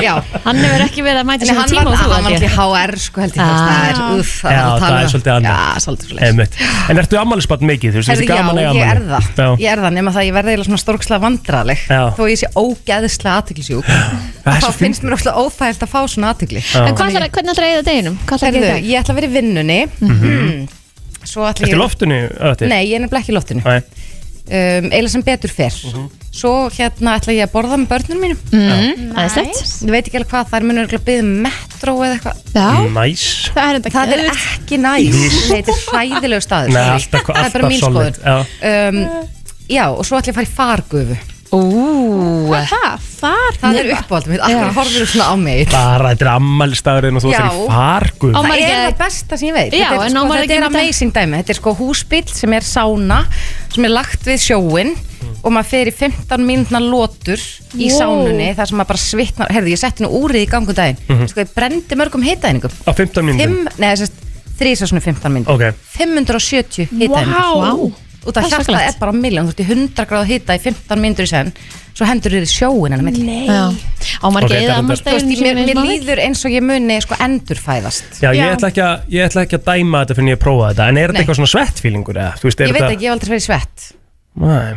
Já
Hann hefur ekki verið að mæta í
En
svona
hann
tíma
var
og þú,
hann var
held ég.
alltaf í HR sko held ég
Ah.
Það er uff
Já, það er svolítið annað
um. Já, svolítið svoleiðis.
Einmitt. En ertu ammælisbarn mikið, þú veist,
Herri,
þetta er gaman að
já,
eiga
ég er
afmæli.
það,
Já.
ég er það nema það að ég verði eiginlega svona storkslega vandraleg
Já.
þó ég sé ógeðslega aðtiklisjúk þá finnst mér ofslega óþægilt að fá svona aðtikli
Já. En hvað
hvernig ætlar að eigða deginum?
ætlarðu að gera í dag?
Ég ætla að vera í vinnunni
Mhm.
Svo ætla
Ertu
ég
í loftinu? Öðvitað?
Nei, ég er nefnilega ekki í loftinu
Nei.
um, eiginlega sem betur fer Svo hérna ætla ég að borða með börnunum mínum
Mm, Já. æðislegt.
Ég veit ekki alveg hvað, þær munur byggð metro eða eitthvað
Mm. Mhm. Næs
Það er, það er ekki næs Nei, Þetta er hræðilegu staður
Nei,
sorry.
alltaf,
Það er bara
alltaf
mín
solid
skoðun
Já.
um, Já, og svo ætla ég að fara í fargufu Ú, það, far Það er uppáhaldum, þetta akkur horfir þú svona á mig
Bara þetta er ammælstagurinn og þú ætlar í fargu
Það er það besta sem ég veit
Já,
Þetta er,
en á
sko,
maður
þetta
ekki
er
að mynda-
amazing dæmi Þetta er sko húsbíll sem er sána sem er lagt við sjóin og maður fer í 15 mínútna lotur í
Wow.
sánunni þar sem maður bara svitnar Herði, ég setti nú úrið í gangu daginn
Mhm.
Sko, ég brendi mörgum hitaðningum
Á 15 mínútum
Fimm, nei, þess að þrísa svona 15 mínútur
Ok
570 hitaðingar
Vá.
Út af
Það er
hjarta
svakalegt.
er bara miljón, þú ert í 100 gráð hita í 15 myndur í senn Svo hendur þér í sjóin hennar milli
Nei. Já. Á maður ekki Ok, eyða þetta er- afmælisdeginum
Þú
sínum
veist, Mér,
eins
mér
og maður
líður eins og ég muni sko endurfæðast
Já, ég ætla, ekki að, ég ætla ekki að dæma þetta fyrir ég prófa þetta En er þetta
Nei.
eitthvað svona svettfílingur eða? Þú Veist,
Ég veit ekki, ég hef aldrei farið í svett
Nei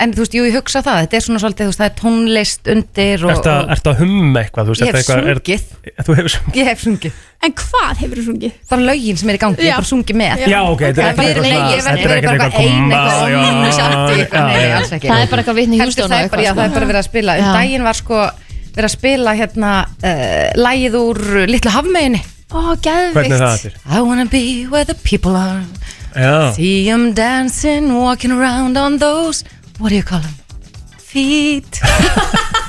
En þú veist, jú, ég hugsa það, þetta er svona svolítið, þú veist, það er tónlist undir og,
Ertu að, ertu að humma eitthvað? Þú veist,
Ég hef
ertu eitthvað- er- Þú hefur sungið?
og ég hef sungið. En hvað hefur þú sungið? Það er lögin sem er í gangi,
Já.
ég hef bara sungið með.
Já, ok, þetta er ekkert eitthvað svona- þetta er ekkert eitthvað
eina
komma, já,
eitthvað sjálfti,
já,
nei,
já.
alls ekki.
Það er bara eitthvað Whitney Houston
Heldur,
og
það er bara- Já,
eitthvað,
það
sko.
er bara verið að spila. Um
Já.
daginn var sko verið að spila hérna uh, lægið úr Litlu Hafmeginni. Ó, geðvikt.
Hvernig er það Ah. aftur?
I wanna be where the people are.
Já
See 'em dancing, walking around on those, what do you call 'em? Feet.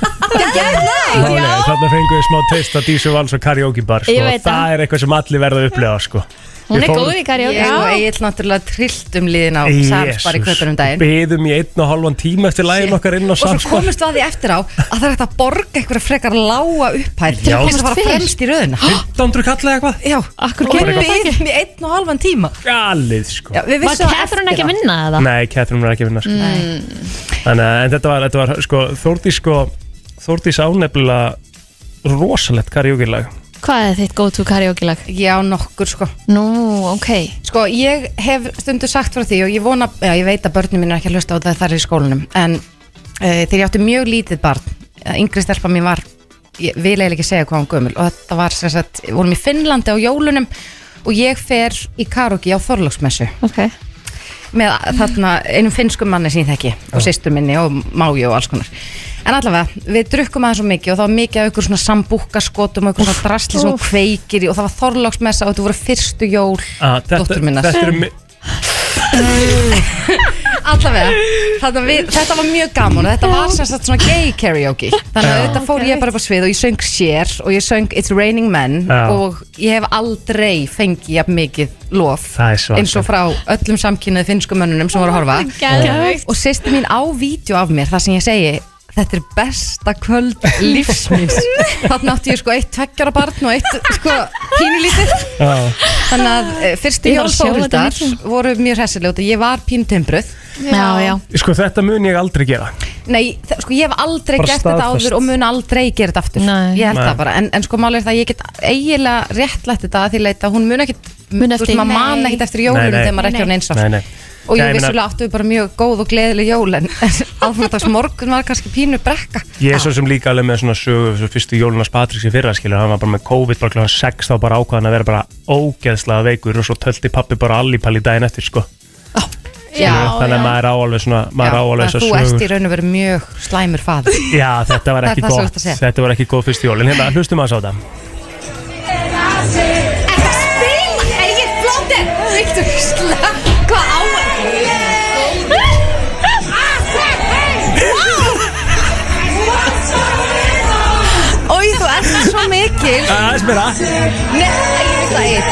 Ó, nei, Þarna fenguðu smá teist að Dísu Vals og karaoke bar sko.
Ég veit það.
Það er eitthvað sem allir verða að upplega sko. Ég fór-
karaoke Ég og Egil náttúrulega trillt um liðin á Sarpsbar í köpunum daginn
Beðum í einn og halvan tíma eftir lægin okkar inn á
Og svo
Sarpsbar
komist við að því eftir á að það er hægt að borga einhverja frekar lága upphæð til
Já.
að komast að fara
Fyrst.
fremst í röðina
1500 kalla eitthvað?
Já,
Akkur
og
gerum
við
við það
biðum í einn og halvan tíma
Galið sko
Já,
Var
við vissum
Catherine ekki að vinna eða?
Nei, Catherine var ekki að vinna sko.
Mm.
Þannig að en þetta var, þetta var sko, Þórdís sko, Þórdís ánefnilega rosalegt karaoke-lag
Hvað er þitt go-to karaoke lag?
Já, nokkur sko
Nú, ok
Sko, ég hef stundu sagt frá því og ég vona, já, ég veit að börnum mín er ekki að hlusta á það þar í skólanum en uh, þegar ég átti mjög lítið barn eh, yngri stelpa mín var ég vil eiginlega ekki segja hvað hún gömul og þetta var sem sagt, við vorum í Finnlandi á jólunum og ég fer í karaoke á Þorlóksmessu
okay.
með þarna einum finnskum manni sem ég þekki og sýstur minni og máju og alls konar en allavega, við drukkum aðeins svo mikið og það var mikið af ykkur svona sambúkaskotum og ykkur svona drasli sem hún
úff.
kveikir í og það var Þorlóksmessa og þetta voru fyrstu jól
Ah,
Dóttur minnar.
Þetta eru mi-
Allavega, þetta, við, þetta var mjög gaman og Þetta var sem sagt svona gay karaoke Þannig að
Já.
þetta fór ég bara upp á svið og ég söng sér og ég söng It's Raining Men
Já.
og ég hef aldrei fengið jafn mikið lof
Það er svakalegt.
eins og frá öllum samkynnaði finnsku mönnunum sem voru að horfa
geðveikt.
og sýsti mín á vídeo af mér þar sem ég segi Þetta er besta kvöld lífsmins Þannig átti ég sko eitt tveggjara barn og eitt sko pínulítið
Já.
Þannig að eh, fyrstu
Ég þarf
jól
að sjá þetta
Þórildar
líka.
voru mjög hressilega og ég var píntimbruð
Já, já.
Sko þetta mun ég aldrei gera
Nei, þa- sko ég hef aldrei
Bara
gert þetta
staðfest.
áður og mun aldrei gera þetta aftur Nei. Ég held
Nei.
það bara, en, en sko málið er það að ég get eiginlega réttlætt þetta að því leita að hún mun ekkit
Mun
þú veist,
eftir-
maður man
Nei.
ekkit eftir jólunum
Nei, nei.
þegar maður er ekki
Nei,
á
nei.
neins árs
Nei, nei
Og
Já,
ég
ég meina-
vissulega áttu við bara mjög góð og gleðileg jól en aðfandags morgun var kannski pínu brekka
Ég er svo sem líka alveg með svona sögu svo fyrstu jólunas Patricks í fyrra skilur hann var bara með COVID bara kl. 6 þá bara ákvaðan að vera bara ógeðslega veikur og svo tölti pappi bara allipalli daginn eftir sko
Já,
þannig
já.
að maður er áalveg svona maður
Já,
er áalveg
að
þessar
Þú ert í
sögur
raun og veru mjög slæmur faður
Já, þetta var
Það
ekki
er það sem þú
gott
ert að segja.
þetta var ekki góð fyrstu jólin hérna, hlustum að sá þetta
Ertu að spila? Er ég flóttir? Viktor, slökk Hvað á
Ói, þú ert svo mikil
Aðeins meira.
Nei, ég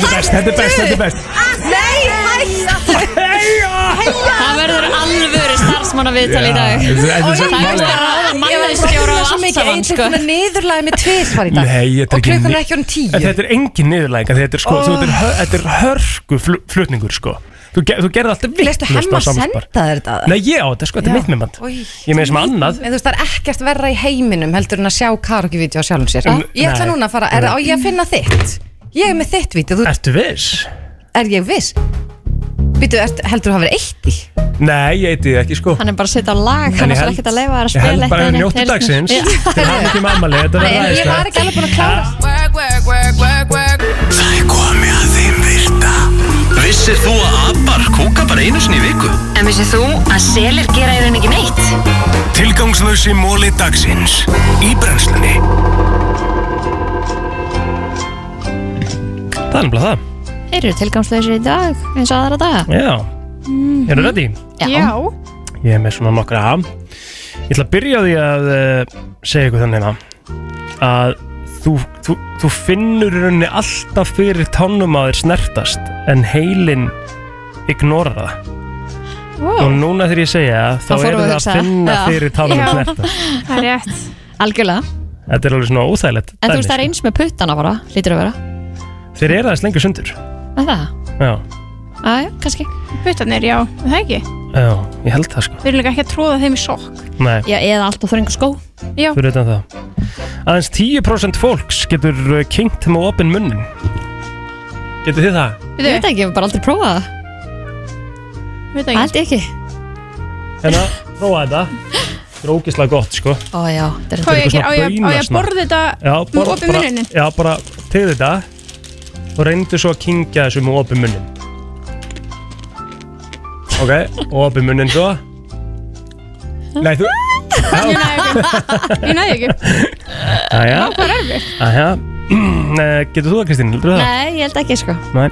Þetta er
það eitt
best, þetta er best, þetta er best
Nei, hætt
Heia
Það verður alvöru starfsmanna viðtal í dag
Já, þetta er
Það
svo
er
málið.
að ráða mann framleiðslujóra og allt saman
Ég
sko.
er niðurlæði með tvisvar í dag
Nei, þetta er
Og
ekki
klukkan er
ni-
ekki orðin tíu
En Þetta er engin niðurlæg Þetta er, sko,
Oh.
þú, þetta er, hö- þetta er hörku fl- flutningur sko. þú, ge- þú gerði alltaf vitlaust á
Leistu hemma að
Samspar.
senda þér þetta?
Nei, ég á þetta sko, þetta er
Já.
mitt minnband
Oj.
Ég með sem annað
En þú veist, það er ekkert verra í heiminum heldur en að sjá karaoke-vídeó á sjálfum sér
Mm,
Ég ætla
nei.
núna að fara, er, á ég að finna þitt? Ég er með þitt vídeó, þú,
Ertu viss?
er ég viss? Vídeó, heldur þú hafa verið eitt í?
Nei, ég heiti því ekki sko
Hann er bara að setja á lag,
En
hann
ég
ætlar
held-
ekki að leifa þær að
Ég
spila
held bara
eitthvað
að
inn í
njóttu
eyrnum.
dagsins
Já.
Til hann ekki mammali, þetta verður
sko. Nei, ég var ekki alveg búin að klára
Work, work, work, work, work
Það er komið að þeim virta Vissir þú að abar kúka bara einu sinni í viku?
En vissið þú að selir gera í rauninni ekki neitt?
Tilgangslösi móli dagsins Í brennslunni
Það er nefnilega það
Þeir eru tilgangslösir í dag, eins og aðra daga Mm.
Já, eru ready?
Já.
Ég er með svona nokkra af Ég ætla að byrja á því að uh, segja ykkur þannig að að þú, þú, þú finnur í rauninni alltaf fyrir tánum að þér snertast en heilin ignora það
Wow.
og núna þegar ég segja þá
fórum
eru
við
það
hugsa.
að finna
Já.
fyrir tánum að
Já.
snertast
Það er rétt Algjörlega,
Þetta er alveg svona óþægilegt
en þú
dæmi,
veist það er eins með puttana bara, lítur að vera
sko. Þeir eru aðeins lengur sundur
Er Það,
Já,
aðja, kannski
Puttarnir, já, er það ekki
já, ég held það sko
Við erum líka ekki að tróða þeim í sokk
Nei,
Já, eða allt og þröngu skó
Já,
fyrir utan það Aðeins 10% fólks getur uh, kynkt með opinn munnin Getur þið það?
Ég veit ekki, ég hef bara aldrei prófað það Allt ekki
Hérna, prófa þetta Þetta er ógislega gott, sko
Ó já, þetta er
Hvað á ég að gera? Á ég- á ég að
baunasnakk.
borða þetta
Já,
með
borð-
opið
bara-
munnin?
Já, bara til þetta og reyndu svo að kingja þessu með opið munnin Ok, opið munnin svo Nei, þú
Ég næði ekki Ég næði ekki
Æja,
Það var erfitt
æja Eh, Getur þú það, Kristín? Heldurðu það?
Nei, ég held ekki sko
Nei.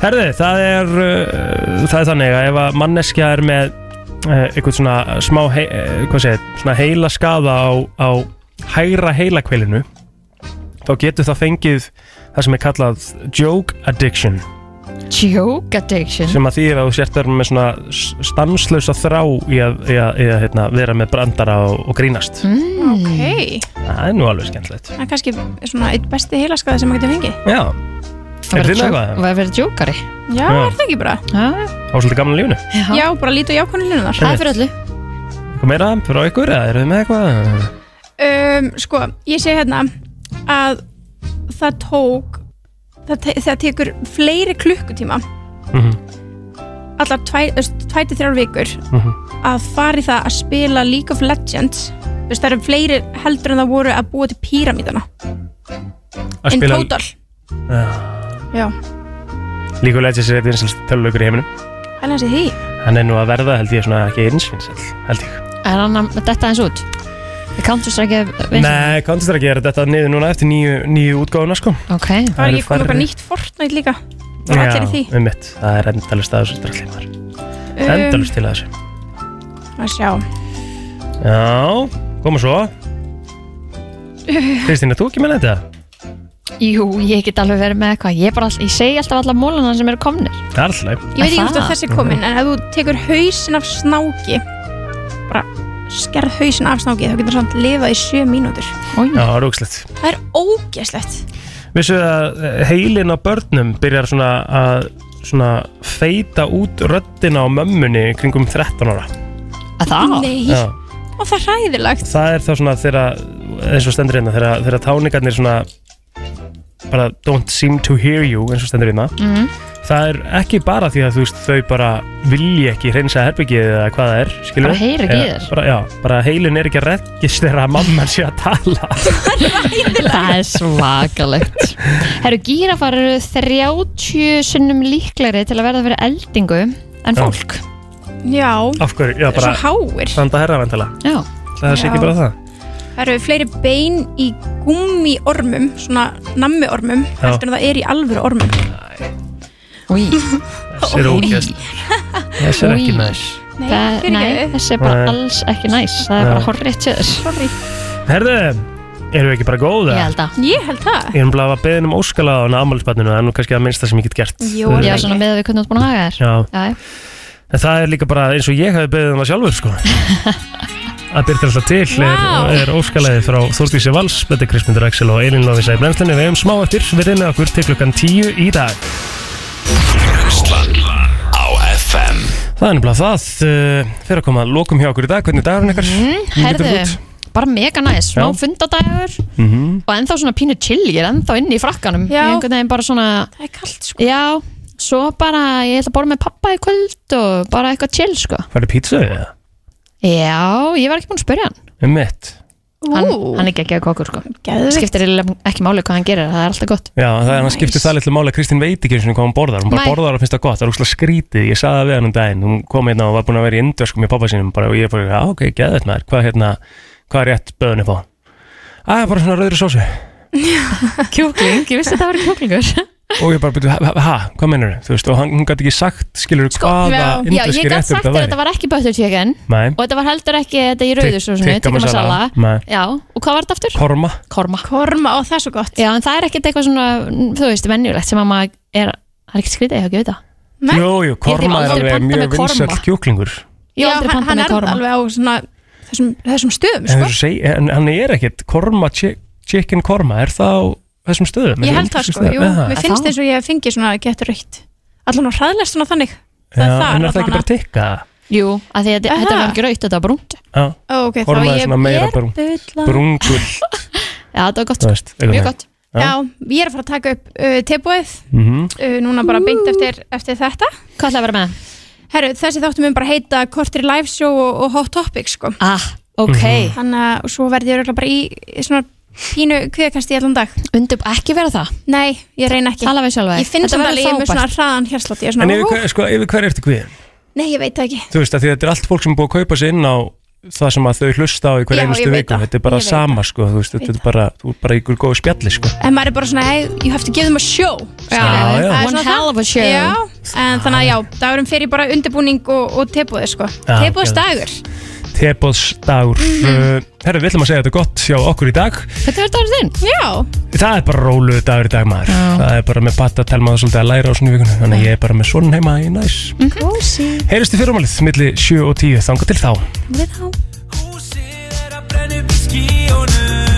Herðu, það er, uh, það er þannig að ef að manneskja er með uh, eitthvað svona smá, hei, uh, hvað segir, svona heila skaða á, á hægra heilakveilinu, þá getur það fengið það sem er kallað joke addiction,
Joke addiction
sem að því er að þú sért verður með svona s- stanslausa þrá í að, í að, í að hérna, vera með brandara og, og grínast.
mm. Ok,
Það er nú alveg skemmtilegt.
það er kannski svona eitt besti heilaskaði sem maður getur fengið
Já, er þið
Og
nægvað?
að vera jokari
Já,
Já.
er það ekki bara?
Já,
Á svolítið gamla lífinu?
Já bara lítu jákvæðinu hlunar
Það er fyrir
öllu
Eitthvað meira fyrir á ykkur eða eru þið með eitthvað?
um, Sko, ég segi hérna að það tók það, te það tekur fleiri klukkutíma
Mhm.
allar tvær tvær til þrjár vikur
Mhm.
að fara í það að spila League of Legends Þú veist, það eru fleiri heldur en það voru að búa til píramídana
Að
in
spila-
total
Já.
Já,
League of Legends er eitt vinsælst töluleikur í heiminum
hæðan sé því
Hann er nú að verða held ég svona ekki eins vinsæl held ég
Er hann að detta eins út? Er Counter-Strike vinsæll?
Nei, Counter-Strike er þetta niður núna eftir nýju, nýju útgáðuna sko
Ok
Það
eru
er ekki komið
færri-
eitthvað nýtt Fortnite líka Það er allir í því
Já, um mitt, það er endalust að þessu strallir maður
Um,
Endalust til að þessu
Að sjá
Já, koma svo Kristín, er þú ekki með þetta?
Jú, ég get alveg verið með eitthvað Ég, bara all- ég segi alltaf alla mólana sem eru komnir
Það er alltaf
Ég veit ekki hvort að þessi er komin En ef þú tekur hausin af snáki Bara skerð hausin af snáki Þá getur samt lifað í sjö mínútur
Já, rúkslegt
Það er ógeslegt
Vissu að heilin á börnum byrjar svona að svona feita út röddina á mömmunni kringum 13 ára
Að það?
Nei,
Já.
og það er hræðilegt
það er þá svona þegar eins og stendur hérna, þegar, þegar táningarnir svona bara don't seem to hear you eins og stendur hérna
Mm.
Mhm.
það er ekki bara því að þú veist þau bara vilja ekki hreinsa herbyggið eða hvað það er, skilur
Bara heyra ekki í þér.
bara, já, bara heilin er ekki að reggist þegar að mamman sé að tala
Það er svakalegt Herru, gírafar eru 30 sinnum líklegri til að verða fyrir eldingu en
Já.
fólk
Já,
af hverju, já bara
svo háir
standa herra vantala
Já.
það sé ekki
Já.
bara það
Það eru fleiri bein í gummiormum Svona nammiormum
Já.
Heldur en það er í alvöru ormum
Új
þessi er ógæst þessi er ekki
Új.
næs
Nei,
Það,
fyrir
nei,
ekki
þessi er bara
Nei.
alls ekki næs Það er
Nei.
bara horrið til þess
Sorry
herðu, eru við ekki bara góða?
Ég held að
Ég held það
Ég er bara að beðin um óskala á námálspanninu, það er nú kannski að minnsta sem ég get gert. Eh,
Jú, já, svona með að við kunnum búin að haga þér
Já.
Já,
En það er líka bara eins og ég hafi beðið um það sjálfur sko að byrja alltaf til er,
Vá.
er óskalæði frá Þórdísi Vals Þetta er Kristmyndur Axel og Elin Lófísa í brennslunni Við hefum smá eftir, við reynum okkur til klukkan 10 í dag
Brennslan á FM
Það er nefnilega það uh, fyrir að koma að lokum hjá okkur í dag Hvernig er dagurinn ykkar?
Mm, herðu, bara mega næs, smá
Já.
fundadagur
mm -hmm.
og ennþá svona pínu chill, ég er ennþá inni í frakkanum Ég
Já.
er einhvern veginn bara svona það
er kallt
sko já, svo bara ég ætla að borða með pappa í kvöld og bara eitthvað chill sko
Færðu pítsu eða?
já, ég var ekki búin að spyrja hann
Um mitt
hann, hann er geggjað kokkur sko Geðvikt. skiptir eiginlega ekki máli hvað hann gerir, það er alltaf gott
Já, það er hann skiptir það litlu máli að Kristín veit ekki einu sinni hvað hún borðar, hún bara
Nei.
borðar og finnst það gott, það er úrslega skrítið, ég saði það við hann um daginn hún kom hérna og var búin að vera í indöskum með pappa sínum bara, og ég bara, já ok, geðvægt maður, hvað hérna hvað er rétt böðunni på? Æ, bara svona rauðri sósu
kjúkling, ég vissi að það var kjúklingur
og ég bara byrju, ha, ha, hvað mennur þú veist, og hann, hún gæti ekki sagt, skilur hvaða
Sko, já, ég
indöski
gætt
réttur
sagt þér að þetta var ekki butter chicken
Nei.
og þetta var heldur ekki þetta í rauðu
Tik-
svo svona,
tikka
tikka masala
masala. Nei.
já, og hvað var þetta aftur?
Korma.
korma korma, og það er svo gott já, en það er ekkert eitthvað svona, þú veist, venjulegt sem að maður er, það er ekkert skrítið, ég hef ekki veit það
Jú, jú,
Ég hef
korma er
aldrei
alveg
pantað með
mjög
korma. Sko?
vinsall kjúklingur
Já,
aldrei
hann,
pantað
hann
með
er
korma.
alveg á svona, þessum, þessum stöðum
en,
sko.
þessu seg, en hann er ekkit korma, chi- chicken korma er það á þessum stöðum?
Ég
Þessum
held það
indversku
sko,
stöðum?
jú,
Eða?
mér finnst eins og ég fengi svona getur reykt Allan á hraðlest svona þannig
Já,
það
en er það ekki
allavega.
bara tikka?
Jú, að því að þetta-
Aha.
þetta var ekki raukt, þetta var brúnt
Já,
Ó, ok, þá
Korma er
ég-
svona meira
ég er bulla.
brungul
Já, þetta var gott,
Þú veist, einhvern
mjög
veginn.
gott
Já.
Já, ég er að fara að taka upp uh, tilbúið
Mhm.
uh, Núna bara beint eftir, eftir þetta
Hvað ætlaði að vera með?
Herru, þessi þáttum við bara heita Kortri Live Show og, og Hot Topics sko
Ah, ok
Mhm. Þannig að og svo verði ég örugglega bara í, í svona pínu kviðkast í allan dag
Undir, ekki vera það?
Nei, ég reyna ekki
Tala við sjálfa þig.
Ég finn
Þetta
samt
verður
alveg, ég er með svona
frábært.
hraðan hérslátt Ég er
En
svona,
yfir
"Ó,
hver, sko, yfir hver ertu kviðin?
nei, ég veit það ekki
Þú veist að því að þetta er allt fólk sem er búið að kaupa sér inn á það sem að þau hlusta á í hver
Já, ég
einustu
veit
viku
það.
Þetta er bara
Ég veit
sama sko, þú veist,
Veit
þetta er bara þú er bara ykkur góð spjalli sko
En maður er bara svona, hey, you have to give them a show
Já,
Skilurðu?
já.
Það er
One
svona
hell
það.
of a show.
Já, en þannig að já, dagurum fyrir bara undirbúning og, og tebúðið sko
Já,
Tebúðsdagur
Tebóðsdagur
Mhm.
mm Herra, við ætlum að segja þetta gott hjá okkur í dag
Þetta verður dagur þinn?
Já
Það er bara róluðu dagur í dag maður
Já.
Það er bara með patta telma það svolítið að læra á svona í vikunni Þannig að ég er bara með svona heima í næs
Mhm. Kósi
Heyristu fyrirmálið, milli 7 og 10, þanga til þá
Við þá
Húsið er að brenna upp í skíunum